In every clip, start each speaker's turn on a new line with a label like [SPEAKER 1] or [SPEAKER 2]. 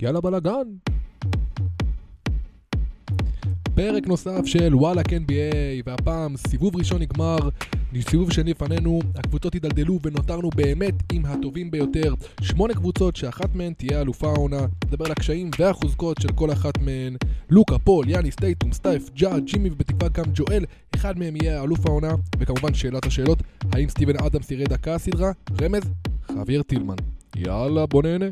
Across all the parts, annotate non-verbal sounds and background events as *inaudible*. [SPEAKER 1] יאללה בלאגן. פרק נוסף של וואלאק NBA, והפעם סיבוב ראשון נגמר, סיבוב שני לפנינו, הקבוצות הידלדלו ונותרנו באמת עם הטובים ביותר. שמונה קבוצות שאחת מהן תהיה אלופה העונה, נדבר על הקשיים והחוזקות של כל אחת מהן. לוקה, פול, יאניס, טייטום, סטייף, ג'ה, ג'ימי ובתקווה גם ג'ואל, אחד מהם יהיה אלוף העונה, וכמובן שאלת השאלות, האם סטיבן אדמס ירד דקה הסדרה? רמז, חביר טילמן. יאללה, בוא נהנה.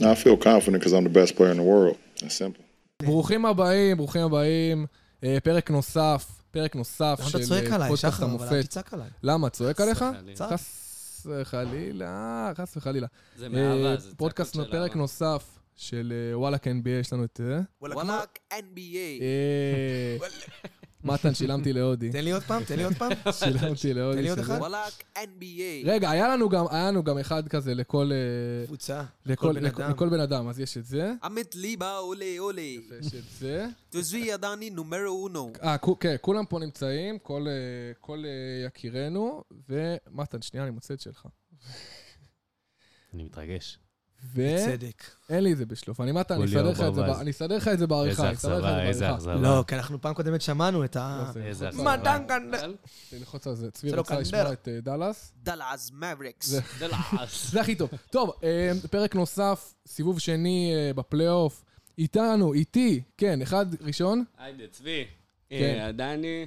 [SPEAKER 2] No, I feel confident because I'm the best player in the world. That's simple.
[SPEAKER 3] כן. ברוכים הבאים, ברוכים הבאים. אה, פרק נוסף, פרק נוסף
[SPEAKER 4] למה
[SPEAKER 3] של
[SPEAKER 4] נכון, אתה צועק
[SPEAKER 3] אה,
[SPEAKER 4] עליי,
[SPEAKER 3] פודקאסט
[SPEAKER 4] שחר? אבל אל
[SPEAKER 3] המופת.
[SPEAKER 4] תצעק עליי.
[SPEAKER 3] למה, צועק עליך?
[SPEAKER 5] וחלילה.
[SPEAKER 3] חס וחלילה, חס וחלילה.
[SPEAKER 5] זה
[SPEAKER 3] אה,
[SPEAKER 5] מאהבה, זה צעקות
[SPEAKER 3] פודקאסט,
[SPEAKER 5] של
[SPEAKER 3] פרק
[SPEAKER 5] אהבה.
[SPEAKER 3] נוסף של אה, וואלאק NBA, יש לנו את...
[SPEAKER 4] *laughs*
[SPEAKER 3] אה,
[SPEAKER 4] וואלאק.
[SPEAKER 3] Eh. אה, מתן, שילמתי
[SPEAKER 4] *laughs*
[SPEAKER 3] להודי.
[SPEAKER 4] תן לי עוד פעם, תן לי עוד פעם.
[SPEAKER 3] שילמתי להודי.
[SPEAKER 4] תן לי עוד
[SPEAKER 3] שזה-
[SPEAKER 4] אחד.
[SPEAKER 3] רגע, היה לנו גם, היה לנו גם אחד כזה לכל... אה,
[SPEAKER 4] *laughs* קבוצה.
[SPEAKER 3] לכל,
[SPEAKER 4] לכל בן אדם.
[SPEAKER 3] לכל בן אדם, אז יש את זה,
[SPEAKER 6] עמית ליבה, אולי אולי.
[SPEAKER 3] יש את זה.
[SPEAKER 6] תוזוי עדני נומרו אונו.
[SPEAKER 3] אה, כו- כן, כולם פה נמצאים, כל, אה, כל אה, יקירנו, ומתן, שנייה, אני מוצא את שלך.
[SPEAKER 5] אני מתרגש.
[SPEAKER 4] אה?
[SPEAKER 3] ואין
[SPEAKER 4] צדק.
[SPEAKER 3] לי את זה בשלוף. אני מתן, אני
[SPEAKER 5] כל
[SPEAKER 3] אסדר
[SPEAKER 5] יום
[SPEAKER 3] לך את זה ב-
[SPEAKER 5] לא ברווז.
[SPEAKER 3] אני אסדר לך את זה בעריכה.
[SPEAKER 5] איזה
[SPEAKER 3] אני אסדר לך את זה
[SPEAKER 5] אכזבה, איזה
[SPEAKER 3] בעריכה.
[SPEAKER 5] אכזבה.
[SPEAKER 4] לא, כי אנחנו פעם קודמת שמענו את ה...
[SPEAKER 3] לא, זה
[SPEAKER 5] איזה
[SPEAKER 3] ללחוץ
[SPEAKER 5] אכזבה.
[SPEAKER 3] על-
[SPEAKER 4] מדנגן.
[SPEAKER 3] ללחוץ על זה. צבי
[SPEAKER 4] זה לא
[SPEAKER 3] רצה לשמוע
[SPEAKER 4] קנדרה.
[SPEAKER 3] את אה, דאלאס.
[SPEAKER 6] דלעז מבריקס.
[SPEAKER 3] זה-
[SPEAKER 5] זה
[SPEAKER 3] *laughs*
[SPEAKER 5] לעס.
[SPEAKER 3] זה הכי טוב. טוב, אה, פרק נוסף, סיבוב שני אה, בפלייאוף. איתנו, איתי, כן, אחד ראשון.
[SPEAKER 5] היידה, צבי.
[SPEAKER 3] כן.
[SPEAKER 5] אה, דני.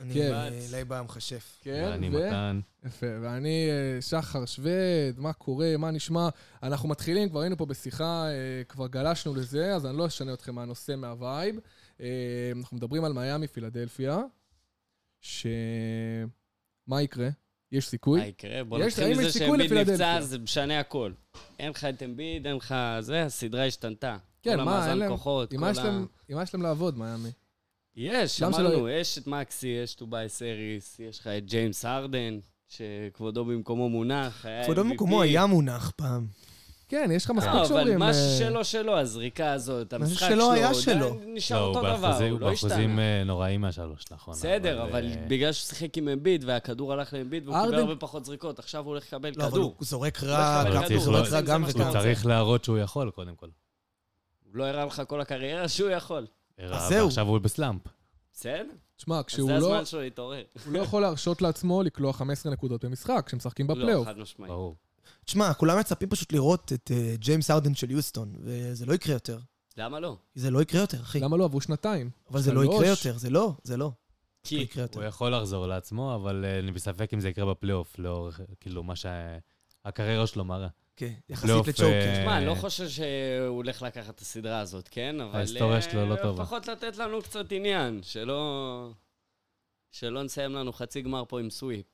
[SPEAKER 4] אני
[SPEAKER 3] כן.
[SPEAKER 4] אה, ליבה המכשף.
[SPEAKER 3] כן,
[SPEAKER 5] אני
[SPEAKER 3] ו-
[SPEAKER 5] מתן.
[SPEAKER 3] יפה, ואני אה, שחר שווד, מה קורה, מה נשמע? אנחנו מתחילים, כבר היינו פה בשיחה, אה, כבר גלשנו לזה, אז אני לא אשנה אתכם מהנושא, מהווייב. אה, אנחנו מדברים על מיאמי, פילדלפיה, ש... מה יקרה? יש
[SPEAKER 5] מה
[SPEAKER 3] סיכוי?
[SPEAKER 5] יקרה? בוא
[SPEAKER 3] יש-
[SPEAKER 5] נתחיל
[SPEAKER 3] האם יש
[SPEAKER 5] מזה
[SPEAKER 3] סיכוי
[SPEAKER 5] שאמביד נפצע,
[SPEAKER 3] לפילדלפיה?
[SPEAKER 5] זה משנה הכל. אין לך את אמביד, אין לך... זה, הסדרה השתנתה.
[SPEAKER 3] כן,
[SPEAKER 5] כל
[SPEAKER 3] מה, אין
[SPEAKER 5] המאזן
[SPEAKER 3] להם-
[SPEAKER 5] כוחות,
[SPEAKER 3] עם
[SPEAKER 5] כל
[SPEAKER 3] מה
[SPEAKER 5] ה...
[SPEAKER 3] יש להם- עם מה יש להם לעבוד, מיאמי?
[SPEAKER 5] יש,
[SPEAKER 3] למה שלא
[SPEAKER 5] אמרנו, יש את מקסי, יש טובייס אריס, יש לך את ג'יימס הרדן, שכבודו במקומו מונח. היה
[SPEAKER 4] כבודו
[SPEAKER 5] MVP.
[SPEAKER 4] במקומו היה מונח פעם.
[SPEAKER 3] כן, יש לך מספיק
[SPEAKER 5] לא,
[SPEAKER 3] שאומרים...
[SPEAKER 5] אבל מה
[SPEAKER 3] אה,
[SPEAKER 5] שלו שלו, הזריקה הזאת,
[SPEAKER 4] מה
[SPEAKER 5] המשחק
[SPEAKER 4] שלא
[SPEAKER 5] שלו,
[SPEAKER 4] היה
[SPEAKER 5] הוא
[SPEAKER 4] שלו.
[SPEAKER 5] עדיין נשאר
[SPEAKER 7] לא, הוא
[SPEAKER 5] אותו דבר,
[SPEAKER 7] באחוזים-
[SPEAKER 5] הוא
[SPEAKER 7] הוא
[SPEAKER 5] לא
[SPEAKER 7] באחוזים
[SPEAKER 5] השתנה.
[SPEAKER 7] אה, נוראים מהשלוש, נכון.
[SPEAKER 5] בסדר, אבל
[SPEAKER 7] אה,
[SPEAKER 5] בגלל שהוא שיחק עם אמביד והכדור הלך לאמביד והוא קיבל
[SPEAKER 3] ארדן-
[SPEAKER 5] הרבה פחות זריקות, עכשיו הוא הולך לקבל
[SPEAKER 4] לא, אבל הוא
[SPEAKER 5] כדור.
[SPEAKER 4] זורק
[SPEAKER 5] לא,
[SPEAKER 4] רע,
[SPEAKER 5] אבל
[SPEAKER 4] גם
[SPEAKER 7] הוא
[SPEAKER 4] הוא
[SPEAKER 7] צריך
[SPEAKER 4] זורק
[SPEAKER 7] לא-
[SPEAKER 4] רע גם
[SPEAKER 5] הוא
[SPEAKER 4] וגם.
[SPEAKER 7] הוא צריך להראות שהוא יכול, קודם כל.
[SPEAKER 5] הוא לא הראה לך כל הקריירה שהוא יכול.
[SPEAKER 3] אה,
[SPEAKER 7] הראה,
[SPEAKER 4] זהו.
[SPEAKER 7] אה, ועכשיו הוא בסלאמפ.
[SPEAKER 5] בסדר?
[SPEAKER 3] תשמע,
[SPEAKER 5] אז
[SPEAKER 3] כשהוא
[SPEAKER 5] זה
[SPEAKER 3] לא...
[SPEAKER 5] הזמן שלו להתעורר.
[SPEAKER 3] הוא לא יכול להרשות לעצמו לקלוע 15 נקודות במשחק, כשמשחקים
[SPEAKER 5] לא,
[SPEAKER 3] בפלייאוף.
[SPEAKER 5] חד משמעית.
[SPEAKER 7] ברור.
[SPEAKER 4] תשמע, כולם מצפים פשוט לראות את אה, ג'יימס ארדן של יוסטון, וזה לא יקרה יותר.
[SPEAKER 5] למה לא?
[SPEAKER 4] זה לא יקרה יותר, אחי.
[SPEAKER 3] למה לא עברו שנתיים?
[SPEAKER 4] אבל זה לא
[SPEAKER 3] שלוש?
[SPEAKER 4] יקרה יותר, זה לא, זה לא. זה לא
[SPEAKER 5] כי
[SPEAKER 4] יקרה יותר.
[SPEAKER 7] הוא יכול לחזור לעצמו, אבל אה, אני בספק אם זה יקרה בפלייאוף, לאורך, כאילו, מה שהקריירה שלו מראה.
[SPEAKER 4] כן, יחסית
[SPEAKER 7] פלייאוף,
[SPEAKER 4] לצ'וקר.
[SPEAKER 7] אה,
[SPEAKER 5] תשמע, אני לא חושב שהוא הולך לקחת את הסדרה הזאת, כן? אבל...
[SPEAKER 7] ההיסטוריה
[SPEAKER 5] אה,
[SPEAKER 7] שלו לא טובה.
[SPEAKER 5] לפחות לתת לנו קצת עניין, שלא... שלא נסיים לנו חצי גמר פה עם סוויפ,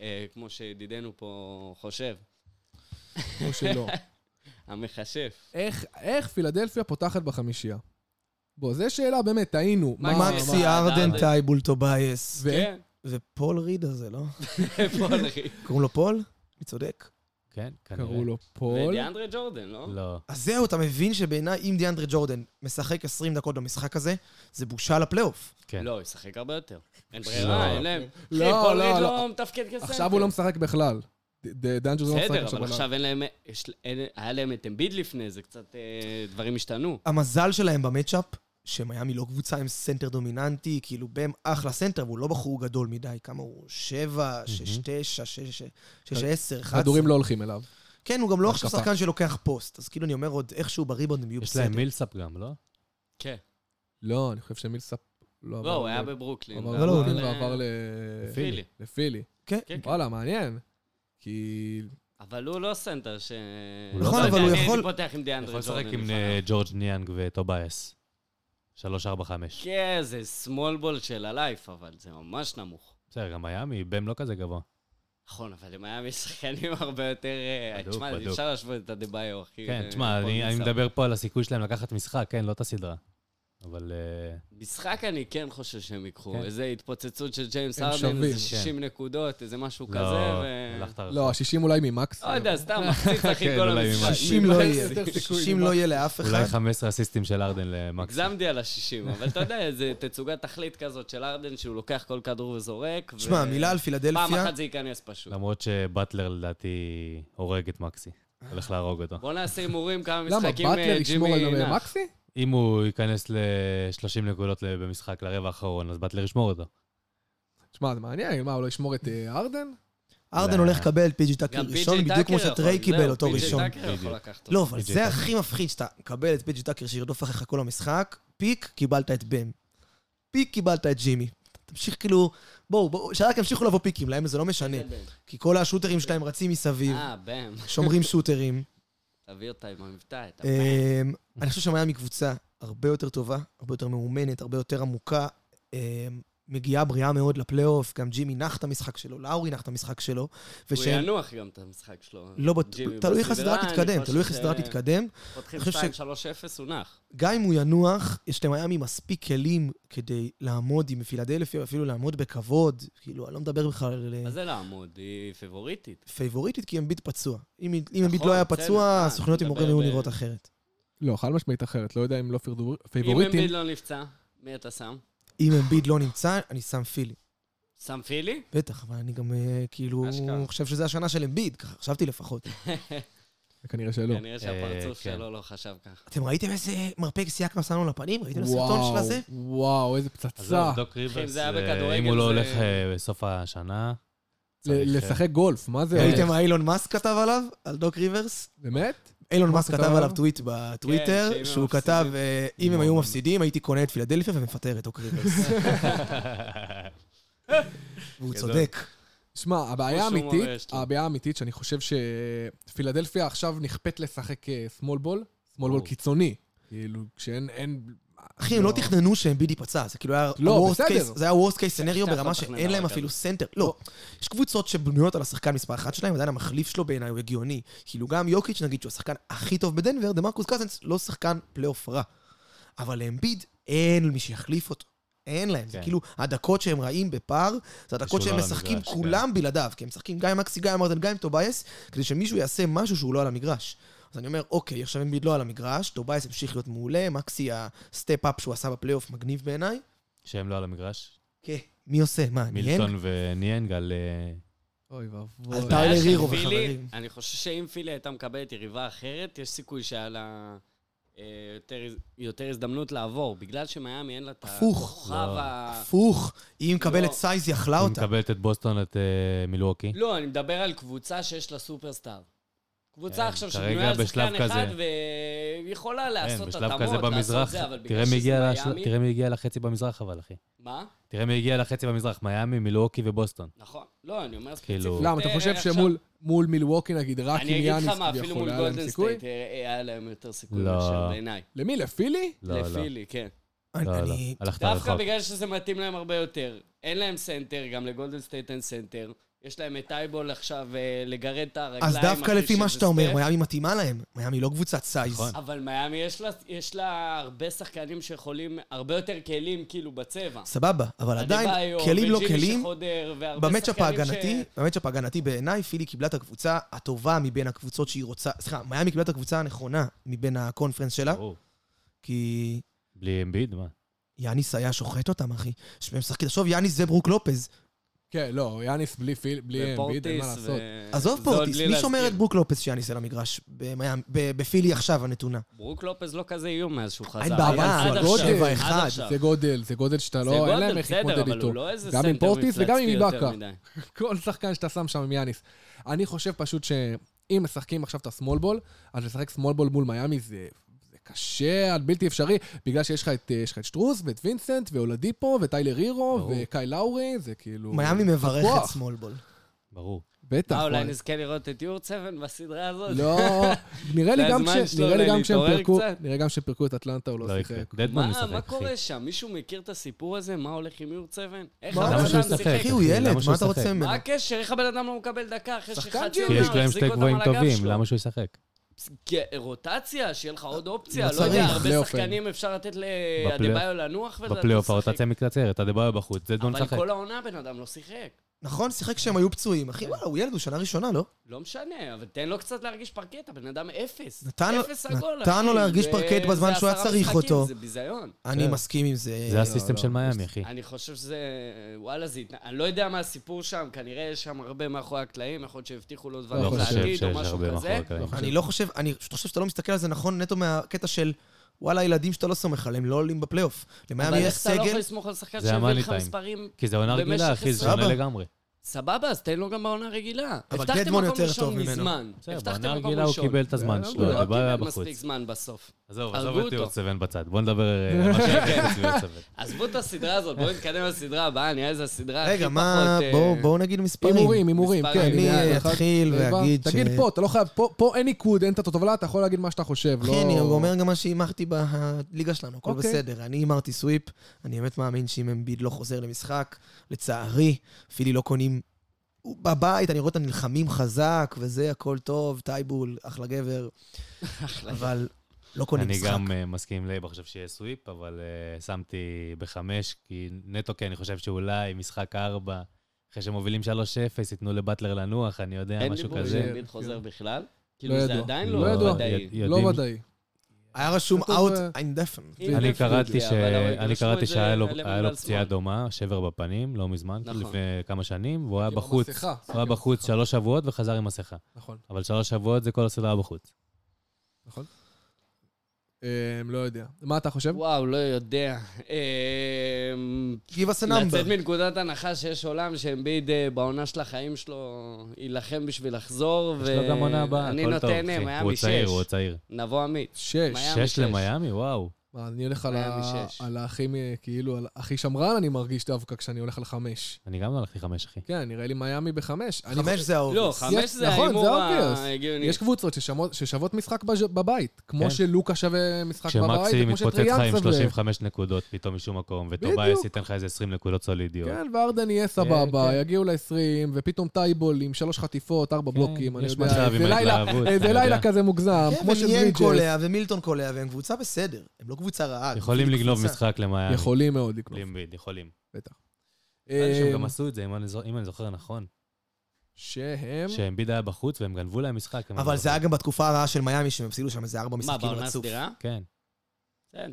[SPEAKER 5] אה, כמו שידידנו פה חושב,
[SPEAKER 3] או
[SPEAKER 5] *laughs*
[SPEAKER 3] שלא.
[SPEAKER 5] המכשף.
[SPEAKER 3] איך, איך פילדלפיה פותחת בחמישייה? בוא, זו שאלה באמת, טעינו.
[SPEAKER 5] מה,
[SPEAKER 4] מקסי
[SPEAKER 5] מה,
[SPEAKER 4] ארדן
[SPEAKER 5] ארדן.
[SPEAKER 4] טייבול טובייס.
[SPEAKER 3] ו-
[SPEAKER 5] כן, *laughs*
[SPEAKER 4] ופול ריד הזה, *laughs* לא?
[SPEAKER 5] איפה הולכים?
[SPEAKER 4] קוראים לו פול? אני צודק.
[SPEAKER 7] כן, כנראה.
[SPEAKER 3] קראו לו פול.
[SPEAKER 5] ודיאנדרה ג'ורדן, לא?
[SPEAKER 7] לא.
[SPEAKER 4] אז זהו, אתה מבין שבעיניי, אם דיאנדרי ג'ורדן משחק 20 דקות במשחק הזה, זה בושה לפלייאוף.
[SPEAKER 7] כן.
[SPEAKER 5] לא, הוא ישחק הרבה יותר. אין
[SPEAKER 7] לא.
[SPEAKER 5] ברירה, אין להם.
[SPEAKER 3] לא,
[SPEAKER 5] אחי, פול
[SPEAKER 3] לא,
[SPEAKER 5] ריד
[SPEAKER 3] לא.
[SPEAKER 5] לא מתפקד כסנטר.
[SPEAKER 3] עכשיו הוא לא משחק בכלל. ד- ד- דנג'רס לא משחק
[SPEAKER 5] בסדר,
[SPEAKER 3] עכשיו
[SPEAKER 5] אבל
[SPEAKER 3] בכלל.
[SPEAKER 5] עכשיו אין להם... יש- אין- היה להם את אמביד לפני, זה קצת... אה, דברים השתנו.
[SPEAKER 4] המזל שלהם במצ'אפ, שמיאמי לא קבוצה עם סנטר דומיננטי, כאילו בהם אחלה סנטר, והוא לא בחור גדול מדי, כמה הוא? שבע, שש, תשע, שש, שש, שש, עשר, אחת.
[SPEAKER 3] כדורים לא הולכים אליו.
[SPEAKER 4] כן, הוא גם לא עכשיו
[SPEAKER 3] התקפה.
[SPEAKER 4] שחקן שלוקח פוסט, אז כאילו אני אומר עוד איכשהו בריבונד הם יהיו
[SPEAKER 7] יש להם
[SPEAKER 4] בסדר.
[SPEAKER 7] מילסאפ גם, לא?
[SPEAKER 5] כן.
[SPEAKER 3] לא, אני חושב שמילסאפ לא עבר.
[SPEAKER 5] לא, הוא היה
[SPEAKER 3] ל-
[SPEAKER 5] בברוקלין. אה,
[SPEAKER 3] הוא
[SPEAKER 4] אבל
[SPEAKER 3] עבר
[SPEAKER 4] לא,
[SPEAKER 3] לברוקלין
[SPEAKER 4] הוא-
[SPEAKER 3] ועבר ל...
[SPEAKER 5] לפילי.
[SPEAKER 3] לפילי.
[SPEAKER 4] כן,
[SPEAKER 5] כן, כן.
[SPEAKER 3] וואלה, מעניין. כי...
[SPEAKER 5] אבל הוא לא סנטר ש...
[SPEAKER 7] הוא
[SPEAKER 4] נכון,
[SPEAKER 5] לא
[SPEAKER 4] אבל
[SPEAKER 5] יודע,
[SPEAKER 4] הוא
[SPEAKER 5] אני
[SPEAKER 4] יכול-
[SPEAKER 5] הייתי פותח עם
[SPEAKER 7] הוא
[SPEAKER 5] דיאנדרה
[SPEAKER 7] יכול
[SPEAKER 5] ג'ורדן.
[SPEAKER 7] לשחק עם
[SPEAKER 5] לפניו.
[SPEAKER 7] אה, ג'ורג' ניאנג וטובייס. שלוש, ארבע, חמש.
[SPEAKER 5] כן, זה small ball של הלייף, אבל זה ממש נמוך.
[SPEAKER 7] בסדר, גם מיאמי, בם לא כזה גבוה.
[SPEAKER 5] נכון, אבל הם היה משחקנים הרבה יותר... אה,
[SPEAKER 7] בדוק,
[SPEAKER 5] תשמע,
[SPEAKER 7] בדוק.
[SPEAKER 5] אפשר להשוות את הדה ביו, אחי.
[SPEAKER 7] כן,
[SPEAKER 5] אה,
[SPEAKER 7] תשמע,
[SPEAKER 5] הכל
[SPEAKER 7] אני אני
[SPEAKER 5] מסביב.
[SPEAKER 7] מדבר פה על הסיכוי שלהם לקחת משחק, כן, לא את הסדרה. אבל... אה,
[SPEAKER 5] משחק אני כן חושב שהם ייקחו.
[SPEAKER 7] כן.
[SPEAKER 5] איזה התפוצצות של ג'יימס
[SPEAKER 3] הם
[SPEAKER 5] הרדן,
[SPEAKER 3] שווים.
[SPEAKER 5] איזה 60 נקודות, איזה משהו
[SPEAKER 7] לא,
[SPEAKER 5] כזה, ו...
[SPEAKER 7] הלכת רחוק.
[SPEAKER 3] לא, ה-60 אולי ממקס.
[SPEAKER 5] נכון. לא יודע, סתם מחצית אחי
[SPEAKER 7] כן,
[SPEAKER 5] כל
[SPEAKER 7] אולי
[SPEAKER 5] המשחק.
[SPEAKER 7] ממש.
[SPEAKER 4] 60 לא יהיה, *laughs*
[SPEAKER 3] יותר סיכוי
[SPEAKER 4] 60
[SPEAKER 3] ממך.
[SPEAKER 4] לא יהיה לאף אחד.
[SPEAKER 7] אולי 15 אסיסטים של ארדן למקס.
[SPEAKER 5] הגזמתי על ה-60, אבל אתה יודע, איזה תצוגת תכלית כזאת של ארדן, שהוא לוקח כל כדור וזורק. ו-
[SPEAKER 4] תשמע, מילה על
[SPEAKER 5] פעם
[SPEAKER 4] פילדלפיה.
[SPEAKER 5] אחת זה ייכנס פשוט.
[SPEAKER 7] למרות שבטלר לדעתי הורג את מקסי.
[SPEAKER 5] אה.
[SPEAKER 7] הולך להרוג אותו.
[SPEAKER 5] בוא נעשה הימורים כמה
[SPEAKER 3] למה,
[SPEAKER 5] משחקים
[SPEAKER 3] באטלר
[SPEAKER 5] אה,
[SPEAKER 3] ישמור
[SPEAKER 5] ג'ימי
[SPEAKER 3] על
[SPEAKER 5] נח.
[SPEAKER 3] מקסי?
[SPEAKER 7] אם הוא ייכנס ל-30 נקודות ל- במשחק לרבע האחרון, אז באטלר ישמור אותו.
[SPEAKER 3] תשמע, זה מעניין, מה, הוא לא ישמור את אה, ארדן?
[SPEAKER 4] ארדן
[SPEAKER 7] לא.
[SPEAKER 4] הולך לקבל פי.ג'י טאקר
[SPEAKER 5] גם
[SPEAKER 4] ראשון,
[SPEAKER 5] פי.ג'יי
[SPEAKER 4] בדיוק כמו
[SPEAKER 5] טאקר
[SPEAKER 4] שטריי
[SPEAKER 5] יכול,
[SPEAKER 4] קיבל
[SPEAKER 5] זהו,
[SPEAKER 4] אותו
[SPEAKER 5] פי.ג'יי
[SPEAKER 4] ראשון.
[SPEAKER 5] טאקר יכול לקחת
[SPEAKER 4] לא,
[SPEAKER 5] אותו.
[SPEAKER 4] אבל
[SPEAKER 7] פי.ג'י
[SPEAKER 4] זה
[SPEAKER 7] טאקר.
[SPEAKER 4] הכי מפחיד, שאתה מקבל את פי.ג'י טאקר שירדוף אחריך כל המשחק, פיק, קיבלת את בם. פיק, קיבלת את ג'ימי. תמשיך כאילו, בואו, בואו, שרק ימשיכו לבוא פיקים, להם זה לא משנה. כי כל השוטרים שלהם רצים מסביב,
[SPEAKER 5] כן. אה, בם.
[SPEAKER 4] שומרים
[SPEAKER 5] *laughs*
[SPEAKER 4] שוטרים.
[SPEAKER 5] תביא אותה עם המבטא, את הבם.
[SPEAKER 4] אמ, אני חושב שמיאמי קבוצה הרבה יותר טובה, הרבה יותר מאומנת, הרבה יותר עמוקה. אמ, מגיעה בריאה מאוד לפלייאוף, גם ג'ימי נח את המשחק שלו, לאורי נח את המשחק שלו.
[SPEAKER 5] הוא
[SPEAKER 4] ושהם-
[SPEAKER 5] ינוח גם את המשחק שלו.
[SPEAKER 4] לא, בט-
[SPEAKER 5] ג'ימי
[SPEAKER 4] תלוי איך
[SPEAKER 5] בסדרה,
[SPEAKER 4] הסדרה
[SPEAKER 5] אני
[SPEAKER 4] תתקדם,
[SPEAKER 5] חושב
[SPEAKER 4] תלוי איך
[SPEAKER 5] ש-
[SPEAKER 4] הסדרה תתקדם.
[SPEAKER 5] פותחים
[SPEAKER 4] אני חושב
[SPEAKER 5] 2-3-0,
[SPEAKER 4] ש-
[SPEAKER 5] הוא נח.
[SPEAKER 4] גם אם הוא ינוח, יש למיאמי מספיק כלים כדי לעמוד עם פילדלפיה, אפילו לעמוד בכבוד. כאילו, אני לא מדבר בכלל על
[SPEAKER 5] מה זה לעמוד? היא פיבוריטית.
[SPEAKER 4] פייבוריטית, כי אמביט פצוע. אם אם אמביט
[SPEAKER 5] נכון,
[SPEAKER 4] לא היה
[SPEAKER 5] בסדר,
[SPEAKER 4] פצוע,
[SPEAKER 5] אה,
[SPEAKER 4] הסוכניות עם
[SPEAKER 5] מדבר
[SPEAKER 4] היו
[SPEAKER 5] ב-
[SPEAKER 4] נראות אחרת.
[SPEAKER 3] לא, חד משמעית אחרת, לא יודע אם לא פירדור-
[SPEAKER 5] אם
[SPEAKER 3] פייבוריטים.
[SPEAKER 5] אמביד לא נפצע, מי אתה שם?
[SPEAKER 4] אם אמביט לא נמצא, אני שם פילי.
[SPEAKER 5] שם פילי?
[SPEAKER 4] בטח, אבל אני גם אה, כאילו
[SPEAKER 5] אשכרה.
[SPEAKER 4] חושב שזו השנה של אמביט, ככה חשבתי לפחות.
[SPEAKER 3] כנראה שלא.
[SPEAKER 5] כנראה שהפרצוף
[SPEAKER 7] אה, כן.
[SPEAKER 5] שלו לא חב ככה.
[SPEAKER 4] אתם ראיתם איזה מרפק סייקמה שם לנו לפנים? ראיתם את הסרטון
[SPEAKER 3] וואו,
[SPEAKER 4] של הזה?
[SPEAKER 3] וואו, איזה פצצה.
[SPEAKER 7] עזוב, דוק
[SPEAKER 5] אם
[SPEAKER 7] ריברס,
[SPEAKER 5] זה היה
[SPEAKER 7] אה,
[SPEAKER 5] בכדורגל,
[SPEAKER 7] אם הוא לא
[SPEAKER 5] זה-
[SPEAKER 7] הולך אה,
[SPEAKER 5] *laughs*
[SPEAKER 7] בסוף השנה... צריך,
[SPEAKER 5] כן.
[SPEAKER 3] ל-
[SPEAKER 7] אה,
[SPEAKER 3] לשחק גולף, מה זה?
[SPEAKER 4] ראיתם מה אילון מאסק כתב עליו? על דוק ריברס?
[SPEAKER 3] באמת?
[SPEAKER 4] אילון
[SPEAKER 3] מה
[SPEAKER 4] מאסק
[SPEAKER 3] כתב
[SPEAKER 4] כתב
[SPEAKER 3] עליו?
[SPEAKER 4] עליו טוויט בטוויטר,
[SPEAKER 5] שאם הם
[SPEAKER 4] שהוא
[SPEAKER 5] מפסידים.
[SPEAKER 4] כתב, אה, אם הם היו מפסידים, הייתי קונה את פילדלפיה ומפטר את דוק ריברס. והוא
[SPEAKER 7] גדול.
[SPEAKER 4] צודק.
[SPEAKER 3] שמע, הבעיה
[SPEAKER 5] שהוא
[SPEAKER 3] האמיתית,
[SPEAKER 5] מראה, יש לו.
[SPEAKER 3] הבעיה האמיתית שאני חושב שפילדלפיה עכשיו נכפית לשחק אה, סמול בול, סמול בול
[SPEAKER 7] ברור.
[SPEAKER 3] קיצוני. כאילו, כשאין, אין...
[SPEAKER 4] אחי, הם לא תכננו שהם בידי פצע, זה כאילו היה
[SPEAKER 3] לא,
[SPEAKER 4] worst
[SPEAKER 3] בסדר.
[SPEAKER 4] case- זה היה וורסט קייס סנריו
[SPEAKER 5] אתה יכול
[SPEAKER 4] ברמה
[SPEAKER 5] לתכנן
[SPEAKER 4] שאין
[SPEAKER 5] דבר
[SPEAKER 4] להם
[SPEAKER 5] כזה.
[SPEAKER 4] אפילו סנטר. לא, יש קבוצות שבנויות על השחקן מספר אחת שלהם, עדיין המחליף שלו בעיניי הוא הגיוני. כאילו גם יוקיץ' נגיד שהוא השחקן הכי טוב בדנבר, דה מרקוס קזנס לא שחקן פלייאוף רע. אבל לאמביד אין מי שיחליף אותו. אין להם, זה
[SPEAKER 7] כן.
[SPEAKER 4] כאילו, הדקות שהם רעים בפער, זה הדקות
[SPEAKER 7] שהוא
[SPEAKER 4] שהם
[SPEAKER 7] לא על
[SPEAKER 4] משחקים
[SPEAKER 7] המגרש, כן.
[SPEAKER 4] כולם בלעדיו, כי הם משחקים גם עם מקסי, גם עם ארדן, גם עם טובייס, כדי שמישהו יעשה משהו שהוא לא על המגרש. אז אני אומר, אוקיי, עכשיו אמביד לא על המגרש, טובייס המשיך להיות מעולה, מקסי הסטפ-אפ שהוא עשה בפלייאוף מגניב בעיניי.
[SPEAKER 7] שהם לא על המגרש.
[SPEAKER 4] כן. מי עושה? מה, ניהן?
[SPEAKER 7] מילטון וניאנג על... אה,
[SPEAKER 3] אוי ואבוי.
[SPEAKER 4] על טאי-
[SPEAKER 5] הבעיה של
[SPEAKER 4] רירו
[SPEAKER 5] פילי,
[SPEAKER 4] וחברים.
[SPEAKER 5] אני חושב שאם פילי הייתה מקבלת יריבה אחרת, יש סיכוי שהיה לה אה, יותר- יותר הזדמנות לעבור. בגלל שמיאמי אין לה את
[SPEAKER 4] הפוך.
[SPEAKER 5] הכוכב
[SPEAKER 7] לא.
[SPEAKER 5] ה...
[SPEAKER 4] הפוך, היא מקבלת
[SPEAKER 5] אה, לא.
[SPEAKER 4] סייז, היא אכלה
[SPEAKER 7] היא
[SPEAKER 4] אותה.
[SPEAKER 7] מקבלת את בוסטון, את אה, מילווקי.
[SPEAKER 5] לא, אני מדבר על קבוצה שיש לה סופרסטאר.
[SPEAKER 7] כן,
[SPEAKER 5] קבוצה עכשיו
[SPEAKER 7] כרגע
[SPEAKER 5] שבנויה על
[SPEAKER 7] בשלב
[SPEAKER 5] שחקן אחד,
[SPEAKER 7] כזה.
[SPEAKER 5] ויכולה
[SPEAKER 7] כן,
[SPEAKER 5] לעשות
[SPEAKER 7] בשלב
[SPEAKER 5] התאמות,
[SPEAKER 7] כזה
[SPEAKER 5] לעשות
[SPEAKER 7] במזרח.
[SPEAKER 5] זה, אבל בגלל
[SPEAKER 7] תראה מי
[SPEAKER 5] שזה
[SPEAKER 7] הגיע לשל-
[SPEAKER 5] מיאמי...
[SPEAKER 7] תראה מי הגיע לחצי במזרח אבל, אחי.
[SPEAKER 5] מה?
[SPEAKER 7] תראה מי הגיע לחצי במזרח, מיאמי, מילווקי ובוסטון.
[SPEAKER 5] נכון. לא, אני אומר ספציפית.
[SPEAKER 7] כאילו-
[SPEAKER 3] למה, אתה
[SPEAKER 5] אה,
[SPEAKER 3] חושב
[SPEAKER 5] עכשיו-
[SPEAKER 3] שמול מול מילווקי נגיד, רק עם
[SPEAKER 5] אני אגיד
[SPEAKER 3] יאניס
[SPEAKER 5] לך מה, אפילו
[SPEAKER 3] כביכול
[SPEAKER 5] מול
[SPEAKER 3] היה להם
[SPEAKER 5] גולדן
[SPEAKER 3] סיכוי?
[SPEAKER 5] סטייט אה, היה להם יותר סיכוי
[SPEAKER 7] לא.
[SPEAKER 5] מאשר בעיניי.
[SPEAKER 3] למי? לפילי?
[SPEAKER 7] לא, לא.
[SPEAKER 5] לפילי, כן.
[SPEAKER 4] אני-
[SPEAKER 7] לא, לא.
[SPEAKER 4] אני-
[SPEAKER 7] הלכת
[SPEAKER 5] דווקא
[SPEAKER 7] רחוק.
[SPEAKER 5] בגלל שזה מתאים להם הרבה יותר. אין להם סנטר, גם לגולדן סטייט אין סנטר. יש להם את טייבול עכשיו אה, לגרד את הרגליים.
[SPEAKER 4] אז דווקא
[SPEAKER 5] אחי,
[SPEAKER 4] לפי מה
[SPEAKER 5] שזה
[SPEAKER 4] שאתה אומר,
[SPEAKER 5] סטף.
[SPEAKER 4] מיאמי מתאימה להם. מיאמי לא קבוצת סייז.
[SPEAKER 7] נכון.
[SPEAKER 5] אבל מיאמי יש לה, יש לה הרבה שחקנים שיכולים, הרבה יותר כלים כאילו בצבע.
[SPEAKER 4] סבבה, אבל עדיין,
[SPEAKER 5] אדבאיו,
[SPEAKER 4] כלים לא
[SPEAKER 5] וג'ימי
[SPEAKER 4] כלים.
[SPEAKER 5] שחודר, והרבה
[SPEAKER 4] במצ'אפ
[SPEAKER 5] שחקנים
[SPEAKER 4] ההגנתי, במצ'אפ ההגנתי בעיניי, פילי קיבלה את הקבוצה הטובה מבין הקבוצות שהיא רוצה, סליחה, מיאמי קיבלה את הקבוצה הנכונה מבין הקונפרנס שלה,
[SPEAKER 7] ברור.
[SPEAKER 4] כי
[SPEAKER 7] בלי אמביד, מה?
[SPEAKER 4] יאניס היה שוחט אותם, אחי. שמשחקים, תחשוב, יאניס זה ברוק לופז.
[SPEAKER 5] אה,
[SPEAKER 3] כן, לא, יאניס בלי פיל- בלי אמביד, אין מה
[SPEAKER 5] ופורטיס,
[SPEAKER 3] לעשות.
[SPEAKER 5] ו-
[SPEAKER 4] עזוב
[SPEAKER 5] זה עוד
[SPEAKER 4] פורטיס,
[SPEAKER 5] בלי
[SPEAKER 4] מי
[SPEAKER 5] להזכיר.
[SPEAKER 4] שומר את ברוק לופז שיאניס על המגרש? במיאמי- ב- בפילי עכשיו הנתונה.
[SPEAKER 5] ברוק לופז לא כזה איום מאז שהוא חזר.
[SPEAKER 4] אין בעיה,
[SPEAKER 5] אבל עד
[SPEAKER 3] אבל
[SPEAKER 5] עכשיו,
[SPEAKER 3] גודל,
[SPEAKER 5] עד
[SPEAKER 4] שבע אחד,
[SPEAKER 5] עכשיו.
[SPEAKER 3] אה, זה גודל, זה גודל שאתה
[SPEAKER 5] זה
[SPEAKER 3] לא, אין
[SPEAKER 5] גודל,
[SPEAKER 3] להם איך
[SPEAKER 5] בסדר,
[SPEAKER 3] להתמודד
[SPEAKER 5] אבל
[SPEAKER 3] איתו.
[SPEAKER 5] הוא לא איזה
[SPEAKER 3] גם עם
[SPEAKER 5] סנטר
[SPEAKER 3] פורטיס וגם עם
[SPEAKER 5] מפלצתי יותר
[SPEAKER 3] איבאקה.
[SPEAKER 5] מדי.
[SPEAKER 3] כל שחקן שאתה שם שם עם יאניס. אני חושב פשוט שאם משחקים עכשיו את הסמול בול, אז לשחק סמול בול מול מיאמי זה... זה קשה עד בלתי אפשרי, בגלל שיש לך את, אה, יש לך את שטרוס ואת וינסנט ואולדיפו וטיילר הירו
[SPEAKER 7] ברור.
[SPEAKER 3] וקאי לאורי, זה כאילו...
[SPEAKER 4] מיאמי מברך
[SPEAKER 3] כוח.
[SPEAKER 4] את סמולבול.
[SPEAKER 7] ברור.
[SPEAKER 3] בטח.
[SPEAKER 5] אה, אולי
[SPEAKER 3] וואי.
[SPEAKER 5] נזכה לראות את יורצבן בסדרה הזאת?
[SPEAKER 3] לא, נראה לי
[SPEAKER 5] זה
[SPEAKER 3] גם
[SPEAKER 5] הזמן
[SPEAKER 3] כש-
[SPEAKER 5] שלו
[SPEAKER 3] נראה לי גם כשהם
[SPEAKER 5] להתעורר
[SPEAKER 3] פירקו,
[SPEAKER 5] קצת.
[SPEAKER 3] נראה גם כשהם פירקו את אטלנטה הוא
[SPEAKER 7] לא
[SPEAKER 3] לא
[SPEAKER 7] יקרה.
[SPEAKER 3] שיחק.
[SPEAKER 7] דדמן
[SPEAKER 5] מה,
[SPEAKER 7] משחק,
[SPEAKER 5] מה
[SPEAKER 7] אחי.
[SPEAKER 5] קורה שם? מישהו מכיר את הסיפור הזה? מה הולך עם יורצבן? איך
[SPEAKER 4] מה,
[SPEAKER 5] הבן
[SPEAKER 4] למה
[SPEAKER 5] אדם
[SPEAKER 4] שהוא
[SPEAKER 5] שיחק?
[SPEAKER 4] אחי, הוא
[SPEAKER 7] למה
[SPEAKER 4] ילד,
[SPEAKER 7] שהוא
[SPEAKER 4] מה אתה
[SPEAKER 7] ישחק?
[SPEAKER 4] רוצה ממנו?
[SPEAKER 5] מה הקשר? איך הבן אדם לא מקבל דקה אחרי
[SPEAKER 3] שחקן
[SPEAKER 5] שחצי
[SPEAKER 3] ג'י.
[SPEAKER 7] כי
[SPEAKER 5] עונה
[SPEAKER 7] יש להם
[SPEAKER 5] החזיק
[SPEAKER 7] שתי
[SPEAKER 5] לא, אותם
[SPEAKER 7] גבוהים
[SPEAKER 5] על הגב
[SPEAKER 7] טובים,
[SPEAKER 5] שלו?
[SPEAKER 7] למה שהוא ישחק?
[SPEAKER 5] כ- רוטציה, שיהיה לך עוד אופציה, לא
[SPEAKER 3] צריך,
[SPEAKER 5] יודע, הרבה
[SPEAKER 3] פלייאוף
[SPEAKER 5] שחקנים אפשר לתת
[SPEAKER 7] בפלייאוף-
[SPEAKER 5] לאדבאיו לנוח וזה, אתה
[SPEAKER 7] בפלייאוף כן
[SPEAKER 5] משחק.
[SPEAKER 7] הרוטציה מתקצרת, אדבאיו בחוץ, זה דון
[SPEAKER 5] אבל
[SPEAKER 7] משחק.
[SPEAKER 5] כל העונה בן אדם לא שיחק.
[SPEAKER 4] נכון, שיחק כשהם היו פצועים.
[SPEAKER 5] כן.
[SPEAKER 4] אחי, וואלה, הוא ילד, הוא שנה ראשונה, לא?
[SPEAKER 5] לא משנה, אבל תן לו קצת להרגיש פרקט, הבן אדם אפס.
[SPEAKER 4] נתן לו-
[SPEAKER 5] אפס עגול,
[SPEAKER 4] נתן
[SPEAKER 5] אחי,
[SPEAKER 4] לו להרגיש
[SPEAKER 5] זה-
[SPEAKER 4] פרקט בזמן
[SPEAKER 5] זה
[SPEAKER 4] שהוא היה
[SPEAKER 5] עשרה
[SPEAKER 4] צריך
[SPEAKER 5] משחקים,
[SPEAKER 4] אותו.
[SPEAKER 5] זה ביזיון.
[SPEAKER 4] אני מסכים עם זה.
[SPEAKER 7] זה הסיסטם של מיאמי, אחי.
[SPEAKER 5] אני חושב שזה... וואלה, זה... התנ- אני לא יודע מה הסיפור שם, כנראה יש שם הרבה מאחורי הקלעים, יכול להיות שהבטיחו לו
[SPEAKER 7] לא
[SPEAKER 5] דברים
[SPEAKER 7] חושב
[SPEAKER 5] לעתיד או
[SPEAKER 7] שיש
[SPEAKER 5] משהו
[SPEAKER 7] הרבה מאחורי
[SPEAKER 5] כזה.
[SPEAKER 7] הקלעים.
[SPEAKER 4] אני לא חושב, אני פשוט חושב שאתה לא מסתכל על זה נכון נטו מהקטע של, וואלה, ילדים שאתה לא סומך עליהם לא עולים בפלייאוף.
[SPEAKER 5] אבל
[SPEAKER 4] למיאמי יש
[SPEAKER 5] איך אתה לא יכול
[SPEAKER 4] סגל,
[SPEAKER 5] לסמוך על שחקן
[SPEAKER 7] זה
[SPEAKER 5] שיביא
[SPEAKER 7] המאני
[SPEAKER 5] לך
[SPEAKER 7] טיים.
[SPEAKER 5] מספרים?
[SPEAKER 7] כי זה עונה
[SPEAKER 5] במשך
[SPEAKER 7] רגילה, אחי, זה
[SPEAKER 4] עשרה.
[SPEAKER 7] שונה
[SPEAKER 4] סבבה.
[SPEAKER 7] לגמרי.
[SPEAKER 5] סבבה, אז תן לו גם בעונה רגילה.
[SPEAKER 4] אבל
[SPEAKER 5] הבטחתם
[SPEAKER 4] דדמון
[SPEAKER 5] מקום
[SPEAKER 4] יותר
[SPEAKER 5] ראשון
[SPEAKER 4] טוב ממנו.
[SPEAKER 5] מזמן.
[SPEAKER 7] בסדר,
[SPEAKER 5] הבטחתם
[SPEAKER 7] בעונה
[SPEAKER 5] מקום
[SPEAKER 7] רגילה הוא
[SPEAKER 5] ראשון.
[SPEAKER 7] קיבל את הזמן
[SPEAKER 3] הוא
[SPEAKER 7] שלו,
[SPEAKER 5] הוא לא
[SPEAKER 7] אדבאיו היה
[SPEAKER 5] קיבל מספיק
[SPEAKER 7] בחוץ.
[SPEAKER 5] זמן בסוף.
[SPEAKER 7] עזוב,
[SPEAKER 5] הרגו
[SPEAKER 7] עזוב את
[SPEAKER 5] אותו.
[SPEAKER 7] תיאור סבן בצד, בוא נדבר אה,
[SPEAKER 5] *laughs*
[SPEAKER 7] על מה שכן סביב סבן.
[SPEAKER 5] עזבו את הסדרה הזאת, בואו נתקדם לסדרה הבאה, נראה איזה סדרה הכי פחות...
[SPEAKER 4] רגע, מה,
[SPEAKER 5] אה,
[SPEAKER 4] בואו- בואו נגיד מספרים.
[SPEAKER 3] הימורים, הימורים,
[SPEAKER 5] מספר
[SPEAKER 3] כן.
[SPEAKER 5] אני
[SPEAKER 3] יאללה, אחד,
[SPEAKER 4] אתחיל
[SPEAKER 3] זה כבר-
[SPEAKER 4] ואגיד ש-
[SPEAKER 3] תגיד פה, אתה לא חייב, פה- פה אין ניקוד, אין את הטוטבלה, אתה יכול להגיד מה שאתה חושב, לא...
[SPEAKER 4] אחי, אני אומר גם מה שהימרתי בליגה שלנו, הכל
[SPEAKER 3] אוקיי.
[SPEAKER 4] בסדר. אני הימרתי סוויפ, אני באמת מאמין שאם אמביד לא חוזר למשחק, לצערי, אפילו לא קונים... הוא בבית, אני רואה אותם נלחמים חזק, וזה, הכל טוב, טייבול, אחלה גבר, אבל לא קונים
[SPEAKER 7] אני
[SPEAKER 4] משחק.
[SPEAKER 7] גם אה, מסכים לייב, חושב שיהיה סוויפ, אבל אה, שמתי בחמש, כי נטו כי אני חושב שאולי משחק ארבע, אחרי שמובילים 3-0, ייתנו לבטלר לנוח, אני יודע,
[SPEAKER 5] אין
[SPEAKER 7] משהו
[SPEAKER 5] דיבור
[SPEAKER 7] כזה.
[SPEAKER 5] שאמביד חוזר בכלל?
[SPEAKER 3] לא
[SPEAKER 5] כאילו, זה
[SPEAKER 3] ידוע.
[SPEAKER 5] עדיין
[SPEAKER 3] לא
[SPEAKER 5] לא
[SPEAKER 3] ידוע.
[SPEAKER 5] ודאי.
[SPEAKER 7] י-
[SPEAKER 3] לא
[SPEAKER 7] יודעים.
[SPEAKER 3] ודאי.
[SPEAKER 4] היה רשום
[SPEAKER 3] כתוב,
[SPEAKER 4] out
[SPEAKER 3] אה,
[SPEAKER 4] indefinite.
[SPEAKER 7] אני קראתי, ש...
[SPEAKER 5] אבל הרגע
[SPEAKER 7] אני
[SPEAKER 5] רשמו
[SPEAKER 7] קראתי
[SPEAKER 5] את זה
[SPEAKER 7] שהיה לו,
[SPEAKER 5] על ימין
[SPEAKER 7] היה
[SPEAKER 5] ועל
[SPEAKER 7] לו פציעה
[SPEAKER 5] שמאל.
[SPEAKER 7] דומה, שבר בפנים, לא מזמן,
[SPEAKER 5] נכון.
[SPEAKER 7] לפני כמה שנים, והוא היה
[SPEAKER 3] עם
[SPEAKER 7] בחוץ,
[SPEAKER 3] המסכה.
[SPEAKER 7] הוא היה
[SPEAKER 3] עם
[SPEAKER 7] בחוץ
[SPEAKER 3] המסכה.
[SPEAKER 7] שלוש שבועות וחזר עם מסכה.
[SPEAKER 3] נכון,
[SPEAKER 7] אבל שלוש שבועות זה כל הסדרה בחוץ.
[SPEAKER 3] נכון. אה, לא יודע. מה אתה חושב?
[SPEAKER 5] וואו, לא יודע. אמ,
[SPEAKER 4] Give us a
[SPEAKER 5] לצאת
[SPEAKER 4] number.
[SPEAKER 5] מנקודת הנחה שיש עולם שאמביד אה, בעונה של החיים שלו יילחם בשביל לחזור,
[SPEAKER 7] יש לו גם עונה הבאה,
[SPEAKER 5] אני
[SPEAKER 7] הכל טוב,
[SPEAKER 5] נותן אה,
[SPEAKER 7] אחי. הוא
[SPEAKER 5] מיאמי
[SPEAKER 7] צעיר, הוא עוד
[SPEAKER 5] שש.
[SPEAKER 7] צעיר.
[SPEAKER 5] נבוא עמית.
[SPEAKER 3] שש.
[SPEAKER 5] מיאמי שש.
[SPEAKER 7] שש למיאמי, וואו.
[SPEAKER 3] מה, אני הולך על ה-
[SPEAKER 5] מיאמי שש.
[SPEAKER 3] על הכי, מ- כאילו, על הכי שמרן אני מרגיש דווקא כשאני הולך על חמש.
[SPEAKER 7] אני גם לא הלכתי חמש, אחי.
[SPEAKER 3] כן, נראה לי מיאמי בחמש. אני-
[SPEAKER 4] חמש זה האור.
[SPEAKER 5] לא,
[SPEAKER 3] יש-
[SPEAKER 5] חמש זה
[SPEAKER 3] נכון,
[SPEAKER 5] ההימור
[SPEAKER 3] זה obvious.
[SPEAKER 5] ההגיוני.
[SPEAKER 3] יש קבוצות ששמות- ששוות משחק בז'- בבית, כמו
[SPEAKER 7] כן.
[SPEAKER 3] שלוקה שווה משחק בבית,
[SPEAKER 7] כשמקסי
[SPEAKER 3] וכמו
[SPEAKER 7] מתפוצץ לך
[SPEAKER 3] שטריאן
[SPEAKER 7] עם
[SPEAKER 3] שווה.
[SPEAKER 7] 35 נקודות פתאום משום מקום,
[SPEAKER 3] בדיוק.
[SPEAKER 7] וטובייס ייתן לך איזה 20 נקודות סולידיות.
[SPEAKER 3] כן, וארדן יהיה
[SPEAKER 7] כן.
[SPEAKER 3] סבבה, יגיעו ל-20, ופתאום טייבול עם שלוש חטיפות, ארבע
[SPEAKER 7] כן,
[SPEAKER 3] בלוקים, אני
[SPEAKER 7] יש
[SPEAKER 3] יודע,
[SPEAKER 7] מצב עם
[SPEAKER 3] איזה לילה,
[SPEAKER 7] ההתלהבות,
[SPEAKER 3] איזה
[SPEAKER 7] אני יודע.
[SPEAKER 3] לילה כזה
[SPEAKER 7] אה,
[SPEAKER 3] מוגזם,
[SPEAKER 4] כן,
[SPEAKER 3] כמו של
[SPEAKER 4] וניאן
[SPEAKER 3] ברידג'ס.
[SPEAKER 4] קולע ומילטון קולע, והם קבוצה בסדר. הם לא קבוצה רעה. הם
[SPEAKER 7] יכולים
[SPEAKER 4] אפילו
[SPEAKER 7] לגנוב
[SPEAKER 4] קבוצה.
[SPEAKER 7] משחק למיאמי.
[SPEAKER 3] יכולים מאוד לקנות,
[SPEAKER 7] לימביד, כן. יכולים.
[SPEAKER 3] בטח.
[SPEAKER 7] נראה לי שהם גם
[SPEAKER 3] אמ,
[SPEAKER 7] עשו את זה, אם אני זו- אם אני זוכר נכון.
[SPEAKER 3] שהם...
[SPEAKER 7] שאמביד היה בחוץ והם גנבו להם משחק. אם אני
[SPEAKER 4] אבל זה
[SPEAKER 7] זוכר.
[SPEAKER 4] היה גם בתקופה הרעה של מיאמי, שהם הפסידו שם איזה ארבע
[SPEAKER 5] מה,
[SPEAKER 4] משחקים
[SPEAKER 5] בעונה
[SPEAKER 4] רצוף.
[SPEAKER 5] סדירה?
[SPEAKER 7] כן.
[SPEAKER 5] כן.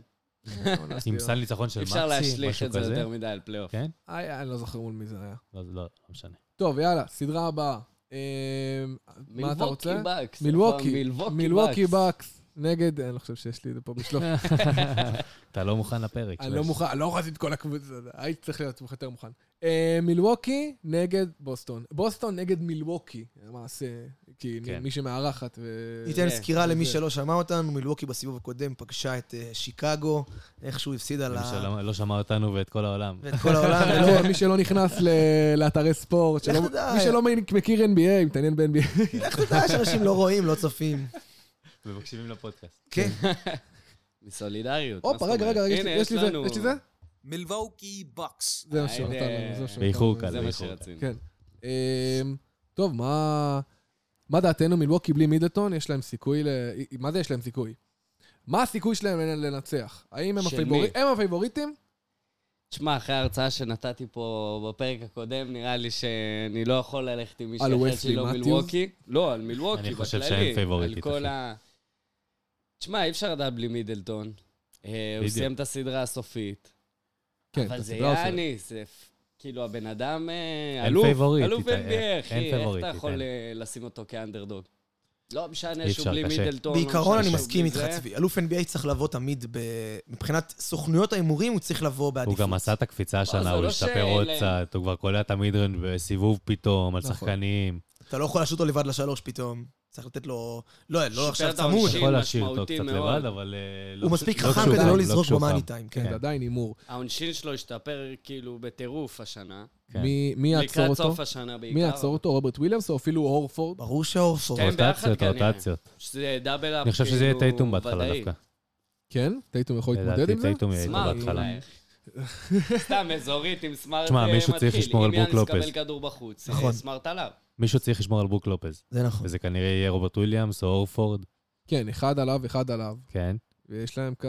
[SPEAKER 3] אוקיי.
[SPEAKER 7] עם סל ניצחון של
[SPEAKER 5] אי
[SPEAKER 7] מקסי,
[SPEAKER 5] אפשר להשליך
[SPEAKER 7] משהו
[SPEAKER 5] את זה
[SPEAKER 7] כזה.
[SPEAKER 5] יותר מדי על פלייאוף.
[SPEAKER 7] כן?
[SPEAKER 3] איי, אני לא זוכר מול מי זה היה.
[SPEAKER 7] לא, לא, לא משנה.
[SPEAKER 3] טוב, יאללה, סדרה הבאה. אמ, מה אתה רוצה?
[SPEAKER 5] מילווקי בקס.
[SPEAKER 3] מילווקי.
[SPEAKER 5] נכון,
[SPEAKER 3] מילווקי בקס. נגד, אני לא חושב שיש לי את זה פה
[SPEAKER 5] *laughs*
[SPEAKER 3] בשלוף.
[SPEAKER 7] אתה לא מוכן לפרק.
[SPEAKER 3] אני
[SPEAKER 7] שלך.
[SPEAKER 3] לא מוכן, אני לא רציתי את כל הקבוצה, הייתי צריך להיות יותר מוכן. אה, מילווקי נגד בוסטון. בוסטון נגד מילווקי, למעשה, כי מי-
[SPEAKER 7] כן.
[SPEAKER 3] מי שמארחת ו...
[SPEAKER 4] ניתן
[SPEAKER 5] זה,
[SPEAKER 4] סקירה למי
[SPEAKER 3] זה.
[SPEAKER 4] שלא שמע אותנו, מילווקי בסיבוב הקודם פגשה את אה, שיקגו, איכשהו הפסידה
[SPEAKER 7] למי
[SPEAKER 4] לה...
[SPEAKER 7] שלא- לא שמע אותנו ואת כל העולם.
[SPEAKER 4] ואת כל
[SPEAKER 7] *laughs*
[SPEAKER 4] העולם, ולא-
[SPEAKER 3] לא, אה. מי שלא נכנס ל- לאתרי ספורט, שלא-
[SPEAKER 4] לך תדע.
[SPEAKER 3] מי שלא מכיר NBA, מתעניין ב-NBA.
[SPEAKER 4] איך אתה יודע שאנשים לא רואים, לא צופים.
[SPEAKER 7] ומקשיבים לפודקאסט.
[SPEAKER 4] כן,
[SPEAKER 5] מסולידריות. מה
[SPEAKER 3] הופה,
[SPEAKER 5] זאת
[SPEAKER 3] רגע,
[SPEAKER 5] אומרת?
[SPEAKER 3] רגע, רגע,
[SPEAKER 5] הנה,
[SPEAKER 3] יש לי זה,
[SPEAKER 5] לנו- אה,
[SPEAKER 3] יש לי זה?
[SPEAKER 6] ملفاوكي بوكس
[SPEAKER 3] זה מה שנתן
[SPEAKER 5] הנה.
[SPEAKER 3] לנו, זה מה שנתן
[SPEAKER 7] באיחור
[SPEAKER 3] לנו.
[SPEAKER 7] קל.
[SPEAKER 5] זה מה
[SPEAKER 7] באיחור.
[SPEAKER 5] שרצינו.
[SPEAKER 3] כן. אמ, טוב, מה... מה דעתנו מלווקי בלי מידלטון? יש להם סיכוי ל... מה זה יש להם סיכוי? מה הסיכוי שלהם לנצח? האם הם
[SPEAKER 5] של מי?
[SPEAKER 3] הפייבוריטים? הם הפייבוריטים?
[SPEAKER 5] תשמע, אחרי ההרצאה שנתתי פה בפרק הקודם, נראה לי שאני לא יכול ללכת עם מישהו
[SPEAKER 3] על
[SPEAKER 5] אחר
[SPEAKER 3] וסלי
[SPEAKER 5] שהיא לא
[SPEAKER 3] מתיוס?
[SPEAKER 5] מילווקי. לא, על מילווקי, בכללי.
[SPEAKER 7] אני חושב שהם פייבוריטית,
[SPEAKER 5] על כל
[SPEAKER 7] אחי.
[SPEAKER 5] ה... תשמע, אי אפשר לדעת בלי מידלטון. אה, הוא
[SPEAKER 7] בדיוק.
[SPEAKER 5] סיים את הסדרה הסופית.
[SPEAKER 3] כן,
[SPEAKER 5] אבל
[SPEAKER 3] את
[SPEAKER 5] זה
[SPEAKER 3] הסדרה הוא סיים.
[SPEAKER 5] יאניס, זה פ- כאילו הבן אדם אה,
[SPEAKER 7] אין
[SPEAKER 5] אלוף,
[SPEAKER 7] פייבוריט,
[SPEAKER 5] אלוף
[SPEAKER 7] איתי, אין-
[SPEAKER 5] NBA, אחי,
[SPEAKER 7] אין
[SPEAKER 5] איך
[SPEAKER 7] פייבוריט,
[SPEAKER 5] אתה יכול
[SPEAKER 7] איתן.
[SPEAKER 5] אה, לשים אותו כאנדרדוג? לא משנה
[SPEAKER 7] אי
[SPEAKER 5] שהוא
[SPEAKER 7] אפשר,
[SPEAKER 5] בלי
[SPEAKER 7] קשה.
[SPEAKER 5] מידלטון. לא
[SPEAKER 4] בעיקרון
[SPEAKER 5] משנה
[SPEAKER 4] אני
[SPEAKER 5] שהוא
[SPEAKER 4] מסכים
[SPEAKER 5] בלי
[SPEAKER 4] איתך,
[SPEAKER 5] זה.
[SPEAKER 4] צבי. אלוף NBA צריך לבוא תמיד, ב- מבחינת סוכנויות ההימורים, הוא צריך לבוא
[SPEAKER 7] הוא
[SPEAKER 4] בעדיפות.
[SPEAKER 7] גם עשה את הקפיצה
[SPEAKER 5] זה
[SPEAKER 7] השנה, הוא
[SPEAKER 5] לא
[SPEAKER 7] השתפר
[SPEAKER 5] שאלה.
[SPEAKER 7] עוד קצת, הוא כבר קולע את המידרן בסיבוב פתאום, על
[SPEAKER 3] נכון.
[SPEAKER 7] שחקנים.
[SPEAKER 4] אתה לא יכול להשאיר אותו לבד לשלוש פתאום. צריך לתת לו... לא, לא
[SPEAKER 5] שיפר
[SPEAKER 4] עכשיו
[SPEAKER 5] את
[SPEAKER 4] צמוד.
[SPEAKER 7] אתה
[SPEAKER 5] שין
[SPEAKER 7] יכול להשאיר אותו
[SPEAKER 5] משמעותי
[SPEAKER 7] קצת
[SPEAKER 5] מאוד.
[SPEAKER 7] לבד, אבל... אה, לא
[SPEAKER 4] הוא
[SPEAKER 7] כש-
[SPEAKER 4] מספיק
[SPEAKER 7] לא
[SPEAKER 4] חכם
[SPEAKER 7] כשהוא
[SPEAKER 4] כדי
[SPEAKER 7] חם,
[SPEAKER 4] לא
[SPEAKER 7] לא
[SPEAKER 4] לזרוק
[SPEAKER 7] כשהוא
[SPEAKER 4] במאני
[SPEAKER 7] חם.
[SPEAKER 4] טיים,
[SPEAKER 3] כן,
[SPEAKER 4] כן.
[SPEAKER 3] זה עדיין הימור.
[SPEAKER 5] העונשין שלו השתפר כאילו בטירוף השנה.
[SPEAKER 7] כן.
[SPEAKER 3] מי- מי יעצור
[SPEAKER 5] לקראת
[SPEAKER 3] אותו?
[SPEAKER 5] סוף השנה בעיקר.
[SPEAKER 3] מי יעצור אותו? רוברט וויליאמס או אפילו הורפורד?
[SPEAKER 4] ברור שהאורפורד.
[SPEAKER 5] שתיהם ביחד
[SPEAKER 7] רוטציות,
[SPEAKER 5] כנראה.
[SPEAKER 7] רוטציות.
[SPEAKER 5] שזה דאבל אפ
[SPEAKER 7] אני חושב שזה יהיה
[SPEAKER 5] כאילו,
[SPEAKER 7] טייטום בהתחלה
[SPEAKER 5] ודאי.
[SPEAKER 7] דווקא.
[SPEAKER 3] כן? טייטום יכול להתמודד
[SPEAKER 7] לדעתי
[SPEAKER 3] עם זה?
[SPEAKER 7] טייטום יהיה איתו
[SPEAKER 5] סמארט
[SPEAKER 7] בהתחלה.
[SPEAKER 5] אולי. סתם אזורית עם סמארט
[SPEAKER 7] תשמע,
[SPEAKER 5] אה,
[SPEAKER 7] מישהו צריך
[SPEAKER 5] מתחיל.
[SPEAKER 7] לשמור על
[SPEAKER 5] אם
[SPEAKER 7] ברוק
[SPEAKER 5] יאניס
[SPEAKER 7] לופז.
[SPEAKER 5] יקבל כדור בחוץ, אה,
[SPEAKER 4] נכון.
[SPEAKER 5] סמארט עליו.
[SPEAKER 7] מישהו צריך לשמור על ברוק לופז,
[SPEAKER 4] זה נכון.
[SPEAKER 7] וזה כנראה יהיה רוברט וויליאמס או אורפורד.
[SPEAKER 3] כן, אחד עליו, אחד עליו.
[SPEAKER 7] כן.
[SPEAKER 3] ויש להם, כ-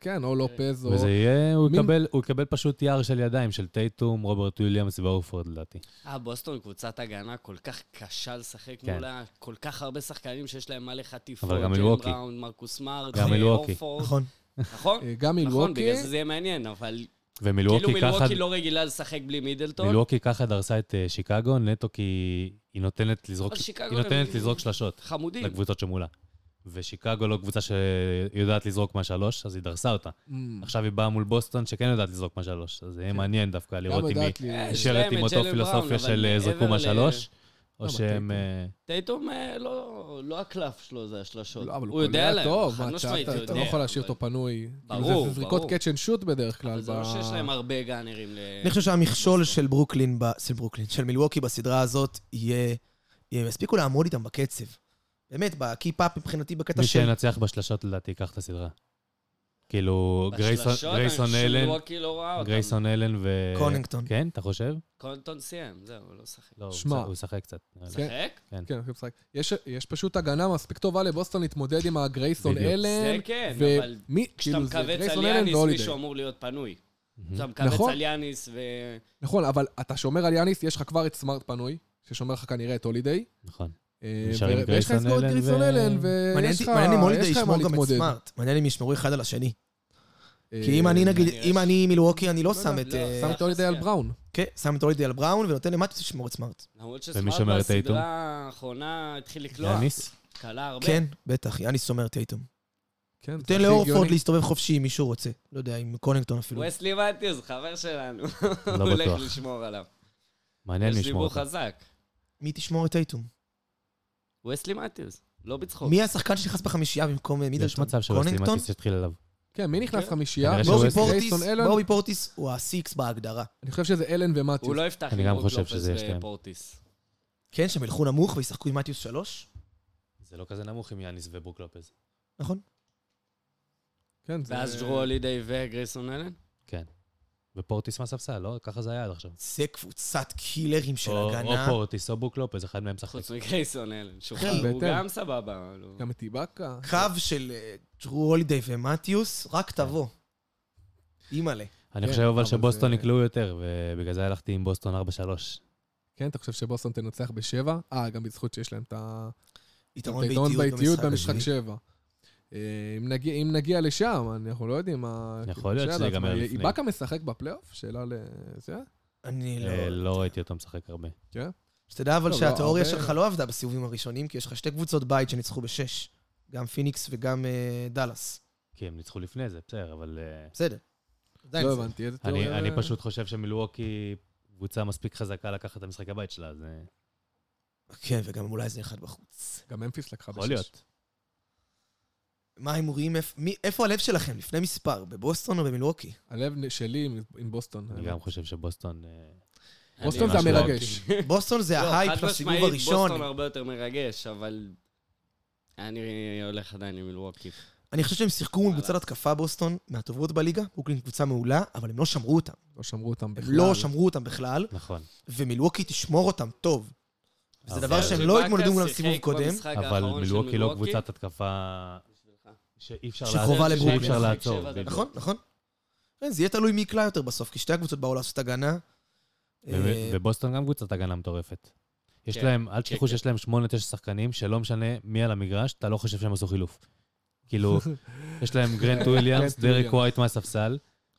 [SPEAKER 3] כן, או לופז או...
[SPEAKER 7] וזה יהיה, הוא
[SPEAKER 3] מין-
[SPEAKER 7] יקבל- הוא יקבל פשוט יער של ידיים של טייטום, רוברט וויליאמס ואורפורד לדעתי.
[SPEAKER 5] אה, בוסטון קבוצת הגנה כל כך קשה לשחק
[SPEAKER 7] כן.
[SPEAKER 5] מולה, כל כך הרבה שחקנים שיש להם מלא חטיפות,
[SPEAKER 7] אבל גם
[SPEAKER 5] ג'יימס
[SPEAKER 7] מילווקי.
[SPEAKER 5] בראון, מרקוס מארט,
[SPEAKER 7] גם
[SPEAKER 5] אה,
[SPEAKER 7] מילווקי.
[SPEAKER 5] אורפורד.
[SPEAKER 4] נכון.
[SPEAKER 5] נכון?
[SPEAKER 3] אה, גם
[SPEAKER 5] נכון,
[SPEAKER 3] מילווקי.
[SPEAKER 5] בגלל זה זה יהיה מעניין, אבל כאילו
[SPEAKER 7] ומילווקי ככה...
[SPEAKER 5] מילווקי לא רגילה לשחק בלי מידלטון.
[SPEAKER 7] מילווקי ככה דרסה את אה, שיקגו, נטו כי היא נותנת לזרוק,
[SPEAKER 5] אבל שיקגו
[SPEAKER 7] היא נותנת
[SPEAKER 5] גם-
[SPEAKER 7] לזרוק שלשות
[SPEAKER 5] חמודים.
[SPEAKER 7] לקבוצות שמולה. ושיקגו לא קבוצה שיודעת לזרוק מהשלוש, אז היא דרסה אותה.
[SPEAKER 3] אמ,
[SPEAKER 7] עכשיו היא באה מול בוסטון שכן יודעת לזרוק מהשלוש, אז זה
[SPEAKER 5] כן.
[SPEAKER 7] יהיה מעניין דווקא לראות אם היא
[SPEAKER 3] יודעת לי-
[SPEAKER 5] אה, יש
[SPEAKER 7] נשארת
[SPEAKER 5] להם
[SPEAKER 7] עם
[SPEAKER 5] את
[SPEAKER 7] אותו
[SPEAKER 5] ג'לן בראון,
[SPEAKER 7] פילוסופיה
[SPEAKER 5] אבל
[SPEAKER 7] של אה,
[SPEAKER 5] מעבר
[SPEAKER 7] זרקו
[SPEAKER 5] ל- לא
[SPEAKER 7] מהשלוש, או
[SPEAKER 3] אבל טייטום.
[SPEAKER 7] שהם... אה,
[SPEAKER 5] טייטום אה, לא לא הקלף שלו זה השלשות.
[SPEAKER 3] לא, אבל
[SPEAKER 5] הוא יודע
[SPEAKER 3] קולע
[SPEAKER 5] להם,
[SPEAKER 3] טוב,
[SPEAKER 5] חד
[SPEAKER 3] מה,
[SPEAKER 5] משמעית,
[SPEAKER 3] אתה-
[SPEAKER 5] הוא
[SPEAKER 3] אתה
[SPEAKER 5] יודע,
[SPEAKER 3] לא יכול להשאיר
[SPEAKER 5] אבל-
[SPEAKER 3] אותו פנוי. כאילו,
[SPEAKER 5] ברור,
[SPEAKER 3] זה- זה זריקות
[SPEAKER 5] ברור.
[SPEAKER 3] catch and shoot בדרך כלל.
[SPEAKER 5] אבל זה לא
[SPEAKER 3] ב-
[SPEAKER 5] שיש להם הרבה גאנרים ל...
[SPEAKER 4] אני חושב שהמכשול של ברוקלין, ב- של ברוקלין, של מילווקי בסדרה הזאת, יהיה... יהיה- יספיקו לעמוד איתם בקצב. באמת, בקיפ-אפ מבחינתי, בקטע
[SPEAKER 7] מי
[SPEAKER 4] של...
[SPEAKER 7] שינצח בשלשות לדעתי ייקח את הסדרה. כאילו,
[SPEAKER 3] לא,
[SPEAKER 7] גרייסון
[SPEAKER 5] בשלשות,
[SPEAKER 7] גרייסון
[SPEAKER 5] אני חושב
[SPEAKER 7] אלן,
[SPEAKER 5] שמילווקי לא ראה אותם.
[SPEAKER 7] גרייסון אלן ו...
[SPEAKER 4] קונינגטון.
[SPEAKER 7] כן, אתה חושב?
[SPEAKER 5] קונטון סיים, זהו, הוא לא שחק.
[SPEAKER 7] לא, הוא
[SPEAKER 3] שמע.
[SPEAKER 7] הוא ישחק קצת. נראה לי.
[SPEAKER 3] כן.
[SPEAKER 5] שחק?
[SPEAKER 3] כן, הולכים לשחק. יש- יש פשוט הגנה מספיק טובה לבוסטון להתמודד עם הגרייסון
[SPEAKER 7] בדיוק.
[SPEAKER 3] אלן.
[SPEAKER 5] זה כן,
[SPEAKER 3] ו-
[SPEAKER 5] אבל
[SPEAKER 3] מי-
[SPEAKER 5] כשאתה
[SPEAKER 3] כאילו, זה
[SPEAKER 5] מכווץ
[SPEAKER 3] גרייסון
[SPEAKER 5] על
[SPEAKER 3] אלן
[SPEAKER 5] יאניס,
[SPEAKER 3] והולידיי.
[SPEAKER 5] מישהו אמור להיות פנוי.
[SPEAKER 7] מהמם.
[SPEAKER 5] כשאתה מכווץ
[SPEAKER 3] Mhm. נכון.
[SPEAKER 5] על יאניס ו...
[SPEAKER 3] נכון, אבל אתה שומר על יאניס, יש לך כבר את סמארט פנוי, ששומר לך כנראה את הולידיי.
[SPEAKER 7] נכון.
[SPEAKER 3] אה,
[SPEAKER 7] נשאר עם
[SPEAKER 3] ו- ויש לך
[SPEAKER 7] גרייסון
[SPEAKER 3] את סקוט
[SPEAKER 7] אלן
[SPEAKER 3] גרייסון
[SPEAKER 7] ו-
[SPEAKER 3] אלן,
[SPEAKER 4] מעניין
[SPEAKER 3] ויש לך
[SPEAKER 4] אותי- מעניין אם הולידי
[SPEAKER 3] אה, יש לך עם
[SPEAKER 4] ישמור
[SPEAKER 3] מה
[SPEAKER 4] גם את
[SPEAKER 3] להתמודד.
[SPEAKER 4] סמארט. מעניין אם ישמרו אחד על השני.
[SPEAKER 3] אה,
[SPEAKER 4] כי אם אני, נגיד,
[SPEAKER 5] אני
[SPEAKER 4] אם
[SPEAKER 5] יש-
[SPEAKER 4] אני מילווקי, אני לא
[SPEAKER 5] לא
[SPEAKER 4] שם
[SPEAKER 5] יודע,
[SPEAKER 4] את...
[SPEAKER 5] לא,
[SPEAKER 4] אה,
[SPEAKER 3] שם את הולידיי על בראון.
[SPEAKER 4] כן, שם את הולידי על בראון ונותן למטוס לשמור את סמארט.
[SPEAKER 5] למרות
[SPEAKER 7] ומי
[SPEAKER 5] שסמארט
[SPEAKER 7] שומר את טייטום?
[SPEAKER 5] בסדרה האחרונה התחיל לקלוע.
[SPEAKER 7] יאניס?
[SPEAKER 5] קלה הרבה.
[SPEAKER 7] אוקיי.
[SPEAKER 4] כן, בטח, יאניס סומר טייטום.
[SPEAKER 3] כן, זה
[SPEAKER 4] תן
[SPEAKER 3] הכי
[SPEAKER 4] לאורפורד
[SPEAKER 3] הגיוני.
[SPEAKER 4] להסתובב חופשי אם מישהו רוצה. לא יודע, עם קונינגטון אפילו.
[SPEAKER 5] וסלי מתיוס, חבר שלנו.
[SPEAKER 7] לא
[SPEAKER 5] *laughs* הוא הולך
[SPEAKER 7] בטוח.
[SPEAKER 5] לשמור עליו.
[SPEAKER 7] מעניין
[SPEAKER 5] יש
[SPEAKER 7] מי ישמור
[SPEAKER 5] דיבור
[SPEAKER 7] אותה.
[SPEAKER 5] חזק.
[SPEAKER 4] מי תשמור את טייטום?
[SPEAKER 5] וסלי מתיוס, לא בצחוק.
[SPEAKER 4] מי השחקן שנכנס בחמישייה במקום אה,
[SPEAKER 7] יש
[SPEAKER 4] מידלטון?
[SPEAKER 7] מצב
[SPEAKER 4] קונינגטון?
[SPEAKER 7] שלוסימטיס יתחיל עליו.
[SPEAKER 3] כן, מי נכנס
[SPEAKER 5] כן.
[SPEAKER 3] חמישייה?
[SPEAKER 7] כנראה
[SPEAKER 4] בובי
[SPEAKER 7] שווסטי.
[SPEAKER 4] פורטיס,
[SPEAKER 3] גרייסון אלן?
[SPEAKER 4] בובי פורטיס הוא הסיקס בהגדרה.
[SPEAKER 3] אני חושב שזה אלן
[SPEAKER 5] הוא
[SPEAKER 3] ומתיוס.
[SPEAKER 5] לא יפתח
[SPEAKER 7] אני
[SPEAKER 5] עם
[SPEAKER 7] גם
[SPEAKER 5] רוק
[SPEAKER 7] חושב
[SPEAKER 5] לופס
[SPEAKER 7] שזה יש להם.
[SPEAKER 5] ופורטיס.
[SPEAKER 4] כן, שהם ילכו נמוך וישחקו עם מתיוס שלוש?
[SPEAKER 7] זה לא כזה נמוך עם יאניס וברוק לופז.
[SPEAKER 4] נכון.
[SPEAKER 3] כן, זה-
[SPEAKER 5] ואז ג'רו הולידי וגרייסון אלן?
[SPEAKER 7] ופורטיס מהספסל, לא? ככה זה היה עד עכשיו.
[SPEAKER 4] זה קבוצת קילרים של
[SPEAKER 7] או-
[SPEAKER 4] הגנה.
[SPEAKER 7] או פורטיס או ברוק לופז, אחד מהם משחק.
[SPEAKER 5] חוץ מגרייסון אלן. שוחרר,
[SPEAKER 3] כן,
[SPEAKER 5] הוא
[SPEAKER 3] בהתאם.
[SPEAKER 5] גם סבבה. אבל הוא-
[SPEAKER 3] גם את איבאקה.
[SPEAKER 4] קו של אה, ג'רו הולידי ומתיוס, רק
[SPEAKER 7] כן.
[SPEAKER 4] תבוא. אימא'לה.
[SPEAKER 7] אני
[SPEAKER 3] כן,
[SPEAKER 7] חושב אבל
[SPEAKER 3] אבל
[SPEAKER 7] שבוסטון
[SPEAKER 3] זה-
[SPEAKER 7] יקלעו יותר, ובגלל זה הלכתי עם בוסטון 4-3.
[SPEAKER 3] כן, אתה חושב שבוסטון תנצח בשבע? אה, גם בזכות שיש להם את ה-
[SPEAKER 4] יתרון
[SPEAKER 3] את היתרון
[SPEAKER 4] באיטיות
[SPEAKER 3] באיטיות במשחק שבע. אה, אם נגיע- אם נגיע לשם, אנחנו לא יודעים מה...
[SPEAKER 7] יכול
[SPEAKER 3] כאילו,
[SPEAKER 7] להיות
[SPEAKER 3] קשה
[SPEAKER 7] שזה
[SPEAKER 3] לדעת מה
[SPEAKER 7] ייגמר
[SPEAKER 3] יהיה.
[SPEAKER 7] לפני.
[SPEAKER 3] איבאקה משחק בפלייאוף? שאלה ל... זה?
[SPEAKER 4] אני
[SPEAKER 7] אה,
[SPEAKER 4] לא...
[SPEAKER 7] לא ראיתי אותו משחק הרבה.
[SPEAKER 4] שתדע
[SPEAKER 3] לא,
[SPEAKER 4] אבל
[SPEAKER 3] לא,
[SPEAKER 4] שהתיאוריה
[SPEAKER 3] הרבה-
[SPEAKER 4] שלך לא עבדה בסיבובים הראשונים, כי יש לך שתי קבוצות בית שניצחו בשש. גם פיניקס וגם אה, דאלאס.
[SPEAKER 7] כי הם ניצחו לפני זה, בסדר, אבל... אה,
[SPEAKER 4] בסדר. עדיין
[SPEAKER 3] לא
[SPEAKER 4] זה.
[SPEAKER 3] הבנתי, איזה
[SPEAKER 7] אני-
[SPEAKER 5] אה,
[SPEAKER 3] תיאוריה?
[SPEAKER 7] אני פשוט חושב שמילווקי קבוצה מספיק חזקה לקחת את המשחק הבית שלה, אז אה,
[SPEAKER 4] כן, וגם אולי זה אחד בחוץ.
[SPEAKER 3] גם ממפיס לקחה בשש.
[SPEAKER 7] יכול להיות.
[SPEAKER 4] מה ההימורים? איפ- מי- איפה הלב שלכם? לפני מספר, בבוסטון או
[SPEAKER 5] *laughs*
[SPEAKER 4] במילווקי?
[SPEAKER 3] הלב שלי עם- עם בוסטון.
[SPEAKER 7] אני גם חושב שבוסטון... אה,
[SPEAKER 3] בוסטון
[SPEAKER 7] אני
[SPEAKER 3] זה
[SPEAKER 7] ממש לא
[SPEAKER 3] המרגש.
[SPEAKER 4] בוסטון זה
[SPEAKER 5] לא,
[SPEAKER 4] ההייפ
[SPEAKER 5] חד
[SPEAKER 4] לסיבוב
[SPEAKER 5] משמעית,
[SPEAKER 4] הראשון.
[SPEAKER 5] בוסטון לא. הרבה יותר מרגש, אבל... אני הולך עדיין עם מילווקי.
[SPEAKER 4] אני חושב שהם שיחקו מול
[SPEAKER 5] וואלה.
[SPEAKER 4] קבוצת התקפה בוסטון, מהטובות בליגה, ברוקלין קבוצה מעולה, אבל הם לא שמרו אותם.
[SPEAKER 3] לא שמרו אותם
[SPEAKER 4] הם
[SPEAKER 3] בכלל.
[SPEAKER 4] לא שמרו אותם בכלל,
[SPEAKER 7] נכון.
[SPEAKER 4] ומילווקי תשמור אותם טוב. וזה
[SPEAKER 7] אבל-
[SPEAKER 4] דבר שהם לא
[SPEAKER 5] שבאקה
[SPEAKER 4] התמודדו מולם
[SPEAKER 5] שיחק
[SPEAKER 4] סיבוב קודם.
[SPEAKER 5] במשחק
[SPEAKER 7] אבל
[SPEAKER 5] האחרון של
[SPEAKER 7] מילווקי לא
[SPEAKER 5] מילווקי.
[SPEAKER 7] קבוצת התקפה שאי אפשר
[SPEAKER 4] שחובה
[SPEAKER 7] לעצור.
[SPEAKER 4] לברוקלין.
[SPEAKER 7] שאי אפשר
[SPEAKER 5] לשחק
[SPEAKER 7] לעצור.
[SPEAKER 5] שבע דקות.
[SPEAKER 7] בדיוק.
[SPEAKER 4] נכון, נכון. כן, זה יהיה תלוי מי יקלע יותר בסוף, כי שתי הקבוצות באו לעשות הגנה.
[SPEAKER 7] ו-
[SPEAKER 4] אה,
[SPEAKER 7] ובוסטון גם קבוצת הגנה מטורפת. יש
[SPEAKER 5] כן,
[SPEAKER 7] להם, אל תשכחו
[SPEAKER 5] כן.
[SPEAKER 7] שיש להם 8-9 שחקנים, שלא משנה מי על המגרש, אתה לא חושב שהם עשו
[SPEAKER 4] *laughs*
[SPEAKER 7] חילוף. כאילו, יש להם גרנט וויליאמס,
[SPEAKER 3] גרנט
[SPEAKER 7] דרק
[SPEAKER 3] וויליאמס.
[SPEAKER 7] ווייט מהספסל,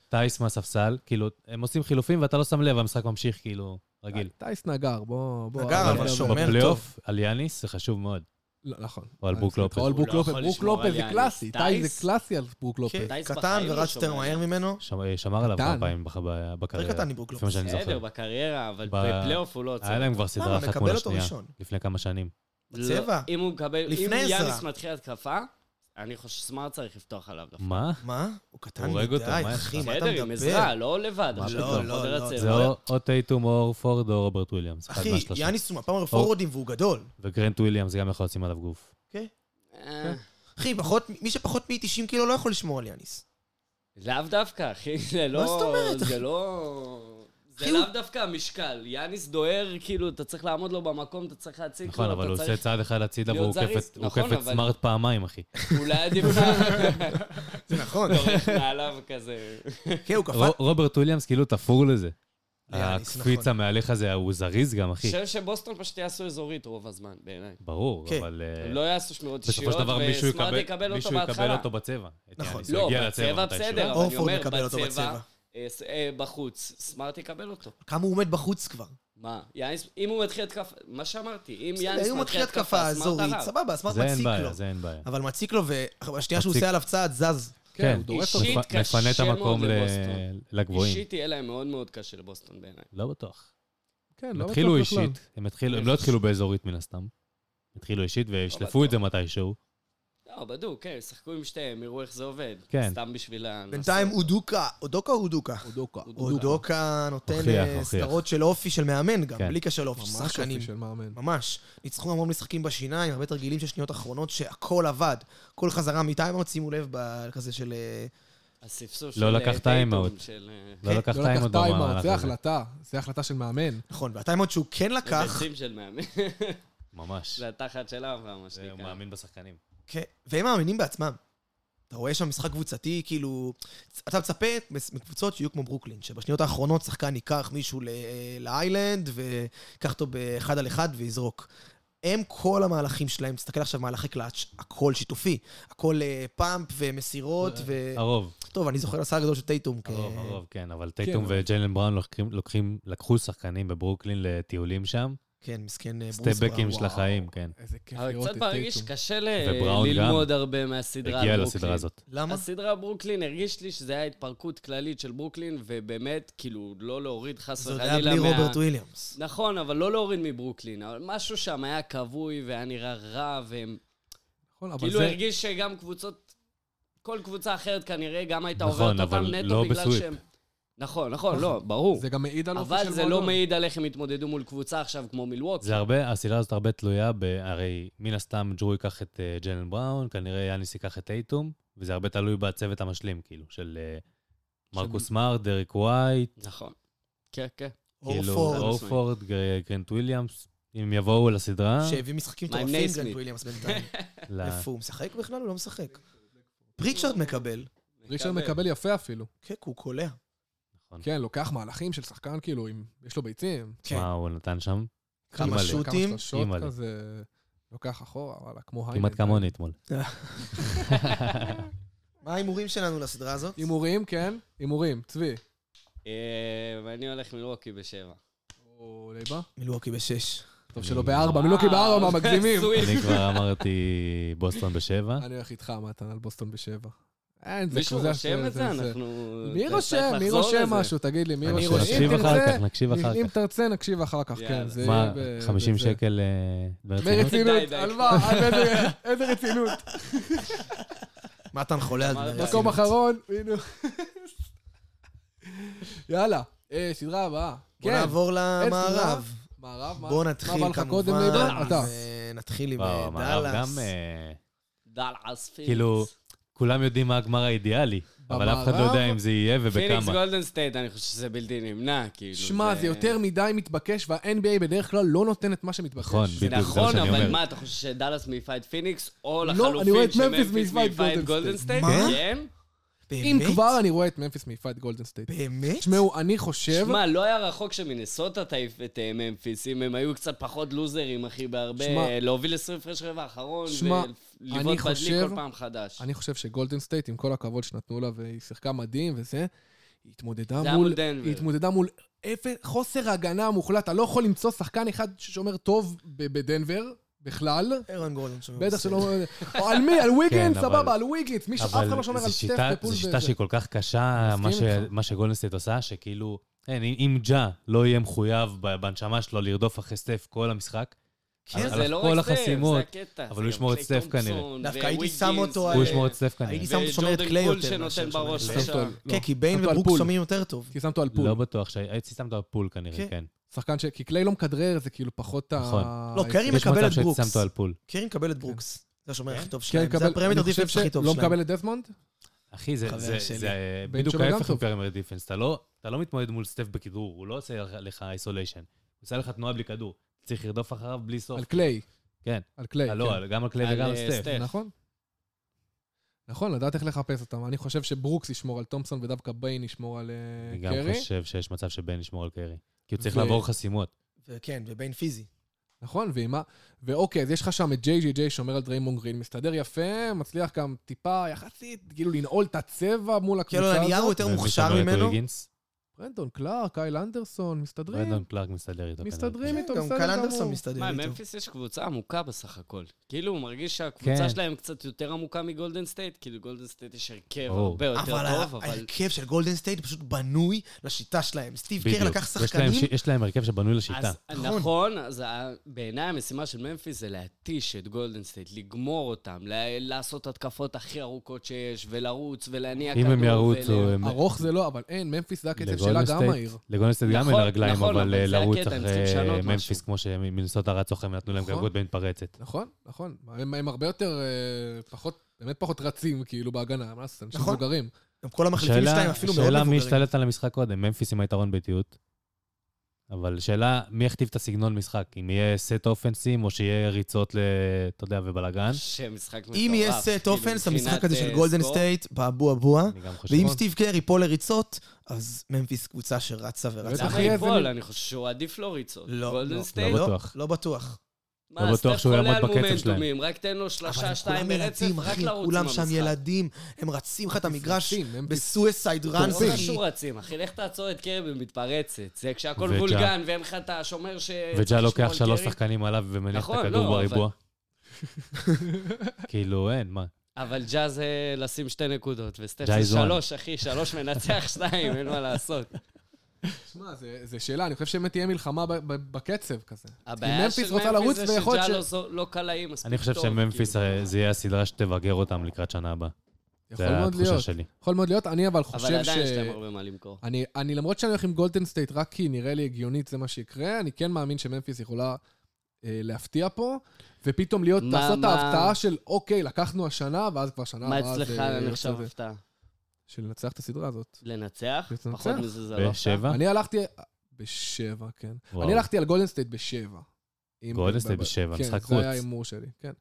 [SPEAKER 7] טייס מהספסל, כאילו, הם עושים חילופים ואתה לא שם לב, המשחק ממשיך כאילו, רגיל.
[SPEAKER 3] טייס נגר, בוא... בוא-
[SPEAKER 4] נגר, אה, אבל
[SPEAKER 3] בוא-
[SPEAKER 4] שומר טוב. אה,
[SPEAKER 7] בפלייאוף, על יאניס, זה חשוב מאוד.
[SPEAKER 3] לא, נכון.
[SPEAKER 7] או על ברוק לופז.
[SPEAKER 3] או על
[SPEAKER 5] הוא
[SPEAKER 3] ברוק
[SPEAKER 5] לא
[SPEAKER 3] לופז.
[SPEAKER 5] יכול
[SPEAKER 3] ברוק
[SPEAKER 5] לשמור
[SPEAKER 3] לופז
[SPEAKER 5] על
[SPEAKER 3] זה
[SPEAKER 5] יאניס.
[SPEAKER 3] קלאסי. טייס זה
[SPEAKER 5] טייס?
[SPEAKER 3] קלאסי על ברוק לופז.
[SPEAKER 4] כן,
[SPEAKER 5] טייס
[SPEAKER 4] קטן
[SPEAKER 5] בחיים לא
[SPEAKER 4] ורץ יותר
[SPEAKER 5] שומר.
[SPEAKER 4] מהר ממנו.
[SPEAKER 7] שמ- אה, שמר עליו כמה
[SPEAKER 3] קטן.
[SPEAKER 7] פעמים בח- ב- בקריירה.
[SPEAKER 4] קטן מברוק
[SPEAKER 7] לפי מה שאני
[SPEAKER 5] בסדר,
[SPEAKER 7] זוכר.
[SPEAKER 5] בקריירה, אבל
[SPEAKER 7] ב-
[SPEAKER 5] בפלייאוף הוא לא עוצר.
[SPEAKER 7] היה להם כבר סדרה
[SPEAKER 4] למה?
[SPEAKER 7] אחת
[SPEAKER 4] מקבל
[SPEAKER 7] מול
[SPEAKER 4] אותו
[SPEAKER 7] השנייה,
[SPEAKER 4] ראשון.
[SPEAKER 7] לפני כמה שנים.
[SPEAKER 4] בצבע.
[SPEAKER 5] לא, אם הוא מקבל...
[SPEAKER 4] לפני
[SPEAKER 5] אם
[SPEAKER 4] עזרה.
[SPEAKER 5] יאניס מתחיל התקפה, אני חושב שסמארט צריך לפתוח עליו. דווקא.
[SPEAKER 7] מה?
[SPEAKER 4] מה? הוא קטן
[SPEAKER 7] הורג אותו,
[SPEAKER 4] מדי,
[SPEAKER 7] מה יש
[SPEAKER 4] אחי,
[SPEAKER 7] לך?
[SPEAKER 4] מה אתה
[SPEAKER 5] בסדר, עם
[SPEAKER 4] מדבר?
[SPEAKER 5] עזרה, לא לבד.
[SPEAKER 7] מה
[SPEAKER 5] עכשיו,
[SPEAKER 7] פתאום?
[SPEAKER 5] הוא
[SPEAKER 4] לא,
[SPEAKER 5] חודר
[SPEAKER 4] לא,
[SPEAKER 5] הצבע.
[SPEAKER 7] זה או- או טייטום, או אורפורד, או רוברט וויליאמס. אחד
[SPEAKER 4] אחי,
[SPEAKER 7] מהשלושה.
[SPEAKER 4] יאניס הוא מהפעם הפורורדים והוא גדול.
[SPEAKER 7] וגרנט וויליאמס גם יכול לשים עליו גוף.
[SPEAKER 4] כן.
[SPEAKER 5] אה,
[SPEAKER 4] אחי, פחות- מי שפחות מ-90 קילו לא יכול לשמור על יאניס.
[SPEAKER 5] לאו דווקא, אחי, *laughs* זה לא...
[SPEAKER 4] מה זאת אומרת, אחי?
[SPEAKER 5] זה לא... זה זה לאו דווקא המשקל. יאניס דוהר, כאילו, אתה צריך לעמוד לו במקום, אתה צריך להציג
[SPEAKER 7] נכון,
[SPEAKER 5] לו,
[SPEAKER 7] אבל
[SPEAKER 5] אתה
[SPEAKER 7] הוא
[SPEAKER 5] צריך...
[SPEAKER 7] עושה צעד אחד הצידה
[SPEAKER 5] להיות
[SPEAKER 7] והוא עוקף
[SPEAKER 5] זריז.
[SPEAKER 7] את- הוא
[SPEAKER 5] נכון,
[SPEAKER 7] עוקף את
[SPEAKER 5] אבל-
[SPEAKER 7] סמארט פעמיים, אחי.
[SPEAKER 5] אולי עדיף לך...
[SPEAKER 4] *laughs* זה נכון.
[SPEAKER 5] דורך לא, מעליו כזה.
[SPEAKER 4] כן, הוא
[SPEAKER 7] רו-
[SPEAKER 4] קפץ.
[SPEAKER 7] רוברט וויליאמס כאילו תפור לזה.
[SPEAKER 4] יאניס,
[SPEAKER 7] אה, הקפיץ
[SPEAKER 4] נכון.
[SPEAKER 7] המהלך הזה, הוא זריז גם, אחי.
[SPEAKER 5] אני חושב שבוסטון פשוט יעשו אזורית רוב הזמן, בעיניי.
[SPEAKER 7] ברור,
[SPEAKER 4] כן.
[SPEAKER 7] אבל... אה,
[SPEAKER 5] הם לא יעשו שמירות אישיות,
[SPEAKER 7] בסופו של דבר מישהו
[SPEAKER 5] וסמארט
[SPEAKER 7] יקבל
[SPEAKER 5] יקבל אותו
[SPEAKER 7] מישהו יקבל
[SPEAKER 5] בהתחלה.
[SPEAKER 7] אותו בצבע. את
[SPEAKER 4] נכון.
[SPEAKER 7] יאניס,
[SPEAKER 5] לא,
[SPEAKER 7] הוא יגיע לצבע
[SPEAKER 5] בצבע
[SPEAKER 7] מתישהו.
[SPEAKER 5] בסדר, אבל אני
[SPEAKER 4] אורפורד
[SPEAKER 5] אומר,
[SPEAKER 4] מקבל אותו
[SPEAKER 5] בצבע,
[SPEAKER 4] בצבע.
[SPEAKER 5] אה, ס- אה, בחוץ, סמארט יקבל אותו.
[SPEAKER 4] כמה הוא עומד בחוץ כבר.
[SPEAKER 5] מה, יאניס, אם הוא מתחיל התקפה, מה שאמרתי, אם
[SPEAKER 4] בסדר,
[SPEAKER 5] יאניס
[SPEAKER 4] אם הוא מתחיל
[SPEAKER 5] מתחיל
[SPEAKER 4] התקפה
[SPEAKER 5] התקפה, סמארט
[SPEAKER 4] אזורית,
[SPEAKER 5] עליו.
[SPEAKER 4] סבבה, סמארט
[SPEAKER 7] זה אין
[SPEAKER 4] מציק לו.
[SPEAKER 7] בעיה, זה אין בעיה.
[SPEAKER 4] אבל מציק לו, והשנייה שהוא
[SPEAKER 7] מציק.
[SPEAKER 4] עושה עליו צעד, זז.
[SPEAKER 3] כן, הוא
[SPEAKER 5] דורס
[SPEAKER 7] מפ-
[SPEAKER 5] אישית קשה
[SPEAKER 7] מפנה את המקום
[SPEAKER 5] מאוד
[SPEAKER 7] ל-
[SPEAKER 5] לבוסטון.
[SPEAKER 7] לגבוהים.
[SPEAKER 5] אישית יהיה להם מאוד מאוד קשה לבוסטון בעיניי.
[SPEAKER 7] לא בטוח.
[SPEAKER 3] כן,
[SPEAKER 7] הם
[SPEAKER 3] לא
[SPEAKER 7] התחילו
[SPEAKER 3] בטוח בכלל.
[SPEAKER 7] אישית, הם התחילו- הם לא התחילו באזורית מן הסתם. התחילו אישית וישלפו
[SPEAKER 5] לא
[SPEAKER 7] את זה מתישהו.
[SPEAKER 5] לא, בדוק, כן, ישחקו עם שתיהם, יראו איך זה עובד.
[SPEAKER 7] כן.
[SPEAKER 5] סתם בשביל ה...
[SPEAKER 4] בינתיים אודוקה, אודוקה או אודוקה?
[SPEAKER 3] אודוקה.
[SPEAKER 4] אודוקה נותן
[SPEAKER 7] הוכיח,
[SPEAKER 4] אה,
[SPEAKER 7] הוכיח.
[SPEAKER 4] סדרות של אופי של מאמן גם,
[SPEAKER 7] כן.
[SPEAKER 4] בלי קשר לאופי של
[SPEAKER 3] ממש
[SPEAKER 4] שחקנים.
[SPEAKER 3] אופי של מאמן.
[SPEAKER 4] ממש. ניצחו המון משחקים בשיניים, הרבה תרגילים של שניות אחרונות שהכל עבד. כל חזרה מטיימאוט, שימו לב, כזה של... אה,
[SPEAKER 5] הספסוף
[SPEAKER 7] לא
[SPEAKER 5] של,
[SPEAKER 7] לקח
[SPEAKER 5] אה, טייטום,
[SPEAKER 7] טיים-אאוט.
[SPEAKER 5] של, אה,
[SPEAKER 7] לא לקח
[SPEAKER 3] לא
[SPEAKER 7] טיים
[SPEAKER 3] לקח
[SPEAKER 7] עוד
[SPEAKER 3] טיימאוט,
[SPEAKER 7] במהלך
[SPEAKER 3] זה
[SPEAKER 7] הזה.
[SPEAKER 3] החלטה. זה החלטה של מאמן.
[SPEAKER 4] נכון, והטיימאוט שהוא כן לקח,
[SPEAKER 5] בביצים של מאמן. *laughs*
[SPEAKER 7] ממש.
[SPEAKER 5] זה התחת של אברהם, מה
[SPEAKER 7] זה- הוא
[SPEAKER 5] שנקרא.
[SPEAKER 7] מאמין בשחקנים.
[SPEAKER 4] כן, והם מאמינים בעצמם. אתה רואה שם משחק קבוצתי, כאילו... אתה מצפה מקבוצות שיהיו כמו ברוקלין, שבשניות האחרונות שחקן ייקח מישהו ל- לאיילנד, ויקח אותו באחד על אחד ויזרוק. הם כל המהלכים שלהם, תסתכל עכשיו מהלכי קלאץ', הכל שיתופי. הכל אה, פאמפ ומסירות ו...
[SPEAKER 7] הרוב,
[SPEAKER 4] טוב, אני זוכר לשר הגדול של טייטום. כ-
[SPEAKER 7] הרוב, הרוב, כן. אבל
[SPEAKER 3] כן,
[SPEAKER 7] טייטום
[SPEAKER 3] אבל-
[SPEAKER 7] וג'יילן בראון לוקחים- לוקחים, לקחו שחקנים בברוקלין לטיולים שם.
[SPEAKER 4] כן, מסכן אה, ברוס
[SPEAKER 7] סטפבקים
[SPEAKER 4] בראון.
[SPEAKER 7] של החיים, כן.
[SPEAKER 3] איזה כיף
[SPEAKER 5] אבל
[SPEAKER 3] לראות את
[SPEAKER 5] קצת מרגיש
[SPEAKER 3] טייטום.
[SPEAKER 5] קשה ל-
[SPEAKER 7] ובראון גם.
[SPEAKER 5] ללמוד הרבה מהסדרה
[SPEAKER 7] הגיע
[SPEAKER 5] על
[SPEAKER 7] לסדרה
[SPEAKER 5] ברוקלין.
[SPEAKER 7] הזאת.
[SPEAKER 4] למה?
[SPEAKER 5] הסדרה ברוקלין, הרגיש לי שזה היה התפרקות כללית של ברוקלין, ובאמת, כאילו, לא להוריד חס
[SPEAKER 4] זה
[SPEAKER 5] וחלילה
[SPEAKER 4] עוד
[SPEAKER 5] מה...
[SPEAKER 4] היה בלי רוברט וויליאמס.
[SPEAKER 5] נכון, אבל לא להוריד מברוקלין. אבל משהו שם היה כבוי והיה נראה רע, והם...
[SPEAKER 3] נכון, אבל
[SPEAKER 5] כאילו
[SPEAKER 3] זה...
[SPEAKER 5] הרגיש שגם קבוצות... כל קבוצה אחרת כנראה גם הייתה
[SPEAKER 7] נכון,
[SPEAKER 5] עוברת אותם
[SPEAKER 7] אבל
[SPEAKER 5] נטו
[SPEAKER 7] לא
[SPEAKER 5] בגלל
[SPEAKER 7] בסוויפ.
[SPEAKER 5] שהם... נכון, נכון, לא, ברור.
[SPEAKER 3] זה גם מעיד על אופי של
[SPEAKER 5] אבל
[SPEAKER 3] מועדון.
[SPEAKER 5] זה לא מעיד על איך הם התמודדו מול קבוצה עכשיו כמו מילווקי.
[SPEAKER 7] זה הרבה, הסדרה הזאת הרבה תלויה, ב, הרי מן הסתם ג'רו ייקח את אה, ג'לן בראון, כנראה יאניס ייקח את אייטום, וזה הרבה תלוי בצוות המשלים, כאילו, של אה, מרקוס מר, דרק ווייט,
[SPEAKER 5] נכון. כן, כן.
[SPEAKER 7] כאילו,
[SPEAKER 4] אורפורד,
[SPEAKER 7] אורפורד, גר- גרנט וויליאמס, אם יבואו לסדרה,
[SPEAKER 3] אה?
[SPEAKER 4] שהביא משחקים
[SPEAKER 5] מה עם
[SPEAKER 4] מטורפים,
[SPEAKER 5] נייסמית?
[SPEAKER 4] גרנד וויליאמס בינתיים.
[SPEAKER 7] *laughs* ל-
[SPEAKER 4] איפה הוא משחק בכלל? הוא לא משחק. פריצ'רד מקבל.
[SPEAKER 3] ראשון מקבל יפה אפילו.
[SPEAKER 4] כן, כי הוא קולע.
[SPEAKER 7] נכון.
[SPEAKER 3] כן, לוקח מהלכים של שחקן, כאילו, עם... יש לו ביצים.
[SPEAKER 4] כן.
[SPEAKER 7] מה הוא נתן שם?
[SPEAKER 4] כמה
[SPEAKER 7] אימא'לה.
[SPEAKER 4] שוט.
[SPEAKER 3] כמה
[SPEAKER 4] שוטים.
[SPEAKER 3] שלשות
[SPEAKER 7] אימא'לה.
[SPEAKER 3] כזה... לוקח אחורה, וואלה, כמו היימן.
[SPEAKER 7] כמעט כמוני אתמול.
[SPEAKER 4] מה ההימורים שלנו לסדרה הזאת?
[SPEAKER 3] הימורים, כן? הימורים, צבי.
[SPEAKER 5] אה, ואני הולך מלווקי בשבע.
[SPEAKER 3] או ליבה?
[SPEAKER 4] מילואוקי בשש.
[SPEAKER 3] טוב, שלא בארבע, לא מילוקי
[SPEAKER 5] *laughs*
[SPEAKER 3] בארבע, מה, מגזימים?
[SPEAKER 5] סוויפט.
[SPEAKER 7] אני כבר אמרתי בוסטון בשבע.
[SPEAKER 3] אני הולך איתך, מתן, על בוסטון בשבע. אין, זה
[SPEAKER 5] מישהו
[SPEAKER 3] זה-
[SPEAKER 5] רושם את זה? אנחנו...
[SPEAKER 3] מי
[SPEAKER 5] אתה
[SPEAKER 3] רושם?
[SPEAKER 5] אה, צריך
[SPEAKER 3] מי
[SPEAKER 5] לחזור
[SPEAKER 3] רושם
[SPEAKER 5] לזה.
[SPEAKER 3] משהו? תגיד לי, מי
[SPEAKER 7] אנחנו
[SPEAKER 3] רושם? אם
[SPEAKER 7] נקשיב אחר
[SPEAKER 3] תרצה-
[SPEAKER 7] כך, נקשיב אחר
[SPEAKER 3] אם
[SPEAKER 7] כך.
[SPEAKER 3] תרצה, נקשיב אחר כך, כן.
[SPEAKER 5] יאללה.
[SPEAKER 3] זה
[SPEAKER 7] מה,
[SPEAKER 3] יהיה ב-
[SPEAKER 7] 50
[SPEAKER 3] בזה.
[SPEAKER 7] שקל אה,
[SPEAKER 5] די,
[SPEAKER 7] ברצינות?
[SPEAKER 3] ברצינות,
[SPEAKER 5] די.
[SPEAKER 3] על מה? על איזה- איזה
[SPEAKER 5] *laughs*
[SPEAKER 3] רצינות.
[SPEAKER 4] מתן חולה על
[SPEAKER 5] אמרת.
[SPEAKER 4] דמרי.
[SPEAKER 3] מקום אחרון, בדיוק. *laughs* יאללה, אה, סדרה הבאה.
[SPEAKER 4] בוא
[SPEAKER 3] כן,
[SPEAKER 4] נעבור למערב.
[SPEAKER 3] מערב, מה?
[SPEAKER 4] בוא
[SPEAKER 3] מה
[SPEAKER 4] נתחיל
[SPEAKER 3] בא לך קודם,
[SPEAKER 4] כמובן.
[SPEAKER 3] לידו? אתה.
[SPEAKER 4] אה, נתחיל עם
[SPEAKER 7] וואו,
[SPEAKER 4] אה,
[SPEAKER 7] המערב
[SPEAKER 4] דאלאס.
[SPEAKER 7] גם... אה,
[SPEAKER 5] דאלאס פיניקס.
[SPEAKER 7] כאילו, כולם יודעים מה הגמר האידיאלי, אבל אף אחד לא
[SPEAKER 3] במערב,
[SPEAKER 7] יודע אם זה יהיה
[SPEAKER 5] פיניקס
[SPEAKER 7] ובכמה.
[SPEAKER 5] גולדן סטייט, אני חושב שזה בלתי נמנע, כאילו.
[SPEAKER 3] שמע, זה יותר מדי מתבקש, וה-NBA בדרך כלל לא נותן את מה שמתבקש.
[SPEAKER 7] נכון, בדיוק, זה מה
[SPEAKER 5] נכון,
[SPEAKER 7] שאני
[SPEAKER 5] אבל
[SPEAKER 7] אומר.
[SPEAKER 5] מה, אתה חושב שדאלאס מעיפה את פיניקס, או
[SPEAKER 3] לא, אני רואה את
[SPEAKER 5] לחלופין
[SPEAKER 3] ממפיס
[SPEAKER 5] שממפיס
[SPEAKER 3] מעיפה את
[SPEAKER 5] מעיפה
[SPEAKER 3] גולדן
[SPEAKER 5] את גולדן סטייט?
[SPEAKER 4] מה?
[SPEAKER 5] כן?
[SPEAKER 3] אם
[SPEAKER 4] באמת?
[SPEAKER 3] כבר, אני רואה את ממפיס מעיפה את גולדן סטייט.
[SPEAKER 4] באמת?
[SPEAKER 3] תשמעו, אני חושב...
[SPEAKER 5] שמע, לא היה רחוק שמנסוטה תעיף את אה, ממפיס, אם הם היו קצת פחות לוזרים, אחי, בהרבה...
[SPEAKER 3] שמע-
[SPEAKER 5] אה, להוביל 20 הפרש רבע האחרון,
[SPEAKER 3] שמע, אני
[SPEAKER 5] ולבעוט בדלי
[SPEAKER 3] חושב-
[SPEAKER 5] כל פעם חדש.
[SPEAKER 3] אני חושב שגולדן סטייט, עם כל הכבוד שנתנו לה, והיא שיחקה מדהים וזה, היא התמודדה
[SPEAKER 5] זה היה
[SPEAKER 3] מול...
[SPEAKER 5] מול דנבר.
[SPEAKER 3] היא התמודדה מול אפס, חוסר הגנה מוחלט. אתה לא יכול למצוא שחקן אחד ששומר טוב ב- בדנבר, בכלל.
[SPEAKER 4] אירון גורדון שומר.
[SPEAKER 3] בטח
[SPEAKER 4] בסדר.
[SPEAKER 3] שלא... או על מי? על וויגינס?
[SPEAKER 7] לא, כן, אבל-
[SPEAKER 3] סבבה, על וויגינס. מישהו, אף אחד לא שומר
[SPEAKER 7] אבל
[SPEAKER 3] על
[SPEAKER 7] זו
[SPEAKER 3] סטף
[SPEAKER 7] שיטה-
[SPEAKER 3] ופול
[SPEAKER 7] זו שיטה שהיא כל כך קשה,
[SPEAKER 3] מסכים
[SPEAKER 7] מה ש-
[SPEAKER 3] איתך.
[SPEAKER 7] מה שגולדנסטייט עושה, שכאילו, אין, אם- אם ג'ה לא יהיה מחויב ב- בנשמה שלו לרדוף אחרי סטף כל המשחק,
[SPEAKER 4] כן,
[SPEAKER 7] על-
[SPEAKER 5] זה
[SPEAKER 7] על
[SPEAKER 5] לא
[SPEAKER 7] כל
[SPEAKER 5] רק סטף, זה
[SPEAKER 7] החסימות,
[SPEAKER 5] הקטע. זה
[SPEAKER 7] אבל הוא
[SPEAKER 5] גם
[SPEAKER 7] ישמור את
[SPEAKER 5] קליי
[SPEAKER 7] סטף כנראה.
[SPEAKER 5] תומפסון,
[SPEAKER 4] דווקא הייתי
[SPEAKER 5] וויגינס,
[SPEAKER 4] שם אותו
[SPEAKER 5] ו-
[SPEAKER 4] על-
[SPEAKER 7] הוא
[SPEAKER 3] אה,
[SPEAKER 7] ישמור את סטף כנראה.
[SPEAKER 4] הייתי שם אותו שומר את
[SPEAKER 5] וג'ורדן
[SPEAKER 4] קליי
[SPEAKER 5] פול
[SPEAKER 4] יותר. מאשר
[SPEAKER 5] שנותן בראש
[SPEAKER 4] שומר
[SPEAKER 3] שמת
[SPEAKER 4] את
[SPEAKER 5] עכשיו.
[SPEAKER 4] קליי.
[SPEAKER 3] אותו על-
[SPEAKER 4] כן,
[SPEAKER 3] לא,
[SPEAKER 4] כי ביין
[SPEAKER 3] שמת אותו על
[SPEAKER 4] וברוק
[SPEAKER 3] פול.
[SPEAKER 4] שומעים יותר טוב.
[SPEAKER 3] כי שמת על פול.
[SPEAKER 7] לא בטוח, שהי- הייתי שם אותו על פול כנראה,
[SPEAKER 4] כן.
[SPEAKER 7] כן.
[SPEAKER 3] שחקן ש... כי קליי לא מכדרר, זה כאילו פחות ה...
[SPEAKER 7] נכון.
[SPEAKER 4] לא, קרי
[SPEAKER 7] יש
[SPEAKER 4] מקבל
[SPEAKER 7] מצב
[SPEAKER 4] את
[SPEAKER 7] שהייתי
[SPEAKER 4] ברוקס.
[SPEAKER 7] שם אותו על פול.
[SPEAKER 4] קרי מקבל את ברוקס. זה השומר הכי טוב
[SPEAKER 3] כן,
[SPEAKER 4] שלהם. זה
[SPEAKER 3] מקבל...
[SPEAKER 4] הפרמיטר
[SPEAKER 3] אני חושב
[SPEAKER 4] דיפנס הכי טוב
[SPEAKER 3] שלא
[SPEAKER 4] שלהם.
[SPEAKER 3] מקבל את דזמונד?
[SPEAKER 7] אחי, זה,
[SPEAKER 4] חבר
[SPEAKER 7] זה,
[SPEAKER 4] שלי.
[SPEAKER 7] זה
[SPEAKER 3] בן
[SPEAKER 7] בדיוק
[SPEAKER 3] שלו גם
[SPEAKER 7] ההפך
[SPEAKER 3] טוב.
[SPEAKER 7] מפרימרי דיפנס. אתה לא, אתה לא מתמודד מול סטף בכדרור, הוא לא עושה לך- לך איסוליישן. הוא עושה לך תנועה בלי כדור. צריך לרדוף אחריו בלי
[SPEAKER 4] לא.
[SPEAKER 7] סוף.
[SPEAKER 3] על קליי.
[SPEAKER 7] כן.
[SPEAKER 3] על קליי.
[SPEAKER 7] אה, לא, על- גם על קליי
[SPEAKER 5] על,
[SPEAKER 7] וגם על
[SPEAKER 5] אה,
[SPEAKER 7] סטף.
[SPEAKER 5] סטף. איך?
[SPEAKER 3] נכון. נכון, לדעת איך לחפש אותם. אני חושב שברוקס ישמור על תומפסון ודווקא ביין ישמור על אה,
[SPEAKER 7] אני גם
[SPEAKER 3] קרי.
[SPEAKER 7] חושב שיש מצב שבן ישמור על קרי. כי הוא צריך
[SPEAKER 3] ו-
[SPEAKER 7] לעבור חסימות.
[SPEAKER 4] כן, ובין פיזי.
[SPEAKER 3] נכון, ועם מה... ואוקיי, אז יש לך שם את ג'יי ג'יי ג'יי שומר על דריימונד גרין, מסתדר יפה, מצליח גם טיפה יחסית, כאילו לנעול את הצבע מול
[SPEAKER 4] כאילו,
[SPEAKER 3] הקבוצה
[SPEAKER 4] הנייר הוא
[SPEAKER 3] הזאת.
[SPEAKER 4] יותר
[SPEAKER 7] ומי
[SPEAKER 4] מוכשר
[SPEAKER 7] שאומר את
[SPEAKER 4] ממנו.
[SPEAKER 7] אוריגינס?
[SPEAKER 3] ברנדון קלארק, קייל אנדרסון, מסתדרים,
[SPEAKER 7] רנדון קלארק מסתדר איתו. כנראה.
[SPEAKER 3] מסתדרים איתו,
[SPEAKER 4] כן, גם קל
[SPEAKER 3] בסדר
[SPEAKER 4] אנדרסון
[SPEAKER 3] גמור.
[SPEAKER 4] מסתדר
[SPEAKER 5] מה,
[SPEAKER 4] איתו.
[SPEAKER 5] ממפיס יש קבוצה עמוקה בסך הכל. כאילו, הוא מרגיש שהקבוצה
[SPEAKER 7] כן.
[SPEAKER 5] שלהם קצת יותר עמוקה מגולדן סטייט, כאילו גולדן סטייט יש הרכב
[SPEAKER 7] ברור.
[SPEAKER 5] הרבה יותר
[SPEAKER 4] אבל
[SPEAKER 5] טוב,
[SPEAKER 4] ה-
[SPEAKER 5] אבל...
[SPEAKER 4] ההרכב של גולדן סטייט פשוט בנוי לשיטה שלהם. סטיב קר
[SPEAKER 7] בדיוק.
[SPEAKER 4] לקח
[SPEAKER 7] יש להם
[SPEAKER 4] שחקנים,
[SPEAKER 7] ש- יש להם הרכב שבנוי לשיטה.
[SPEAKER 5] אז נכון, אז ה- בעיניי המשימה של ממפיס זה להתיש את גולדן סטייט, לגמור אותם, ל- לעשות התקפות הכי ארוכות שיש, ולרוץ, ולהניע
[SPEAKER 7] אם
[SPEAKER 5] כדור.
[SPEAKER 7] הם ירוצו,
[SPEAKER 5] ול-
[SPEAKER 7] הם...
[SPEAKER 3] ארוך זה לא, אבל אין, ממפיס זה הקצב שלה
[SPEAKER 7] לגולדן
[SPEAKER 3] גם
[SPEAKER 7] סטייט-
[SPEAKER 3] מהיר.
[SPEAKER 7] לגולדן סטייט גם אין
[SPEAKER 5] נכון,
[SPEAKER 7] רגליים,
[SPEAKER 5] נכון,
[SPEAKER 7] אבל
[SPEAKER 5] אבל
[SPEAKER 7] אה,
[SPEAKER 5] זה
[SPEAKER 7] לרוץ
[SPEAKER 5] הקטע, הם צריכים
[SPEAKER 7] אחרי
[SPEAKER 5] לשנות
[SPEAKER 7] ממפיס,
[SPEAKER 5] משהו.
[SPEAKER 7] כמו שמנסות הרץ לוחם, נתנו להם
[SPEAKER 3] נכון.
[SPEAKER 7] גגות בין פרצת.
[SPEAKER 3] נכון, נכון. הם הם הרבה יותר, אה, פחות, באמת פחות רצים, כאילו, בהגנה, מה לעשות, אנשים
[SPEAKER 4] נכון.
[SPEAKER 3] מבוגרים.
[SPEAKER 4] גם כל המחליפים
[SPEAKER 7] השאלה-
[SPEAKER 4] שלהם אפילו מאוד
[SPEAKER 7] השאלה מי
[SPEAKER 4] מבוגרים.
[SPEAKER 7] השתלט על המשחק קודם, ממפיס עם היתרון ביתיות. אבל שאלה, מי יכתיב את הסגנון משחק? אם יהיה סט אופנסים, או שיהיה ריצות ל... אתה יודע, ובלאגן?
[SPEAKER 5] שמשחק מטורף.
[SPEAKER 4] אם יהיה סט
[SPEAKER 5] כאילו,
[SPEAKER 4] אופנס, המשחק
[SPEAKER 5] מבחינת,
[SPEAKER 4] הזה
[SPEAKER 5] אה,
[SPEAKER 4] של גולדן
[SPEAKER 5] סקור,
[SPEAKER 4] סטייט, באבו אבוה,
[SPEAKER 7] אני גם חושב.
[SPEAKER 4] אה? ואם סטיב קר ייפול לריצות, אז ממפיס קבוצה שרצה ורצה.
[SPEAKER 3] בטח
[SPEAKER 5] למה
[SPEAKER 3] יהיה איזה מין-
[SPEAKER 5] יפול? אני חושב שהוא עדיף לא ריצות.
[SPEAKER 4] לא,
[SPEAKER 5] גולדן
[SPEAKER 4] לא,
[SPEAKER 5] סטייט,
[SPEAKER 7] לא
[SPEAKER 4] לא,
[SPEAKER 7] בטוח.
[SPEAKER 4] לא בטוח.
[SPEAKER 7] לא
[SPEAKER 5] מה,
[SPEAKER 7] בטוח
[SPEAKER 5] סטף
[SPEAKER 7] שהוא
[SPEAKER 5] חולה
[SPEAKER 7] יעמוד
[SPEAKER 5] על
[SPEAKER 7] בקצב שלהם.
[SPEAKER 5] מומנטומים, רק תן לו
[SPEAKER 4] אבל
[SPEAKER 5] שלושה,
[SPEAKER 4] הם
[SPEAKER 5] שתיים
[SPEAKER 4] כולם
[SPEAKER 5] ברצף,
[SPEAKER 4] ילדים,
[SPEAKER 5] רק
[SPEAKER 4] אחי,
[SPEAKER 5] לרוץ
[SPEAKER 4] כולם שם
[SPEAKER 5] במשחק.
[SPEAKER 4] ילדים, הם רצים לך את המגרש
[SPEAKER 3] רצים, הם
[SPEAKER 4] בסויסייד ראנס,
[SPEAKER 5] לא
[SPEAKER 3] טורפים.
[SPEAKER 4] אחי.
[SPEAKER 5] קשור רצים, אחי, לך תעצור את קרי במתפרצת. זה כשהכל
[SPEAKER 7] וג'ה.
[SPEAKER 5] וולגן ואין לך את השומר ש...
[SPEAKER 7] וג'ה
[SPEAKER 5] צריך לשמור
[SPEAKER 7] לוקח
[SPEAKER 5] על
[SPEAKER 7] שלוש
[SPEAKER 5] קרי.
[SPEAKER 7] שחקנים עליו ומניח את
[SPEAKER 5] נכון,
[SPEAKER 7] הכדור
[SPEAKER 3] *laughs*
[SPEAKER 5] לא,
[SPEAKER 7] בריבוע. כאילו, אין, מה?
[SPEAKER 5] אבל ג'ה זה לשים שתי נקודות, וסטף
[SPEAKER 7] ג'ה
[SPEAKER 5] זה
[SPEAKER 7] is one.
[SPEAKER 5] שלוש, אחי, שלוש מנצח *laughs* שניים, אין מה לעשות.
[SPEAKER 3] שמע, זה- זה שאלה, אני חושב שבאמת תהיה מלחמה ב- ב- בקצב כזה. כי
[SPEAKER 5] הבעיה של
[SPEAKER 3] ממפיס רוצה לרוץ
[SPEAKER 5] ממפיס זה
[SPEAKER 3] ויכול
[SPEAKER 5] שג'ה לא
[SPEAKER 3] להיות ש...
[SPEAKER 5] זו- לא קלעי מספיק טוב.
[SPEAKER 7] אני חושב שממפיס
[SPEAKER 5] כאילו.
[SPEAKER 7] אה, זה יהיה הסדרה שתבגר אותם לקראת שנה הבאה.
[SPEAKER 3] יכול
[SPEAKER 7] זה
[SPEAKER 3] מאוד
[SPEAKER 7] התחושה
[SPEAKER 3] להיות.
[SPEAKER 7] שלי.
[SPEAKER 3] יכול מאוד להיות, אני אבל
[SPEAKER 5] אבל
[SPEAKER 3] חושב ש...
[SPEAKER 5] עדיין יש להם הרבה מה למכור.
[SPEAKER 3] אני, אני למרות שאני הולך עם גולדן סטייט רק כי נראה לי הגיונית זה מה שיקרה, אני כן מאמין שממפיס יכולה אה, להפתיע פה, ופתאום להיות,
[SPEAKER 5] מה-
[SPEAKER 3] לעשות את
[SPEAKER 5] מה-
[SPEAKER 3] ההפתעה של אוקיי, לקחנו השנה, ואז כבר שנה
[SPEAKER 5] מה
[SPEAKER 3] הבאה אה, זה-
[SPEAKER 5] אצלך
[SPEAKER 3] יוצא
[SPEAKER 5] נחשב
[SPEAKER 3] זה-
[SPEAKER 5] הפתעה?
[SPEAKER 3] של לנצח את הסדרה הזאת.
[SPEAKER 5] לנצח?
[SPEAKER 3] לנצח.
[SPEAKER 5] פחות מזה זה לא הפתעה.
[SPEAKER 7] בשבע?
[SPEAKER 3] אני הלכתי... בשבע, כן.
[SPEAKER 7] וואו.
[SPEAKER 3] אני הלכתי על גולדן סטייט בשבע. עם-
[SPEAKER 7] גולדן סטייט
[SPEAKER 3] ב- ב-
[SPEAKER 7] בשבע, משחק
[SPEAKER 3] כן,
[SPEAKER 7] חוץ.
[SPEAKER 3] זה היה ההימור שלי, כן.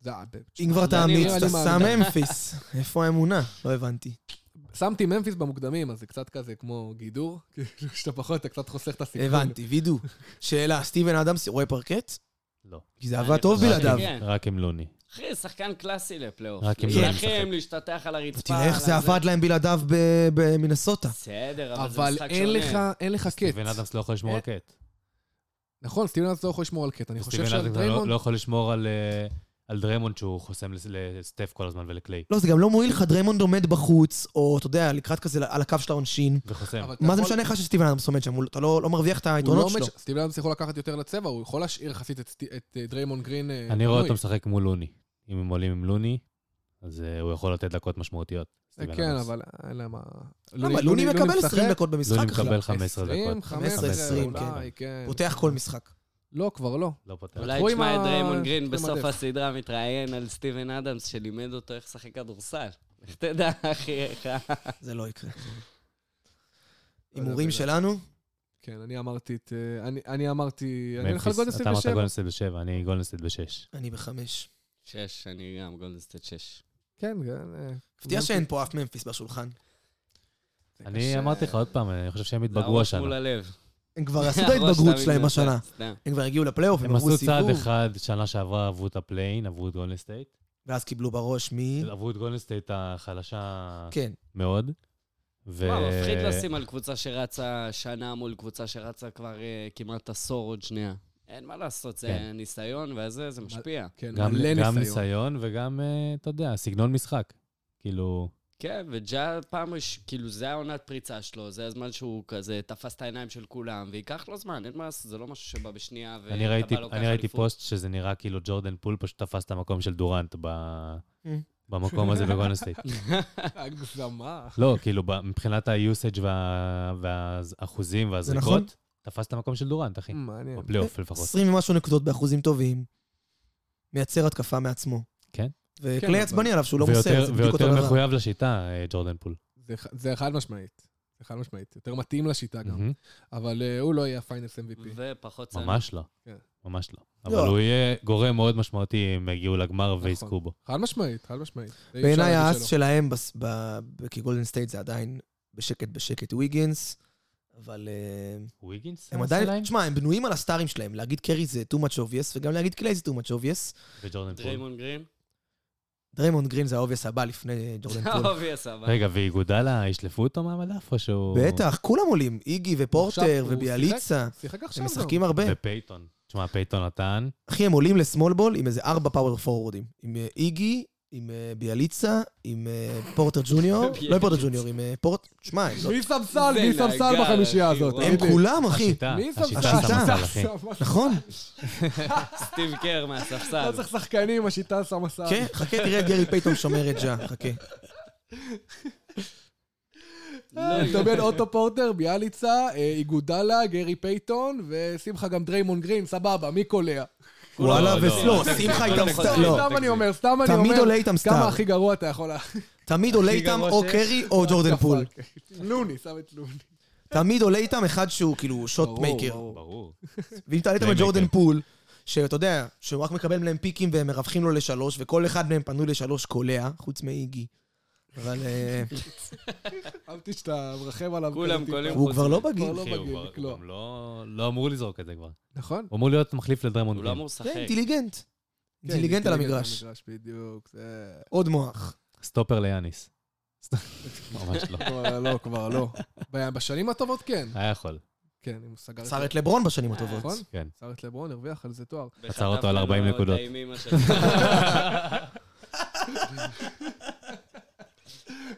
[SPEAKER 3] זה היה...
[SPEAKER 4] אם כבר אתה
[SPEAKER 5] אני-
[SPEAKER 4] אמיץ,
[SPEAKER 3] נראה
[SPEAKER 4] אתה
[SPEAKER 3] לי
[SPEAKER 4] שם
[SPEAKER 3] מאמין.
[SPEAKER 4] ממפיס. איפה האמונה? לא הבנתי.
[SPEAKER 3] שמתי ממפיס במוקדמים, אז זה קצת כזה כמו גידור, *laughs* כאילו שאתה פחות, אתה קצת חוסך את הסיכון.
[SPEAKER 4] הבנתי, וידו. שאלה, סטיבן אדמס רואה פרקט?
[SPEAKER 7] לא.
[SPEAKER 4] כי זה
[SPEAKER 5] אני
[SPEAKER 4] עבד טוב
[SPEAKER 5] חושב
[SPEAKER 4] בלעדיו.
[SPEAKER 3] כן.
[SPEAKER 5] שכן.
[SPEAKER 7] רק עם לוני.
[SPEAKER 5] אחי, שחקן קלאסי לפלייאוף.
[SPEAKER 7] רק אם
[SPEAKER 4] לא
[SPEAKER 5] להילחם,
[SPEAKER 7] משחק.
[SPEAKER 5] להשתטח על הרצפה.
[SPEAKER 4] תראה איך
[SPEAKER 5] על
[SPEAKER 4] זה
[SPEAKER 5] הזה.
[SPEAKER 4] עבד להם בלעדיו ב- במינסוטה.
[SPEAKER 5] בסדר, אבל זה
[SPEAKER 3] אבל
[SPEAKER 5] משחק שונה.
[SPEAKER 3] אין לך, אין לך קט. אה?
[SPEAKER 7] סטיבן אדמס לא יכול לשמור על קט.
[SPEAKER 3] נכון, סטיבן אדמס לא יכול לשמור על קט. אני חושב
[SPEAKER 7] סטיבן
[SPEAKER 3] שעל
[SPEAKER 7] אדמס לא-
[SPEAKER 3] דריימונד...
[SPEAKER 7] לא יכול לשמור על, אה, על דרמונד שהוא חוסם לס- לסטף כל הזמן ולקליי.
[SPEAKER 4] לא, זה גם לא מועיל לך, דריימונד עומד בחוץ, או אתה יודע, לקראת כזה על הקו של העונשין.
[SPEAKER 7] וחוסם.
[SPEAKER 3] אבל אתה
[SPEAKER 4] מה זה
[SPEAKER 3] יכול-
[SPEAKER 4] משנה לך שסטיבן אדמס עומד שם? הוא- אתה לא לא מרוויח את
[SPEAKER 3] נכון. הוא לא
[SPEAKER 4] היתרונות
[SPEAKER 3] עומד
[SPEAKER 4] שלו.
[SPEAKER 3] ש- סטיבן אדמס יכול לקחת יותר לצבע, הוא יכול להשאיר יחסית את סטי- את אה, דריימונד גרין אה,
[SPEAKER 7] אני רואה
[SPEAKER 3] פנוי.
[SPEAKER 7] אותו משחק מול לוני. אם הם עולים עם לוני, אז אה, הוא יכול לתת דקות משמעותיות. סטיבן
[SPEAKER 3] כן,
[SPEAKER 7] אדמס.
[SPEAKER 3] אבל אין להם מה... לא,
[SPEAKER 4] למה? לוני מקבל 20 דקות
[SPEAKER 7] לוני
[SPEAKER 4] במשחק עכשיו.
[SPEAKER 7] מקבל 15
[SPEAKER 3] 20,
[SPEAKER 7] דקות.
[SPEAKER 3] 15,
[SPEAKER 4] 20,
[SPEAKER 3] אולי, כן.
[SPEAKER 4] פותח כל משחק.
[SPEAKER 3] לא, כבר לא.
[SPEAKER 7] לא פותח.
[SPEAKER 5] אולי
[SPEAKER 3] אנחנו עם
[SPEAKER 5] תשמע
[SPEAKER 3] ה-
[SPEAKER 5] את דריימון
[SPEAKER 3] עם
[SPEAKER 5] גרין בסוף
[SPEAKER 3] הדף.
[SPEAKER 5] הסדרה מתראיין על סטיבן אדמס, שלימד אותו איך לשחק כדורסל. *laughs* איך תדע, אחי, איך... ה-
[SPEAKER 4] זה לא יקרה.
[SPEAKER 3] יודע,
[SPEAKER 4] הימורים
[SPEAKER 3] אתה
[SPEAKER 4] שלנו?
[SPEAKER 3] כן, אני אמרתי את... אה, אני- אני אמרתי... אני הולך
[SPEAKER 7] ממפיס,
[SPEAKER 3] לגולדן סטייט
[SPEAKER 7] אתה אמרת
[SPEAKER 3] בשבע.
[SPEAKER 7] גולדנסט בשבע, אני גולדנסט בשש.
[SPEAKER 4] אני בחמש.
[SPEAKER 5] שש, אני גם גולדנסטייט שש.
[SPEAKER 3] כן, כן. אה,
[SPEAKER 4] מפתיע שאין פה אף ממפיס בשולחן.
[SPEAKER 3] זה
[SPEAKER 7] אני
[SPEAKER 3] קשה.
[SPEAKER 7] אמרתי לך עוד פעם, אני חושב שהם
[SPEAKER 5] זה
[SPEAKER 7] התבגרו
[SPEAKER 5] הראש מול
[SPEAKER 7] השנה.
[SPEAKER 4] *laughs*
[SPEAKER 5] הלב.
[SPEAKER 4] הם
[SPEAKER 7] *laughs*
[SPEAKER 4] כבר עשו את
[SPEAKER 5] הראש
[SPEAKER 4] ההתבגרות
[SPEAKER 5] תמיד כן.
[SPEAKER 4] שלהם
[SPEAKER 5] נותן,
[SPEAKER 4] השנה.
[SPEAKER 5] סתם.
[SPEAKER 4] הם כבר הגיעו לפלייאוף, הם
[SPEAKER 7] הם
[SPEAKER 4] עברו
[SPEAKER 7] עשו צעד
[SPEAKER 4] סיבוב,
[SPEAKER 7] אחד, שנה שעברה עברו את הפליין, עברו את גולדנסטייט.
[SPEAKER 4] ואז קיבלו בראש מ...
[SPEAKER 7] עברו את גולדנסטייט החלשה
[SPEAKER 4] כן.
[SPEAKER 7] מאוד. ו-
[SPEAKER 5] מה, מפחיד לשים על קבוצה שרצה שנה מול קבוצה שרצה כבר אה, כמעט עשור עוד שנייה. אין מה לעשות, זה
[SPEAKER 7] כן.
[SPEAKER 5] ניסיון, וזה, זה משפיע.
[SPEAKER 3] כן,
[SPEAKER 7] גם-
[SPEAKER 3] מלא ניסיון.
[SPEAKER 7] גם ניסיון וגם, אה, אתה יודע, סגנון משחק. כאילו,
[SPEAKER 5] כן, וג'ה פעם, ראש- כאילו, זה העונת פריצה שלו, זה הזמן שהוא כזה תפס את העיניים של כולם, וייקח לו זמן, אין מה לעשות, זה לא משהו שבא בשנייה, ואתה
[SPEAKER 7] אני ראיתי,
[SPEAKER 5] בא לוקח
[SPEAKER 7] אני ראיתי
[SPEAKER 5] אליפות.
[SPEAKER 7] פוסט שזה נראה כאילו ג'ורדן פול פשוט תפס את המקום של דורנט ב...
[SPEAKER 4] Mm.
[SPEAKER 7] במקום הזה בגולדנסטייט.
[SPEAKER 3] הגזמה.
[SPEAKER 7] לא, כאילו, ב- מבחינת ה-usage וה- והאחוזים
[SPEAKER 4] נכון. Mm.
[SPEAKER 7] והזריקות, תפס את המקום של דורנט,
[SPEAKER 4] כן.
[SPEAKER 7] אחי.
[SPEAKER 3] מעניין.
[SPEAKER 4] אוקיי.
[SPEAKER 7] בפלייאוף לפחות.
[SPEAKER 4] 20 ומשהו נקודות באחוזים טובים. מייצר התקפה מעצמו.
[SPEAKER 7] כן.
[SPEAKER 3] כן, אבל-
[SPEAKER 4] וקליי עצבני עליו שהוא לא מוסר,
[SPEAKER 7] ויותר
[SPEAKER 4] זה בדיוק אותו
[SPEAKER 7] ויותר
[SPEAKER 4] דבר.
[SPEAKER 7] מחויב לשיטה, אה, ג'ורדן פול.
[SPEAKER 3] זה ח- זה חד משמעית. זה חד משמעית. יותר מתאים
[SPEAKER 4] אה,
[SPEAKER 3] לשיטה גם.
[SPEAKER 7] מהמם.
[SPEAKER 3] אבל אה, הוא לא יהיה הפיינלס MVP.
[SPEAKER 5] ופחות צמד.
[SPEAKER 7] ממש לא.
[SPEAKER 3] כן.
[SPEAKER 7] ממש לא.
[SPEAKER 4] לא. נכון.
[SPEAKER 7] אבל הוא יהיה גורם מאוד משמעותי אם יגיעו לגמר ויזכו בו.
[SPEAKER 3] חד משמעית, חד משמעית. זה אי אפשר
[SPEAKER 4] בעיניי
[SPEAKER 3] להגיד
[SPEAKER 4] האס
[SPEAKER 3] שלא.
[SPEAKER 4] שלהם בס- ב- ב- כגולדן סטייט זה עדיין בשקט בשקט וויגינס, אבל אה,
[SPEAKER 7] וויגינס?
[SPEAKER 4] הם עדיין, תשמע, הם בנויים על הסטארים שלהם, להגיד קרי זה too much obvious, וגם להגיד קליי זה too much obvious.
[SPEAKER 7] וג'ורדן פול.
[SPEAKER 5] דריימון
[SPEAKER 7] *laughs*
[SPEAKER 5] גרין?
[SPEAKER 4] דריימונד גרין זה ה-obvious הבא לפני אה, ג'ורדן פול.
[SPEAKER 5] אובייס, לא, אבל...
[SPEAKER 7] רגע, ואיגודלה, ישלפו אותו מהמדף או שהוא...
[SPEAKER 4] בטח, כולם עולים, איגי
[SPEAKER 3] עכשיו
[SPEAKER 4] ופורטר
[SPEAKER 3] הוא
[SPEAKER 4] וביאליצה,
[SPEAKER 3] שיחק עכשיו
[SPEAKER 4] הם
[SPEAKER 3] גם.
[SPEAKER 4] משחקים הרבה.
[SPEAKER 7] ופייתון. תשמע, פייתון נתן.
[SPEAKER 4] אחי, הם עולים לסמול בול עם איזה ארבע פאוור פורורדים. עם אה, איגי, עם אה, ביאליצה, עם אה, פורטר ג'וניור, לא עם פורטר ג'וניור, עם אה, פורט... שמע, הם לא-
[SPEAKER 3] *laughs* מי שם סל?
[SPEAKER 5] זה
[SPEAKER 3] מי שם סל
[SPEAKER 5] נגר,
[SPEAKER 3] בחמישייה
[SPEAKER 5] אחי,
[SPEAKER 3] הזאת?
[SPEAKER 5] וואו.
[SPEAKER 4] הם
[SPEAKER 3] תגיד לי.
[SPEAKER 4] כולם, אחי.
[SPEAKER 7] השיטה,
[SPEAKER 3] מי שם
[SPEAKER 7] השיטה
[SPEAKER 3] סל?
[SPEAKER 4] שמה
[SPEAKER 7] שמה סל,
[SPEAKER 4] סל,
[SPEAKER 7] אחי.
[SPEAKER 4] נכון.
[SPEAKER 5] סטיב קר מהספסל.
[SPEAKER 3] לא צריך שחקנים, השיטה שמה סל.
[SPEAKER 4] כן, חכה, תראה את גרי פייתון שומר את ג'ה, חכה.
[SPEAKER 5] לא,
[SPEAKER 3] אתה מבין, אה, אוטו פורטר, ביאליצה, אה, איגודלה, גרי פייתון, ושמחה גם דריימון גרין, סבבה, מי קולע?
[SPEAKER 4] וואלה,
[SPEAKER 7] לא,
[SPEAKER 4] וסלו,
[SPEAKER 7] לא.
[SPEAKER 4] שמחה איתם
[SPEAKER 5] לא,
[SPEAKER 4] סטאר. לא,
[SPEAKER 3] סתם אני אומר, סתם אני אומר.
[SPEAKER 4] תמיד עולה איתם סטאר.
[SPEAKER 3] כמה הכי גרוע אתה יכול... לה-
[SPEAKER 4] תמיד עולה איתם
[SPEAKER 5] גרוע
[SPEAKER 4] או
[SPEAKER 5] שיש.
[SPEAKER 4] קרי או ג'ורדן פול.
[SPEAKER 3] *laughs* לוני, שם את לוני.
[SPEAKER 4] תמיד עולה איתם אחד שהוא כאילו שוט
[SPEAKER 3] ברור,
[SPEAKER 4] מייקר.
[SPEAKER 3] ברור.
[SPEAKER 7] ברור.
[SPEAKER 4] ואם תעלה איתם את
[SPEAKER 7] פליימייקר.
[SPEAKER 4] ג'ורדן פול, שאתה יודע, שהוא רק מקבל מהם פיקים והם מרווחים לו לשלוש, וכל אחד מהם פנוי לשלוש קולע, חוץ מאיגי. אבל אה,
[SPEAKER 3] אהבתי שאתה מרחם עליו.
[SPEAKER 5] כולם
[SPEAKER 3] כזה
[SPEAKER 5] קולים.
[SPEAKER 3] טיפה.
[SPEAKER 4] הוא כבר לא
[SPEAKER 3] כבר
[SPEAKER 4] בגיל.
[SPEAKER 3] לא
[SPEAKER 7] אחי, הוא
[SPEAKER 3] בגיל,
[SPEAKER 7] כבר-
[SPEAKER 3] לא.
[SPEAKER 7] הוא גם לא- לא אמור לזרוק את זה כבר.
[SPEAKER 3] נכון.
[SPEAKER 7] הוא אמור להיות מחליף לדרמונד
[SPEAKER 5] הוא לא
[SPEAKER 7] גרין.
[SPEAKER 5] אמור
[SPEAKER 4] כן,
[SPEAKER 5] לשחק.
[SPEAKER 4] אינטליגנט.
[SPEAKER 3] כן,
[SPEAKER 4] אינטליגנט על המגרש.
[SPEAKER 3] בדיוק, זה...
[SPEAKER 4] עוד מוח.
[SPEAKER 7] סטופר ליאניס. ממש לא.
[SPEAKER 3] כבר לא, כבר לא. ב- בשנים הטובות כן.
[SPEAKER 7] היה יכול.
[SPEAKER 3] כן, אם הוא סגר
[SPEAKER 4] עצר את לברון בשנים הטובות.
[SPEAKER 3] נכון?
[SPEAKER 7] כן.
[SPEAKER 3] עצר את לברון, הרוויח על זה תואר.
[SPEAKER 7] עצר אותו על 40 נקודות.
[SPEAKER 5] בחטף לנו את האימים השלך.
[SPEAKER 3] *laughs*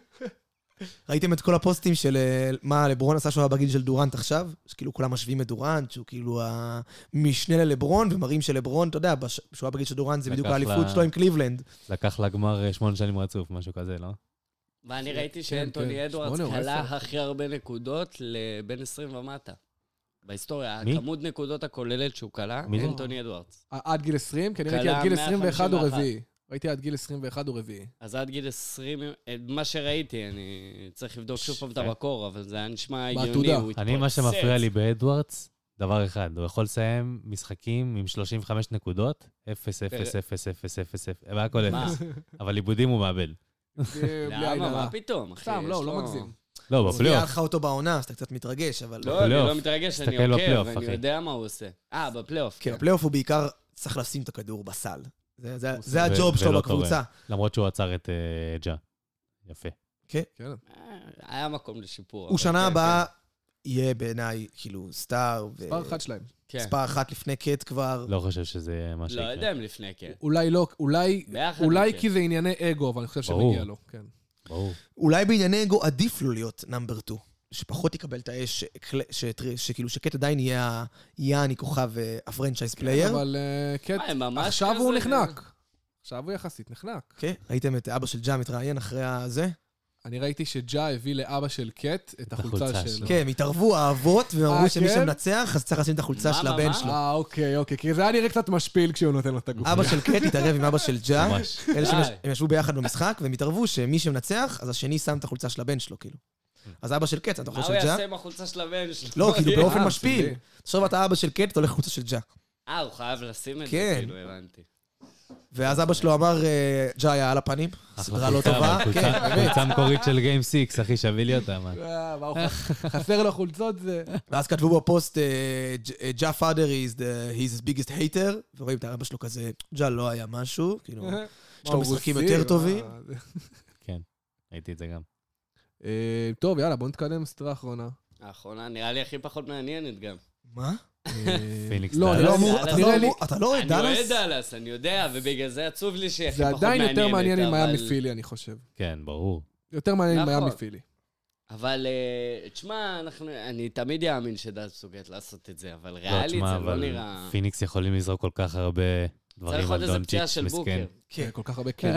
[SPEAKER 4] ראיתם את כל הפוסטים של אה, מה לברון עשה שהוא היה בגיל של דורנט עכשיו? שכאילו כולם משווים את דורנט, שהוא כאילו המשנה ללברון, ומראים שלברון, אתה יודע, בש- שהוא היה בגיל של דורנט זה בדיוק
[SPEAKER 7] לקח
[SPEAKER 4] האליפות
[SPEAKER 7] לה-
[SPEAKER 4] שלו עם קליבלנד.
[SPEAKER 7] לקח לגמר אה, שמונה שנים רצוף, משהו כזה, לא?
[SPEAKER 5] ואני ראיתי
[SPEAKER 3] כן.
[SPEAKER 5] שאנטוני אדוארדס
[SPEAKER 3] שמונה או
[SPEAKER 5] כלה
[SPEAKER 3] עשר.
[SPEAKER 5] הכי הרבה נקודות לבן 20 ומטה. בהיסטוריה,
[SPEAKER 7] מי?
[SPEAKER 5] הכמות נקודות הכוללת שהוא כלה,
[SPEAKER 7] מי זה?
[SPEAKER 5] אנטוני אדוארדס.
[SPEAKER 3] עד גיל 20? כי אני ראיתי
[SPEAKER 5] כלה
[SPEAKER 3] עד גיל
[SPEAKER 5] 151.
[SPEAKER 3] 21 הוא רביעי. ראיתי עד גיל 21 הוא
[SPEAKER 4] *laughs*
[SPEAKER 3] רביעי.
[SPEAKER 5] אז עד גיל 20, את מה שראיתי, אני צריך לבדוק שוב פעם את
[SPEAKER 3] אה?
[SPEAKER 7] כן.
[SPEAKER 5] המקור, אבל זה היה נשמע
[SPEAKER 3] בעתודה.
[SPEAKER 5] הגיוני, הוא התפוצץ.
[SPEAKER 7] אני, מה שמפריע לי באדוארדס, דבר אחד, הוא יכול לסיים משחקים עם 35 נקודות, 0, 0, 0, 0, 0, 0, והכל
[SPEAKER 5] מה?
[SPEAKER 7] 0. אבל עיבודים הוא מאבד.
[SPEAKER 3] זה *laughs* בלי עין
[SPEAKER 5] למה?
[SPEAKER 3] הרע.
[SPEAKER 5] מה פתאום, אחי?
[SPEAKER 3] סתם, לא,
[SPEAKER 5] יש
[SPEAKER 3] הוא
[SPEAKER 5] לו-
[SPEAKER 3] לא מגזים.
[SPEAKER 7] לא,
[SPEAKER 4] אז היה
[SPEAKER 7] בפלייאוף.
[SPEAKER 4] לך אותו בעונה, אז אתה קצת מתרגש, אבל...
[SPEAKER 5] לא, אני לא
[SPEAKER 7] בפלייאוף.
[SPEAKER 5] מתרגש, אני
[SPEAKER 7] תסתכל בפלייאוף,
[SPEAKER 5] עוקב, אני
[SPEAKER 7] אחי.
[SPEAKER 5] יודע מה הוא עושה. אה, בפלייאוף.
[SPEAKER 4] כן, הפלייאוף הוא בעיקר צריך לשים את הכדור בסל. זה- זה-
[SPEAKER 7] ו-
[SPEAKER 4] זה הג'וב שלו
[SPEAKER 7] ולא תורם.
[SPEAKER 4] בקבוצה.
[SPEAKER 7] למרות שהוא עצר את אה, ג'ה. יפה.
[SPEAKER 3] כן.
[SPEAKER 5] אה, היה מקום לשיפור.
[SPEAKER 4] הוא
[SPEAKER 5] אבל
[SPEAKER 4] שנה
[SPEAKER 5] כן,
[SPEAKER 4] הבאה יהיה בעיניי, כאילו, סטאר, ו-
[SPEAKER 3] מספר אחד שלהם.
[SPEAKER 5] כן. כן.
[SPEAKER 4] מספר אחת לפני קט כבר.
[SPEAKER 7] לא חושב שזה מה
[SPEAKER 5] לא
[SPEAKER 7] שיקרה.
[SPEAKER 5] יודע אם לפני כן. אוקיי.
[SPEAKER 3] אולי לא, אולי...
[SPEAKER 5] ביחד כן.
[SPEAKER 3] אולי
[SPEAKER 5] מכן.
[SPEAKER 3] כי זה ענייני אגו, אבל אני חושב
[SPEAKER 7] ברור.
[SPEAKER 3] שמגיע לו, כן.
[SPEAKER 7] ברור.
[SPEAKER 4] אולי בענייני אגו עדיף לו להיות נאמבר 2, שפחות יקבל את האש, שקל- שטר- שכאילו שקט עדיין יהיה ה- יעני כוכב אה, הפרנצ'ייז
[SPEAKER 5] כן,
[SPEAKER 4] פלייר.
[SPEAKER 3] אבל אה, קט,
[SPEAKER 5] מה, הם ממש
[SPEAKER 3] עכשיו הוא
[SPEAKER 5] כזה-
[SPEAKER 3] נחנק. עכשיו הוא יחסית נחנק.
[SPEAKER 4] כן, ראיתם את אבא של ג'ה מתראיין אחרי הזה?
[SPEAKER 3] אני ראיתי שג'ה הביא לאבא של קט את החולצה
[SPEAKER 7] החולצה
[SPEAKER 3] שלו.
[SPEAKER 7] שלו.
[SPEAKER 4] כן, הם התערבו האבות,
[SPEAKER 3] אה,
[SPEAKER 4] ואמרו שמי
[SPEAKER 3] כן?
[SPEAKER 4] שמנצח, אז צריך לשים את החולצה
[SPEAKER 5] מה,
[SPEAKER 4] של
[SPEAKER 5] מה,
[SPEAKER 4] הבן
[SPEAKER 5] מה?
[SPEAKER 4] שלו.
[SPEAKER 3] אה, אוקיי, אוקיי, כי זה היה נראה קצת משפיל כשהוא נותן לו את הגוף.
[SPEAKER 4] אבא של קט התערב עם
[SPEAKER 7] *laughs*
[SPEAKER 4] אבא של ג'ה.
[SPEAKER 7] ממש.
[SPEAKER 4] אלה שהם
[SPEAKER 5] די.
[SPEAKER 4] הם ישבו ביחד במשחק, והם התערבו שמי שמנצח, אז השני שם את החולצה של הבן שלו, כאילו. אז אבא של קט, אתה
[SPEAKER 5] מה
[SPEAKER 4] חושב
[SPEAKER 5] הוא
[SPEAKER 4] של ג'ה?
[SPEAKER 5] יעשה עם החולצה של הבן שלו?
[SPEAKER 4] לא, כאילו באופן
[SPEAKER 3] אה,
[SPEAKER 4] משפיל.
[SPEAKER 3] בסדר.
[SPEAKER 4] תחשוב, אתה אבא של קט, אתה הולך לחולצה של ג'ה.
[SPEAKER 5] אה, הוא חייב לשים את זה,
[SPEAKER 4] כן.
[SPEAKER 5] כאילו, הבנתי.
[SPEAKER 4] ואז אבא שלו אמר, אה, ג'ה היה על הפנים, סדרה לא
[SPEAKER 7] חולצה,
[SPEAKER 4] טובה.
[SPEAKER 7] אבל
[SPEAKER 4] כן,
[SPEAKER 7] חולצה-
[SPEAKER 4] באמת.
[SPEAKER 7] חולצה מקורית של גיים 6, אחי, שווה לי אותה, מה?
[SPEAKER 3] אה, מה, הוא ח- חסר לו חולצות
[SPEAKER 4] *laughs*
[SPEAKER 3] זה...
[SPEAKER 4] ואז כתבו בפוסט, אה, ג'ה פאדר is the- he's the biggest hater, ורואים את אבא שלו כזה, ג'ה לא היה משהו,
[SPEAKER 3] *laughs*
[SPEAKER 4] כאילו, יש לו
[SPEAKER 3] מה, הוא
[SPEAKER 4] משחקים
[SPEAKER 3] רוסי?
[SPEAKER 4] יותר
[SPEAKER 3] מה,
[SPEAKER 4] טובים.
[SPEAKER 3] זה-
[SPEAKER 7] כן, ראיתי את זה גם.
[SPEAKER 3] אה, טוב, יאללה, בוא נתקדם לסדרה האחרונה.
[SPEAKER 5] האחרונה נראה לי הכי פחות מעניינת גם.
[SPEAKER 4] מה?
[SPEAKER 3] אה,
[SPEAKER 7] פיניקס
[SPEAKER 3] לא, אני
[SPEAKER 7] דאלאס.
[SPEAKER 3] לא
[SPEAKER 4] אתה
[SPEAKER 3] אמור...
[SPEAKER 4] לא
[SPEAKER 3] נראה לי-
[SPEAKER 4] אמור- אתה לא רואה
[SPEAKER 5] אני אוהד
[SPEAKER 4] דאלאס?
[SPEAKER 5] דאלאס, אני יודע, ובגלל זה עצוב לי שהיא הכי
[SPEAKER 3] זה
[SPEAKER 5] כן, פחות מעניינת.
[SPEAKER 3] עדיין יותר מעניין עם
[SPEAKER 5] אבל-
[SPEAKER 3] מיאמי פילי, אני חושב.
[SPEAKER 7] כן, ברור.
[SPEAKER 3] יותר מעניין עם
[SPEAKER 5] נכון.
[SPEAKER 3] מיאמי פילי.
[SPEAKER 5] אבל אה, תשמע, אנחנו- אני תמיד אאמין שדאלאס מסוגלת לעשות את זה, אבל ריאלית
[SPEAKER 7] תשמע,
[SPEAKER 5] זה לא
[SPEAKER 7] אבל
[SPEAKER 5] נראה...
[SPEAKER 7] פיניקס יכולים לזרוק כל כך הרבה
[SPEAKER 5] צריך
[SPEAKER 7] דברים
[SPEAKER 5] עוד
[SPEAKER 7] על
[SPEAKER 5] איזה
[SPEAKER 7] דונצ'יץ',
[SPEAKER 5] פציעה של בוקר.
[SPEAKER 7] מסכן.
[SPEAKER 4] כן.
[SPEAKER 3] כל כך הרבה כלים.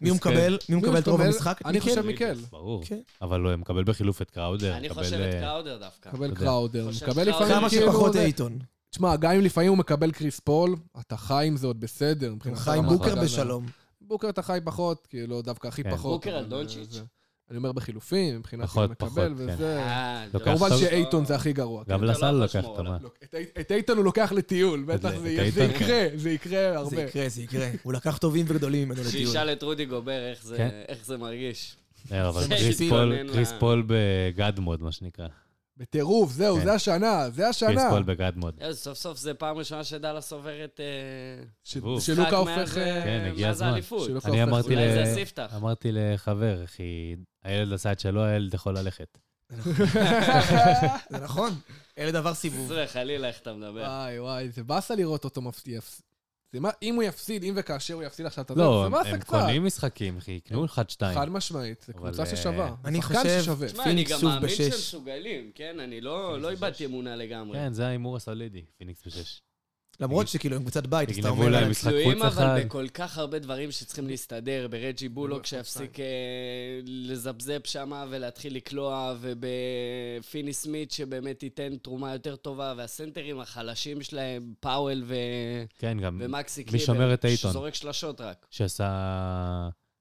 [SPEAKER 4] מי הוא
[SPEAKER 7] מסכן.
[SPEAKER 4] מקבל? מי הוא
[SPEAKER 3] מי
[SPEAKER 4] מקבל את רוב
[SPEAKER 3] מקבל?
[SPEAKER 4] המשחק? כן.
[SPEAKER 3] אני חושב
[SPEAKER 4] מיקל?
[SPEAKER 3] מיקל.
[SPEAKER 7] ברור.
[SPEAKER 4] כן.
[SPEAKER 7] אבל הוא מקבל בחילוף את קראודר.
[SPEAKER 5] אני
[SPEAKER 7] מקבל,
[SPEAKER 5] חושב את
[SPEAKER 7] אה,
[SPEAKER 5] קראודר דווקא.
[SPEAKER 3] מקבל
[SPEAKER 7] יודע.
[SPEAKER 3] קראודר,
[SPEAKER 5] חושב
[SPEAKER 3] מקבל
[SPEAKER 5] שקראודר-
[SPEAKER 3] לפעמים
[SPEAKER 4] כמה
[SPEAKER 5] כאילו,
[SPEAKER 4] שפחות
[SPEAKER 3] זה-
[SPEAKER 4] אייטון.
[SPEAKER 3] תשמע, גם אם לפעמים הוא מקבל קריס פול, אתה חי עם זה עוד בסדר.
[SPEAKER 4] הוא
[SPEAKER 3] מבחינת
[SPEAKER 4] חי עם
[SPEAKER 3] הרמת
[SPEAKER 4] בוקר
[SPEAKER 3] הגנה.
[SPEAKER 4] בשלום.
[SPEAKER 3] בוקר אתה חי פחות, כאילו, דווקא הכי
[SPEAKER 7] כן.
[SPEAKER 3] פחות.
[SPEAKER 5] בוקר
[SPEAKER 3] אבל,
[SPEAKER 5] על
[SPEAKER 3] אה,
[SPEAKER 5] דונצ'יץ'?
[SPEAKER 3] זה- אני אומר בחילופים, מבחינת מי
[SPEAKER 7] פחות,
[SPEAKER 3] מקבל
[SPEAKER 7] פחות, כן.
[SPEAKER 3] וזה.
[SPEAKER 5] אה,
[SPEAKER 7] לוקח
[SPEAKER 5] לא,
[SPEAKER 3] כמובן
[SPEAKER 7] טוב.
[SPEAKER 3] שאייטון זה הכי גרוע. כן.
[SPEAKER 7] גם לסל
[SPEAKER 5] לא
[SPEAKER 7] לקח
[SPEAKER 5] לשמור
[SPEAKER 7] את המה.
[SPEAKER 5] עליו.
[SPEAKER 3] לא, את אי- את איתן הוא לוקח לטיול, בטח
[SPEAKER 7] את
[SPEAKER 3] זה יהיה- זה
[SPEAKER 7] איתן, כן.
[SPEAKER 3] יקרה, זה יקרה הרבה.
[SPEAKER 4] זה יקרה, זה יקרה. הוא לקח טובים וגדולים ממנו לטיול.
[SPEAKER 5] שישאל את רודי גובר איך זה-
[SPEAKER 7] כן.
[SPEAKER 5] איך זה מרגיש.
[SPEAKER 7] אה, אבל
[SPEAKER 5] זה
[SPEAKER 7] קריס
[SPEAKER 5] שהתלונן
[SPEAKER 7] פול,
[SPEAKER 5] ל-
[SPEAKER 7] קריס פול בגאד מוד, מה שנקרא.
[SPEAKER 3] בטירוף, זהו,
[SPEAKER 7] כן.
[SPEAKER 3] זה השנה, זה
[SPEAKER 7] קריס
[SPEAKER 3] השנה.
[SPEAKER 7] פול בגאד מוד.
[SPEAKER 5] אה, סוף סוף זה פעם ראשונה שדאלאס עוברת אה,
[SPEAKER 3] ש-
[SPEAKER 7] וואו.
[SPEAKER 3] שלוקה
[SPEAKER 5] משחק
[SPEAKER 3] הופך...
[SPEAKER 5] מאז,
[SPEAKER 3] אה,
[SPEAKER 7] כן,
[SPEAKER 5] אה,
[SPEAKER 7] הגיע
[SPEAKER 5] מאז
[SPEAKER 7] הזמן.
[SPEAKER 5] האליפות.
[SPEAKER 3] שלוקה
[SPEAKER 7] אני
[SPEAKER 3] הופך-
[SPEAKER 7] אמרתי
[SPEAKER 5] אולי
[SPEAKER 7] ל-
[SPEAKER 5] זה *laughs* הספתח.
[SPEAKER 7] אמרתי לחבר, אחי, הילד עשה את שלו, הילד יכול ללכת.
[SPEAKER 3] *laughs*
[SPEAKER 4] זה נכון. ילד עבר סיבוב.
[SPEAKER 5] זה חלילה איך אתה מדבר.
[SPEAKER 3] וואי, וואי, זה באסה לראות אותו מפסיד. זה מה- אם הוא יפסיד, אם וכאשר הוא יפסיד עכשיו, אתה יודע,
[SPEAKER 7] לא,
[SPEAKER 3] זה
[SPEAKER 7] הם-
[SPEAKER 3] באסה
[SPEAKER 7] הם
[SPEAKER 3] קצת.
[SPEAKER 7] קונים משחקים, אחי,
[SPEAKER 5] כן.
[SPEAKER 7] יקנו אחד-שתיים.
[SPEAKER 3] חד משמעית, זו
[SPEAKER 7] אבל,
[SPEAKER 3] קבוצה
[SPEAKER 7] אה,
[SPEAKER 3] ששווה.
[SPEAKER 4] אני
[SPEAKER 3] שחקן
[SPEAKER 4] חושב-
[SPEAKER 3] ששווה.
[SPEAKER 5] תשמע, אני
[SPEAKER 4] פיניקס
[SPEAKER 5] גם
[SPEAKER 4] שוב
[SPEAKER 5] מאמין שהם
[SPEAKER 4] בשש.
[SPEAKER 5] מסוגלים, כן? אני לא לא איבדתי אמונה לגמרי.
[SPEAKER 7] כן, זה ההימור הסולידי, פיניקס בשש.
[SPEAKER 4] למרות שכאילו הם קבוצת בית, אז אתה
[SPEAKER 7] יגנבו
[SPEAKER 4] אומר
[SPEAKER 7] להם
[SPEAKER 4] להם,
[SPEAKER 7] משחק
[SPEAKER 5] תלויים
[SPEAKER 7] חוץ אחד.
[SPEAKER 5] אבל בכל כך הרבה דברים שצריכים להסתדר, ברג'י בולוק שיפסיק אה, לזפזפ שמה ולהתחיל לקלוע, ובפיני סמית שבאמת ייתן תרומה יותר טובה, והסנטרים החלשים שלהם, פאוול ו...
[SPEAKER 7] כן, גם
[SPEAKER 5] ומקסי
[SPEAKER 7] מי שומר את אייטון?
[SPEAKER 5] שזורק שלשות רק.
[SPEAKER 7] שעשה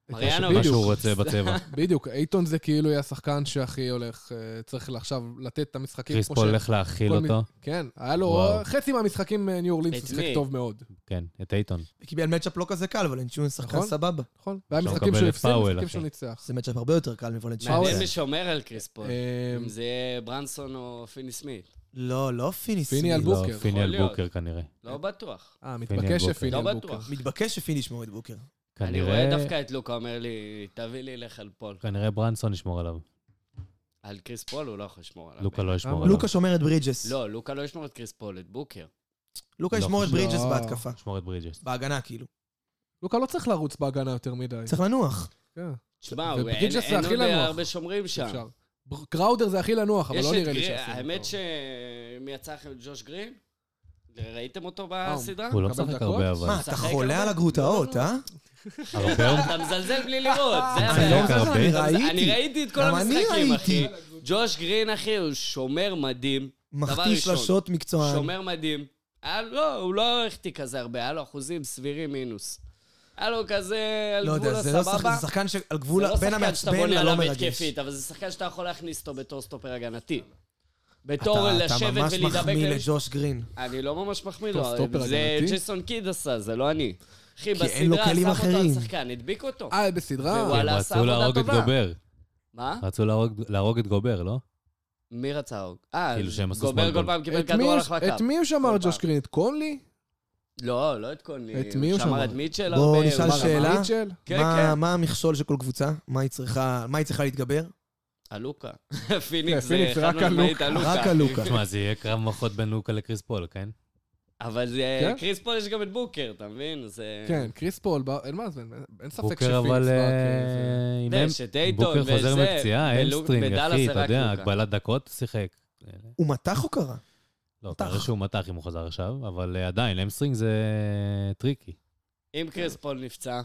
[SPEAKER 3] את
[SPEAKER 5] מריאנו.
[SPEAKER 7] מה
[SPEAKER 3] בדיוק.
[SPEAKER 7] שהוא רוצה בצבע.
[SPEAKER 3] *laughs* בדיוק, אייטון זה כאילו יהיה השחקן שהכי הולך, אה, צריך עכשיו לתת את המשחקים.
[SPEAKER 7] קריס
[SPEAKER 3] כמו
[SPEAKER 7] פול
[SPEAKER 3] ש-
[SPEAKER 7] הולך להאכיל
[SPEAKER 3] כל מי-
[SPEAKER 7] אותו.
[SPEAKER 3] כן, היה לו
[SPEAKER 7] וואו.
[SPEAKER 3] חצי מהמשחקים אה, ניו אורלינס
[SPEAKER 5] את
[SPEAKER 3] משחק
[SPEAKER 5] מי?
[SPEAKER 3] טוב מאוד,
[SPEAKER 7] כן, את אייטון.
[SPEAKER 4] קיבל מצ'אפ לא כזה קל, ולנצ'ון שחקן
[SPEAKER 3] נכון.
[SPEAKER 4] סבבה.
[SPEAKER 3] נכון? והמשחקים
[SPEAKER 7] מקבל
[SPEAKER 3] שהוא
[SPEAKER 7] את
[SPEAKER 3] הפסיד,
[SPEAKER 7] פאוול,
[SPEAKER 3] משחקים
[SPEAKER 7] אחי.
[SPEAKER 3] שהוא ניצח. אה,
[SPEAKER 4] זה מצ'אפ הרבה יותר קל מוולנצ'ון.
[SPEAKER 3] פאוול.
[SPEAKER 5] מעניין מי שומר על קריס פול.
[SPEAKER 3] אה,
[SPEAKER 5] אם זה יהיה ברנסון או פיני סמית.
[SPEAKER 4] לא, לא פיני סמית.
[SPEAKER 3] פיני על
[SPEAKER 7] לא,
[SPEAKER 3] בוקר.
[SPEAKER 7] פיני
[SPEAKER 5] יכול
[SPEAKER 7] על
[SPEAKER 5] להיות.
[SPEAKER 7] בוקר כנראה.
[SPEAKER 5] לא בטוח.
[SPEAKER 3] אה,
[SPEAKER 7] פיני
[SPEAKER 3] מתבקש
[SPEAKER 7] בוקר.
[SPEAKER 3] שפיני
[SPEAKER 5] לא
[SPEAKER 3] על בוקר.
[SPEAKER 5] בטוח.
[SPEAKER 4] מתבקש שפיני ישמור את בוקר.
[SPEAKER 5] אני רואה
[SPEAKER 7] כנראה
[SPEAKER 5] דווקא את לוקה אומר לי, תביא לי לך על פול.
[SPEAKER 7] כנראה ברנסון ישמור עליו.
[SPEAKER 5] על קריס פול הוא לא יכול לשמור עליו.
[SPEAKER 7] לוקה לא ישמור עליו.
[SPEAKER 4] לוקה שומר את ברידג'ס.
[SPEAKER 5] לא, לוקה לא ישמור את קריס פול, את בוקר.
[SPEAKER 4] לוקה
[SPEAKER 7] לא,
[SPEAKER 4] ישמור את
[SPEAKER 7] לא.
[SPEAKER 4] ברידג'ס בהתקפה.
[SPEAKER 7] ישמור את ברידג'ס.
[SPEAKER 4] בהגנה, כאילו.
[SPEAKER 3] לוקה לא צריך לרוץ בהגנה יותר מדי.
[SPEAKER 4] צריך לנוח.
[SPEAKER 3] כן,
[SPEAKER 5] תשמע, הוא- אין
[SPEAKER 3] וברידג'ס זה
[SPEAKER 5] אין
[SPEAKER 3] הכי
[SPEAKER 5] עוד
[SPEAKER 3] לנוח.
[SPEAKER 5] הרבה שומרים שם.
[SPEAKER 3] אפשר. בר- קראודר זה הכי לנוח, אבל
[SPEAKER 5] יש
[SPEAKER 3] לא
[SPEAKER 5] את
[SPEAKER 3] נראה לי
[SPEAKER 5] גרין,
[SPEAKER 3] שעשינו אותו.
[SPEAKER 5] האמת שמי יצא לכם ג'וש גרין? ראיתם אותו בסדרה?
[SPEAKER 7] הוא לא
[SPEAKER 3] כמה
[SPEAKER 7] משחק
[SPEAKER 3] דקות?
[SPEAKER 7] הרבה, אבל...
[SPEAKER 4] מה,
[SPEAKER 5] משחק
[SPEAKER 4] אתה חולה
[SPEAKER 5] הרבה?
[SPEAKER 4] על הגרוטאות, אה?
[SPEAKER 5] *laughs*
[SPEAKER 7] הרבה הוא-
[SPEAKER 5] אתה מזלזל בלי לראות, זה
[SPEAKER 7] משחק
[SPEAKER 5] הבעיה.
[SPEAKER 7] לא הרבה?
[SPEAKER 4] אני לא
[SPEAKER 5] אז לא אני
[SPEAKER 4] ראיתי.
[SPEAKER 5] ראיתי את כל
[SPEAKER 4] גם אני
[SPEAKER 5] המשחקים, אחי.
[SPEAKER 4] ראיתי.
[SPEAKER 5] ג'וש גרין, אחי, הוא שומר מדהים. דבר
[SPEAKER 4] מחטיא
[SPEAKER 5] ראשון,
[SPEAKER 4] שלשות מקצוען.
[SPEAKER 5] שומר מדהים. היה- לא, הוא לא החטיא כזה הרבה, היה לו אחוזים סבירים מינוס. היה לו כזה על
[SPEAKER 4] לא
[SPEAKER 5] גבול
[SPEAKER 4] יודע, זה לא שחקן,
[SPEAKER 5] הסבבה.
[SPEAKER 4] זה שחקן שעל
[SPEAKER 5] זה
[SPEAKER 4] גבול,
[SPEAKER 5] לא
[SPEAKER 4] בין
[SPEAKER 5] שחקן שאתה
[SPEAKER 4] המעצבן
[SPEAKER 5] בונה
[SPEAKER 4] ללא
[SPEAKER 5] עליו
[SPEAKER 4] מרגש.
[SPEAKER 5] התקפית, אבל זה שחקן שאתה יכול להכניס אותו בתור סטופר הגנתי. בתור
[SPEAKER 4] אתה-
[SPEAKER 5] לשבת
[SPEAKER 4] אתה ממש
[SPEAKER 5] ולהידבק...
[SPEAKER 4] מחמיא
[SPEAKER 5] ל-
[SPEAKER 4] לג'וש גרין.
[SPEAKER 5] אני לא ממש מחמיא
[SPEAKER 3] בתור
[SPEAKER 5] לו,
[SPEAKER 3] סטופר
[SPEAKER 5] זה
[SPEAKER 3] הגנתי?
[SPEAKER 5] ג'ייסון קיד עשה, זה לא אני. אחי,
[SPEAKER 4] כי אין לו
[SPEAKER 5] בסדרה
[SPEAKER 4] כלים
[SPEAKER 5] שם אותו על
[SPEAKER 4] אחרים.
[SPEAKER 5] שחקן, הדביק אותו.
[SPEAKER 3] אה, בסדרה?
[SPEAKER 5] ווואלה, עשה
[SPEAKER 7] רצו
[SPEAKER 5] עבודה
[SPEAKER 7] להרוג את
[SPEAKER 5] טובה.
[SPEAKER 7] גובר.
[SPEAKER 5] מה?
[SPEAKER 7] רצו להרוג- להרוג את גובר, לא?
[SPEAKER 5] מי רצה הרוג? אה,
[SPEAKER 7] כאילו שהם עשו
[SPEAKER 5] גובר
[SPEAKER 7] שמאל
[SPEAKER 5] כל
[SPEAKER 7] גול.
[SPEAKER 5] פעם קיבל
[SPEAKER 3] את מי-
[SPEAKER 5] כדור הלך לקו.
[SPEAKER 3] את מי הוא שמר
[SPEAKER 5] כל
[SPEAKER 3] ג'וש
[SPEAKER 5] פעם.
[SPEAKER 3] גרין? את קונלי?
[SPEAKER 5] לא, לא את קוני.
[SPEAKER 3] את מי הוא שמר?
[SPEAKER 5] שמר את מיטשל הרבה.
[SPEAKER 4] בואו
[SPEAKER 5] הוא
[SPEAKER 4] נשאל
[SPEAKER 5] שמר-
[SPEAKER 4] שאלה.
[SPEAKER 3] מה, מיטשל?
[SPEAKER 5] כן,
[SPEAKER 4] מה-
[SPEAKER 5] כן.
[SPEAKER 4] מה המכשול של כל קבוצה? מה היא צריכה- מה היא צריכה להתגבר?
[SPEAKER 5] הלוקה. פיניקס זה
[SPEAKER 3] פיניקס,
[SPEAKER 5] חד
[SPEAKER 3] רק
[SPEAKER 5] משמעית הלוקה.
[SPEAKER 4] רק הלוקה.
[SPEAKER 7] תשמע, זה יהיה קרב מוחות בין לוקה לקריס פול, כן?
[SPEAKER 5] אבל זה-
[SPEAKER 3] כן?
[SPEAKER 5] קריס פול יש גם את בוקר, אתה מבין? זה...
[SPEAKER 3] כן, קריס פול, בא- אין מה זה, אין- אין ספק שפיניקס...
[SPEAKER 7] בוקר אבל...
[SPEAKER 3] בא, כן,
[SPEAKER 7] אה, אם
[SPEAKER 5] יש את
[SPEAKER 7] הם-
[SPEAKER 5] אייטון
[SPEAKER 7] בוקר
[SPEAKER 5] וזה,
[SPEAKER 7] חוזר מפציעה,
[SPEAKER 5] ולוק-
[SPEAKER 7] אלסטרינג,
[SPEAKER 5] בדאלאס
[SPEAKER 7] אחי,
[SPEAKER 5] זה
[SPEAKER 7] אתה
[SPEAKER 5] רק
[SPEAKER 7] יודע,
[SPEAKER 5] לוקה.
[SPEAKER 7] הגבלת דקות, שיחק.
[SPEAKER 4] הוא מתח או קרה?
[SPEAKER 7] לא,
[SPEAKER 4] מתח.
[SPEAKER 7] כנראה שהוא מתח אם הוא חזר עכשיו, אבל אה, עדיין, אמסטרינג זה אה, טריקי.
[SPEAKER 5] אם קריס פול נפצע,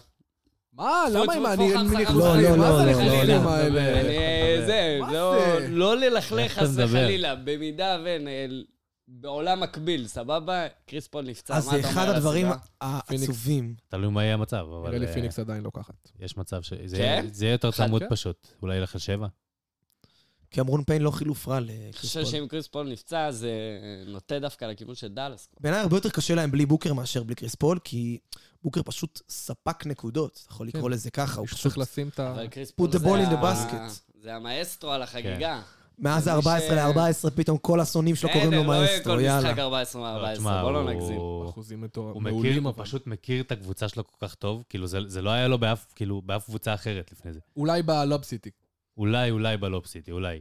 [SPEAKER 3] מה,
[SPEAKER 5] טפו,
[SPEAKER 3] למה
[SPEAKER 5] טפו,
[SPEAKER 3] הם
[SPEAKER 5] טפו,
[SPEAKER 3] אני-
[SPEAKER 5] חם,
[SPEAKER 3] הם
[SPEAKER 5] חם,
[SPEAKER 3] מניחו
[SPEAKER 5] חם,
[SPEAKER 4] לא,
[SPEAKER 3] חיים?
[SPEAKER 4] לא,
[SPEAKER 3] מה
[SPEAKER 4] לא,
[SPEAKER 3] זה
[SPEAKER 4] לא,
[SPEAKER 3] הלחלחים
[SPEAKER 7] לא.
[SPEAKER 3] האלה?
[SPEAKER 7] אני-
[SPEAKER 5] אני- זה,
[SPEAKER 3] מה
[SPEAKER 5] לא-
[SPEAKER 3] זה?
[SPEAKER 5] לא
[SPEAKER 7] איך
[SPEAKER 5] ללכלך
[SPEAKER 7] אתה
[SPEAKER 5] חס
[SPEAKER 7] מדבר?
[SPEAKER 5] וחלילה, במידה ונ... בעולם מקביל, סבבה? קריס פול נפצע, מה
[SPEAKER 4] אז
[SPEAKER 5] אתה אומר
[SPEAKER 4] זה
[SPEAKER 5] על הסדרה?
[SPEAKER 4] אחד הדברים העצובים.
[SPEAKER 7] תלוי מה יהיה המצב, אבל
[SPEAKER 3] נראה לי
[SPEAKER 7] אה,
[SPEAKER 3] פיניקס עדיין לא לוקחת.
[SPEAKER 7] יש מצב ש... זה
[SPEAKER 5] כן?
[SPEAKER 7] יהיה- זה יהיה יותר
[SPEAKER 5] אחד,
[SPEAKER 7] צמוד
[SPEAKER 5] כן?
[SPEAKER 7] פשוט. אולי ילך לשבע?
[SPEAKER 4] כי אמרון פיין לא חילוף רע
[SPEAKER 5] אני
[SPEAKER 4] לקריס
[SPEAKER 5] חושב
[SPEAKER 4] פול.
[SPEAKER 5] שאם קריס פול נפצע, זה אה, נוטה דווקא לכיוון של דאלאס.
[SPEAKER 4] בעיניי הרבה יותר קשה להם בלי בוקר מאשר בלי קריס פול, כי בוקר פשוט ספק נקודות, אתה יכול
[SPEAKER 5] כן.
[SPEAKER 4] לקרוא לזה ככה, הוא
[SPEAKER 3] מישהו
[SPEAKER 4] פשוט...
[SPEAKER 3] צריך לשים את ה...
[SPEAKER 5] אבל
[SPEAKER 7] כאילו,
[SPEAKER 5] קריס
[SPEAKER 4] put
[SPEAKER 5] פול
[SPEAKER 4] the
[SPEAKER 5] זה
[SPEAKER 4] ball in the
[SPEAKER 5] ה-
[SPEAKER 4] basket.
[SPEAKER 5] זה המאסטרו על החגיגה.
[SPEAKER 4] מאז
[SPEAKER 5] מי ש-
[SPEAKER 4] ה-14 ל-14 פתאום כל השונאים שלו קוראים
[SPEAKER 5] בסדר,
[SPEAKER 4] לו
[SPEAKER 5] לא יהיה
[SPEAKER 4] מאסטרו,
[SPEAKER 5] כל
[SPEAKER 4] יאללה.
[SPEAKER 5] משחק 14
[SPEAKER 7] לא,
[SPEAKER 5] מ-14,
[SPEAKER 7] תשמע,
[SPEAKER 5] בוא
[SPEAKER 7] הוא-
[SPEAKER 5] לא נגזים.
[SPEAKER 3] אחוזים מטורף.
[SPEAKER 7] הוא
[SPEAKER 3] מעולים,
[SPEAKER 7] מכיר, הוא
[SPEAKER 3] אבל.
[SPEAKER 7] פשוט מכיר את הקבוצה שלו כל כך טוב, כאילו זה, זה לא היה לו באף, כאילו, באף קבוצה אחרת לפני זה.
[SPEAKER 3] אולי בלוב סיטי.
[SPEAKER 7] אולי, אולי בלופ סיטי, אולי.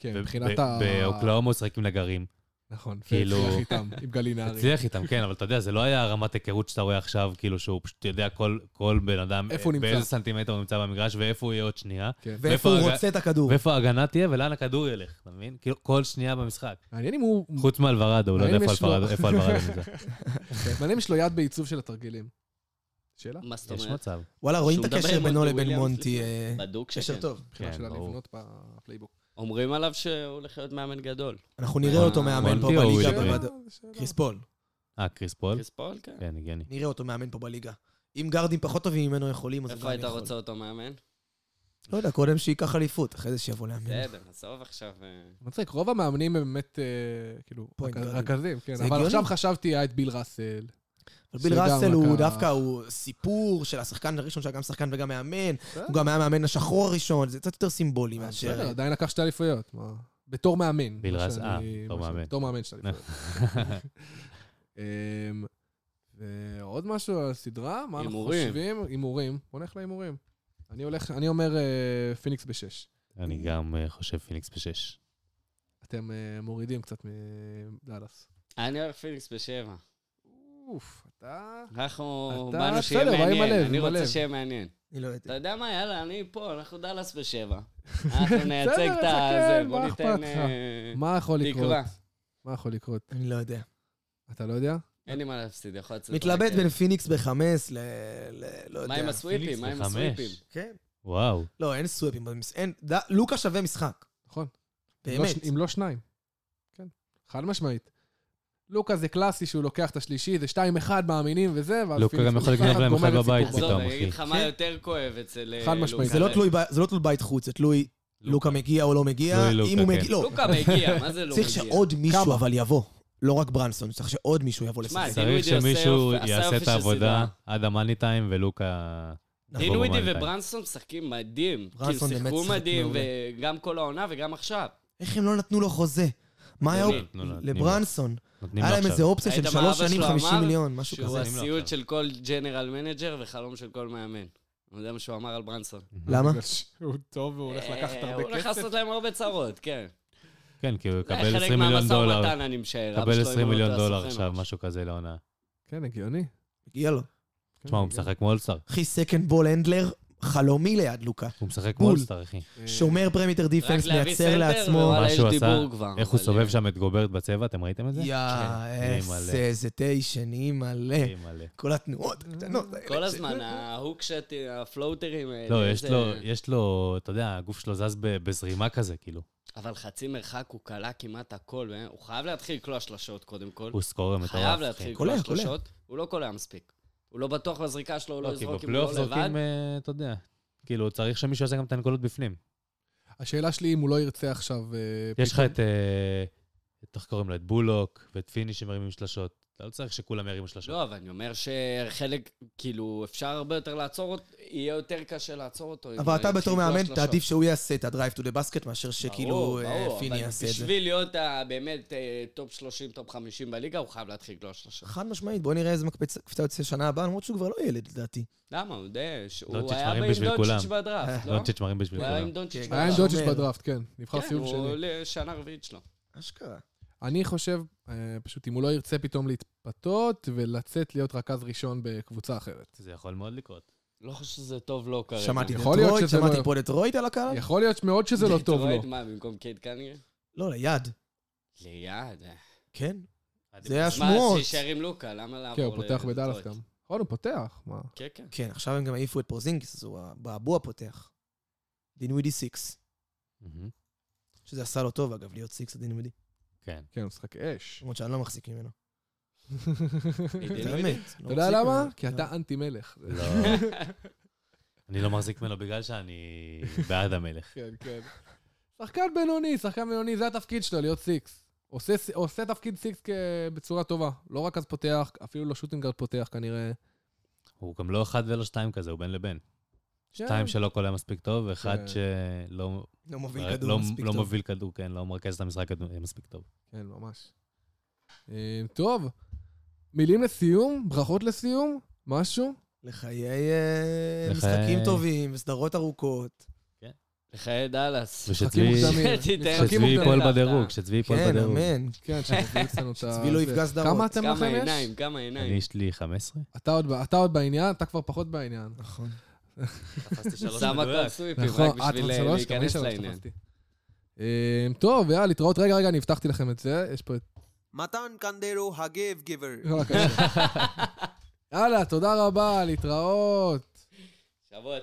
[SPEAKER 3] כן,
[SPEAKER 7] ו-
[SPEAKER 3] מבחינת
[SPEAKER 7] ב-
[SPEAKER 3] ה...
[SPEAKER 7] באוקלאומה הוא שחק עם נגרים.
[SPEAKER 3] נכון,
[SPEAKER 7] כאילו-
[SPEAKER 3] והצליח איתם, עם גלינרי.
[SPEAKER 7] הצליח איתם, כן, אבל אתה יודע, זה לא היה הרמת היכרות שאתה רואה עכשיו, כאילו שהוא פשוט יודע כל, כל בן אדם,
[SPEAKER 3] איפה הוא נמצא.
[SPEAKER 7] באיזה סנטימטר הוא נמצא במגרש, ואיפה הוא יהיה עוד שנייה,
[SPEAKER 3] כן.
[SPEAKER 4] ואיפה הוא
[SPEAKER 7] ואיפה-
[SPEAKER 4] רוצה את הכדור?
[SPEAKER 7] ואיפה ההגנה תהיה ולאן הכדור ילך, אתה מבין? כאילו, כל שנייה במשחק.
[SPEAKER 3] מעניין אם הוא...
[SPEAKER 7] חוץ מאלברדו, הוא לא יודע
[SPEAKER 3] האם
[SPEAKER 7] איפה
[SPEAKER 3] יש לו-
[SPEAKER 7] אלברדו- איפה אלברדו נמצא.
[SPEAKER 3] אוקיי, מעניין אם יש לו יד בעיצוב של התרגילים. שאלה?
[SPEAKER 7] כן,
[SPEAKER 5] מה זאת
[SPEAKER 7] יש
[SPEAKER 5] אומרת?
[SPEAKER 7] מצב.
[SPEAKER 4] וואלה, רואים
[SPEAKER 5] שהוא
[SPEAKER 4] את
[SPEAKER 5] מדבר
[SPEAKER 4] הקשר
[SPEAKER 5] עם
[SPEAKER 4] בינו
[SPEAKER 5] מונטי
[SPEAKER 4] לבין
[SPEAKER 5] וויליאמס
[SPEAKER 4] מונטי,
[SPEAKER 5] לפני.
[SPEAKER 4] אה,
[SPEAKER 5] בדוק
[SPEAKER 4] קשר
[SPEAKER 5] שכן.
[SPEAKER 4] טוב.
[SPEAKER 3] מבחינה
[SPEAKER 7] כן,
[SPEAKER 3] שלה
[SPEAKER 7] ברור.
[SPEAKER 3] לבנות בפלייבוק.
[SPEAKER 5] אומרים עליו שהוא הולך להיות מאמן גדול.
[SPEAKER 4] אנחנו
[SPEAKER 5] אה,
[SPEAKER 4] נראה אותו מאמן פה
[SPEAKER 7] מונטי או
[SPEAKER 4] בליגה.
[SPEAKER 7] וויליאמס?
[SPEAKER 4] בוודא- קריס פול.
[SPEAKER 7] אה, קריס פול?
[SPEAKER 5] קריס פול, כן.
[SPEAKER 7] כן, הגיוני.
[SPEAKER 4] נראה אותו מאמן פה בליגה. אם גארדים פחות טובים ממנו יכולים, אז הוא גם
[SPEAKER 5] איפה
[SPEAKER 4] יכול.
[SPEAKER 5] היית רוצה אותו מאמן?
[SPEAKER 4] לא יודע, קודם שייקח אליפות, אחרי זה שיבוא לאמן.
[SPEAKER 5] בסדר, עזוב עכשיו. אה,
[SPEAKER 3] מצחיק, רוב המאמנים הם באמת, אה, כאילו,
[SPEAKER 4] פוינט
[SPEAKER 3] רכ-
[SPEAKER 4] גארדים.
[SPEAKER 3] רכזים, כן.
[SPEAKER 4] זה
[SPEAKER 3] אבל
[SPEAKER 4] הגיוני.
[SPEAKER 3] עכשיו חשבתי, היה את ביל ראסל.
[SPEAKER 4] אבל ביל
[SPEAKER 3] שגם
[SPEAKER 4] ראסל הוא
[SPEAKER 3] לקח.
[SPEAKER 4] דווקא, הוא סיפור של השחקן הראשון שהיה גם שחקן וגם מאמן.
[SPEAKER 3] בסדר.
[SPEAKER 4] הוא גם היה מאמן השחור הראשון, זה קצת יותר סימבולי
[SPEAKER 5] אה,
[SPEAKER 3] בסדר,
[SPEAKER 4] מאשר...
[SPEAKER 3] עדיין לקח שתי אליפויות. מה? בתור מאמן.
[SPEAKER 7] ביל
[SPEAKER 3] מה
[SPEAKER 7] ראסל, אה,
[SPEAKER 3] שאני-
[SPEAKER 7] בתור
[SPEAKER 3] מה שאני-
[SPEAKER 7] מאמן.
[SPEAKER 3] בתור מאמן שתי אליפויות.
[SPEAKER 7] *laughs*
[SPEAKER 3] *laughs* אמ, ועוד משהו על הסדרה? מה אנחנו
[SPEAKER 5] הימורים.
[SPEAKER 3] חושבים? הימורים. בוא נלך להימורים. אני הולך, אני אומר אה, פיניקס בשש.
[SPEAKER 7] אני גם אה, חושב פיניקס בשש.
[SPEAKER 3] אתם אה, מורידים קצת מדאלאס.
[SPEAKER 5] אני הולך פיניקס בשבע.
[SPEAKER 3] אוף, אתה...
[SPEAKER 5] אנחנו
[SPEAKER 3] אתה
[SPEAKER 5] באנו שיהיה
[SPEAKER 3] בסדר, בא עם הלב,
[SPEAKER 5] מעניין, אני
[SPEAKER 3] עם הלב.
[SPEAKER 5] רוצה שיהיה מעניין.
[SPEAKER 4] אני לא יודעת.
[SPEAKER 5] אתה יודע מה, יאללה, אני פה, אנחנו דאלאס בשבע.
[SPEAKER 4] *laughs*
[SPEAKER 5] אנחנו נייצג
[SPEAKER 3] בסדר,
[SPEAKER 5] את
[SPEAKER 3] זה
[SPEAKER 5] הזה,
[SPEAKER 3] כן,
[SPEAKER 5] בוא
[SPEAKER 3] מה
[SPEAKER 5] ניתן...
[SPEAKER 3] אכפת לך?
[SPEAKER 5] אה,
[SPEAKER 3] מה יכול לקרות?
[SPEAKER 5] תקווה.
[SPEAKER 3] מה יכול לקרות?
[SPEAKER 4] אני לא יודע.
[SPEAKER 3] אתה לא יודע?
[SPEAKER 5] אין לי מה להפסיד, יכול לצאת.
[SPEAKER 4] מתלבט
[SPEAKER 5] רק,
[SPEAKER 4] בין
[SPEAKER 5] אה,
[SPEAKER 4] פיניקס בחמש ל... ל- לא
[SPEAKER 5] מה עם
[SPEAKER 4] יודע.
[SPEAKER 7] פיניקס
[SPEAKER 5] הסוויפים? מה עם
[SPEAKER 7] בחמש.
[SPEAKER 5] הסוויפים?
[SPEAKER 4] כן.
[SPEAKER 7] וואו.
[SPEAKER 4] לא, אין סוואפים. במס- אין- ד- לוקה שווה משחק.
[SPEAKER 3] נכון. אם לא
[SPEAKER 4] באמת.
[SPEAKER 3] ש- אם לא שניים. כן, חד משמעית. לוקה זה קלאסי שהוא לוקח את השלישי, זה 2-1 מאמינים וזה, ואז
[SPEAKER 7] לוקה
[SPEAKER 3] פיניקס
[SPEAKER 7] גם יכול
[SPEAKER 3] מנצחת,
[SPEAKER 7] לגנוב להם
[SPEAKER 3] גומר
[SPEAKER 7] אחד
[SPEAKER 3] את
[SPEAKER 7] בבית
[SPEAKER 3] סיפור.
[SPEAKER 5] עזוב,
[SPEAKER 7] פתאום,
[SPEAKER 5] אני אגיד לך
[SPEAKER 7] אחי.
[SPEAKER 5] מה
[SPEAKER 4] כן.
[SPEAKER 5] יותר כואב אצל אה,
[SPEAKER 3] חד
[SPEAKER 5] לוקה.
[SPEAKER 3] משמעית.
[SPEAKER 4] זה לא תלוי ב- זה לא תלוי בית חוץ, זה תלוי לוקה מגיע או לא מגיע.
[SPEAKER 7] תלוי לוקה,
[SPEAKER 4] אם הוא
[SPEAKER 7] כן.
[SPEAKER 4] מגיע, לא.
[SPEAKER 5] לוקה מגיע, מה זה לא מגיע?
[SPEAKER 4] צריך שעוד מישהו
[SPEAKER 3] כמה?
[SPEAKER 4] אבל יבוא. לא רק ברנסון, צריך שעוד מישהו יבוא
[SPEAKER 5] שמע,
[SPEAKER 4] לשחק.
[SPEAKER 5] זה-
[SPEAKER 7] צריך
[SPEAKER 5] דינוידי עושה
[SPEAKER 7] שמישהו
[SPEAKER 5] יופי- עשה
[SPEAKER 7] יעשה
[SPEAKER 5] יופי
[SPEAKER 7] את
[SPEAKER 5] של
[SPEAKER 7] העבודה
[SPEAKER 5] סדרה.
[SPEAKER 7] עד המאני טיים ולוקה...
[SPEAKER 4] נכון,
[SPEAKER 5] דינווידי
[SPEAKER 7] יבוא במאני טיים.
[SPEAKER 5] וברנסון משחקים מדהים. כאילו,
[SPEAKER 4] ברנסון באמת
[SPEAKER 5] שיחקו
[SPEAKER 4] שיחק
[SPEAKER 5] מדהים,
[SPEAKER 4] מעולה.
[SPEAKER 5] וגם כל העונה וגם עכשיו.
[SPEAKER 4] איך הם לא נתנו לו חוזה? מה היה
[SPEAKER 5] נותנים,
[SPEAKER 4] אופ-
[SPEAKER 7] נותנים לו.
[SPEAKER 4] לברנסון?
[SPEAKER 7] נותנים לו
[SPEAKER 4] היה להם איזה
[SPEAKER 7] עכשיו.
[SPEAKER 4] אופציה
[SPEAKER 5] ראית
[SPEAKER 4] של
[SPEAKER 5] מה
[SPEAKER 4] שלוש
[SPEAKER 5] אבא
[SPEAKER 4] שנים,
[SPEAKER 5] שלו
[SPEAKER 4] 50
[SPEAKER 5] אמר?
[SPEAKER 4] מיליון, משהו
[SPEAKER 5] שהוא
[SPEAKER 4] כזה.
[SPEAKER 7] אז- נותנים לו
[SPEAKER 5] הסיוט
[SPEAKER 7] עכשיו.
[SPEAKER 5] של כל ג'נרל מנג'ר וחלום של כל מאמן. זה מה שהוא אמר על ברנסון.
[SPEAKER 4] למה?
[SPEAKER 3] בגלל שהוא טוב והוא הולך לקחת
[SPEAKER 5] אה, הוא
[SPEAKER 3] הרבה
[SPEAKER 5] הולך
[SPEAKER 3] כסף.
[SPEAKER 5] לעשות להם הרבה צרות, כן.
[SPEAKER 7] כן, כי הוא יקבל
[SPEAKER 5] זה
[SPEAKER 7] 20 מיליון
[SPEAKER 5] אה, חלק
[SPEAKER 7] דולר.
[SPEAKER 5] מהמשא ומתן, אני משער. אבא
[SPEAKER 7] יקבל
[SPEAKER 5] שלו, אם הוא
[SPEAKER 7] 20
[SPEAKER 5] לא
[SPEAKER 7] מיליון
[SPEAKER 5] טועה,
[SPEAKER 7] דולר
[SPEAKER 5] סוכן
[SPEAKER 7] עכשיו,
[SPEAKER 5] או
[SPEAKER 7] משהו כזה לעונה.
[SPEAKER 3] כן, הגיוני.
[SPEAKER 4] הגיע לו.
[SPEAKER 3] כן,
[SPEAKER 7] תשמע, הוא
[SPEAKER 3] הגיוני.
[SPEAKER 7] משחק מולסטאר.
[SPEAKER 4] אחי, סקנד בול הנדלר, חלומי ליד לוקה.
[SPEAKER 7] הוא משחק
[SPEAKER 4] בול.
[SPEAKER 7] מולסטאר, אחי.
[SPEAKER 3] אה,
[SPEAKER 4] שומר פרמיטר דיפנס,
[SPEAKER 5] להביא
[SPEAKER 4] מייצר
[SPEAKER 5] סנטר לא
[SPEAKER 4] לעצמו.
[SPEAKER 5] ווואלה,
[SPEAKER 7] מה
[SPEAKER 5] יש
[SPEAKER 7] שהוא עשה,
[SPEAKER 5] דיבור כבר,
[SPEAKER 7] איך הוא
[SPEAKER 5] אבל-
[SPEAKER 7] סובב שם את גוברט בצבע, אתם ראיתם את זה? כן,
[SPEAKER 4] יא,
[SPEAKER 7] מלא.
[SPEAKER 5] כן,
[SPEAKER 4] איזה- איזה טיישן, היא מלא.
[SPEAKER 7] אחי, מלא.
[SPEAKER 4] כל התנועות הקטנות. האלה.
[SPEAKER 5] *laughs* כל הזמן, ההוק שט, הפלוטרים האלה.
[SPEAKER 7] לא, יש
[SPEAKER 5] זה-
[SPEAKER 7] לו, יש לו, אתה יודע, הגוף שלו זז ב- בזרימה כזה, כאילו.
[SPEAKER 5] אבל חצי מרחק הוא כלה כמעט הכל, אה? הוא חייב להתחיל לקלוע שלשות קודם כל.
[SPEAKER 7] הוא סקורר מטורף.
[SPEAKER 5] חייב
[SPEAKER 7] אחי.
[SPEAKER 5] להתחיל
[SPEAKER 4] קולע,
[SPEAKER 5] לקלוע
[SPEAKER 4] קולע.
[SPEAKER 5] שלשות. הוא לא קולע מספיק. הוא לא בטוח בזריקה שלו, הוא לא
[SPEAKER 7] לא, כי
[SPEAKER 5] יזרוק אם הוא
[SPEAKER 7] בפלייאוף
[SPEAKER 5] לא לבד.
[SPEAKER 7] זורקים, אה, אתה יודע. כאילו, צריך שמישהו יעשה גם את הנקודות בפנים.
[SPEAKER 3] השאלה שלי אם הוא לא ירצה עכשיו... אה,
[SPEAKER 7] יש לך
[SPEAKER 3] פתאום-
[SPEAKER 7] את, אה, את, איך קוראים לו? את בולוק ואת פיני שמרימים שלשות. אתה לא צריך שכולם ירימו שלשות.
[SPEAKER 5] לא, אבל אני אומר שחלק, כאילו, אפשר הרבה יותר לעצור אותו, יהיה יותר קשה לעצור אותו. אם
[SPEAKER 4] אבל אתה
[SPEAKER 5] יתחיל
[SPEAKER 4] בתור
[SPEAKER 5] לקלוע
[SPEAKER 4] מאמן,
[SPEAKER 5] שלשות.
[SPEAKER 4] תעדיף שהוא יעשה את הדרייב טו דה בסקט, מאשר שכאילו
[SPEAKER 5] ברור,
[SPEAKER 4] אה,
[SPEAKER 5] ברור,
[SPEAKER 4] פיני
[SPEAKER 5] אבל
[SPEAKER 4] יעשה את זה.
[SPEAKER 5] בשביל להיות ה- באמת אה, טופ 30, טופ 50 בליגה, הוא חייב להתחיל לא לקלוע שלושה.
[SPEAKER 4] חד משמעית, בוא נראה איזה מקפצה קפיצה יוצא שנה הבאה, למרות שהוא כבר לא ילד, לדעתי.
[SPEAKER 5] למה? הוא די... הוא
[SPEAKER 7] דונצ'יץ'
[SPEAKER 5] היה
[SPEAKER 7] לא מרים
[SPEAKER 5] עם
[SPEAKER 7] בשביל
[SPEAKER 5] דונצ'יץ'
[SPEAKER 7] כולם. אה,
[SPEAKER 5] בדראפט, לא?
[SPEAKER 7] דונצ'יץ' מרים בשביל
[SPEAKER 5] הוא היה עם
[SPEAKER 7] כולם.
[SPEAKER 5] דונצ'יץ'
[SPEAKER 4] כן,
[SPEAKER 3] היה עם
[SPEAKER 5] בדראפט.
[SPEAKER 3] דונצ'יץ'
[SPEAKER 4] אומר.
[SPEAKER 3] בדראפט, כן. לא- נבחר
[SPEAKER 5] כן,
[SPEAKER 3] סיבוב
[SPEAKER 5] הוא
[SPEAKER 3] שני.
[SPEAKER 5] עולה שנה רביעית שלו.
[SPEAKER 4] אשכרה.
[SPEAKER 3] אני חושב, אה, פשוט אם הוא לא ירצה פתאום להתפתות ולצאת להיות רכז ראשון בקבוצה אחרת.
[SPEAKER 7] זה יכול מאוד לקרות.
[SPEAKER 5] לא חושב שזה טוב לו כרגע.
[SPEAKER 4] שמעתי
[SPEAKER 3] יכול להיות
[SPEAKER 4] דטרויט,
[SPEAKER 3] שזה לא-
[SPEAKER 4] שמעתי פה דטרויט על הקהל?
[SPEAKER 3] יכול להיות מאוד שזה לא טוב
[SPEAKER 5] דטרויט,
[SPEAKER 3] לו.
[SPEAKER 5] מה, במקום קייד קניה?
[SPEAKER 4] לא, ליד.
[SPEAKER 5] ליד. אה.
[SPEAKER 4] כן.
[SPEAKER 7] עדיף.
[SPEAKER 4] זה היה
[SPEAKER 5] מה, אז
[SPEAKER 4] שמועות.
[SPEAKER 5] שישאר עם לוקה, למה לעבור
[SPEAKER 3] כן, הוא פותח
[SPEAKER 5] לדטרויט?
[SPEAKER 3] בדאלאס גם. נכון, הוא פותח, מה?
[SPEAKER 5] כן, כן.
[SPEAKER 4] כן, עכשיו הם גם העיפו את פרוזינגיס, אז הוא באבוע פותח. דינווידי סיקס.
[SPEAKER 7] מהמם.
[SPEAKER 4] שזה עשה לו טוב, אגב, להיות סיקס הדינווידי.
[SPEAKER 7] כן.
[SPEAKER 3] כן, הוא משחק *laughs* אש.
[SPEAKER 4] למרות שאני לא מחזיק ממנו.
[SPEAKER 3] אה,
[SPEAKER 4] לא
[SPEAKER 5] בדיוק.
[SPEAKER 4] זה אמת.
[SPEAKER 3] אתה יודע למה? כי אתה אנטי מלך.
[SPEAKER 7] לא. *laughs* אני לא מחזיק ממנו בגלל שאני בעד המלך.
[SPEAKER 3] *laughs* כן, כן. שחקן בינוני, שחקן בינוני, זה התפקיד שלו, להיות סיקס. עושה, עושה תפקיד סיקס כ- בצורה טובה. לא רק אז פותח, אפילו לא שוטינגרד פותח כנראה.
[SPEAKER 7] הוא גם לא אחד ולא שתיים כזה, הוא בין לבין.
[SPEAKER 3] כן.
[SPEAKER 7] שתיים שלא קולע מספיק טוב, ואחד
[SPEAKER 3] כן.
[SPEAKER 7] שלא
[SPEAKER 4] לא מוביל
[SPEAKER 7] לא-
[SPEAKER 4] כדור מספיק
[SPEAKER 7] לא
[SPEAKER 4] טוב.
[SPEAKER 7] מוביל כדור, כן, לא מרכז את המשחק כדור- מספיק טוב.
[SPEAKER 3] כן, ממש. אה, טוב, מילים לסיום? ברכות לסיום? משהו?
[SPEAKER 4] לחיי אה,
[SPEAKER 7] לחיי-
[SPEAKER 4] משחקים טובים וסדרות ארוכות.
[SPEAKER 5] לחיי דאלאס.
[SPEAKER 3] משחקים
[SPEAKER 7] ושצבי
[SPEAKER 3] מוקדמים.
[SPEAKER 5] שתיתן-
[SPEAKER 3] משחקים
[SPEAKER 7] *laughs* שצבי
[SPEAKER 3] מוקדמים.
[SPEAKER 7] ייפול
[SPEAKER 5] מוקדמים.
[SPEAKER 7] בדירוג, שצבי ייפול
[SPEAKER 4] אוקיי, כן,
[SPEAKER 7] בדירוג.
[SPEAKER 4] אמן.
[SPEAKER 3] כן, שמחזיק לנו את ה...
[SPEAKER 4] שצבי לא
[SPEAKER 3] זה.
[SPEAKER 4] יפגע סדרות.
[SPEAKER 3] כמה אתם
[SPEAKER 5] כמה
[SPEAKER 3] לכם יש?
[SPEAKER 5] עיניים, כמה
[SPEAKER 7] אני,
[SPEAKER 5] עיניים.
[SPEAKER 7] יש לי 15?
[SPEAKER 3] אתה עוד ב- אתה עוד בעניין, אתה כבר פחות בעניין.
[SPEAKER 4] נכון.
[SPEAKER 7] תפסתי
[SPEAKER 5] שמה כל סוויפים רק
[SPEAKER 3] אה,
[SPEAKER 5] בשביל
[SPEAKER 3] אתה
[SPEAKER 5] אה,
[SPEAKER 3] שלוש? גם אני
[SPEAKER 5] להיכנס
[SPEAKER 3] שלוש
[SPEAKER 5] לעניין.
[SPEAKER 3] תפסתי. אה, טוב, יאללה, להתראות. רגע, רגע, אני הבטחתי לכם את זה. יש פה את... *laughs*
[SPEAKER 6] מתן קנדרו הגב גיבר.
[SPEAKER 3] לא,
[SPEAKER 5] *laughs*
[SPEAKER 3] הקשר. יאללה, תודה רבה, להתראות.
[SPEAKER 5] שבוע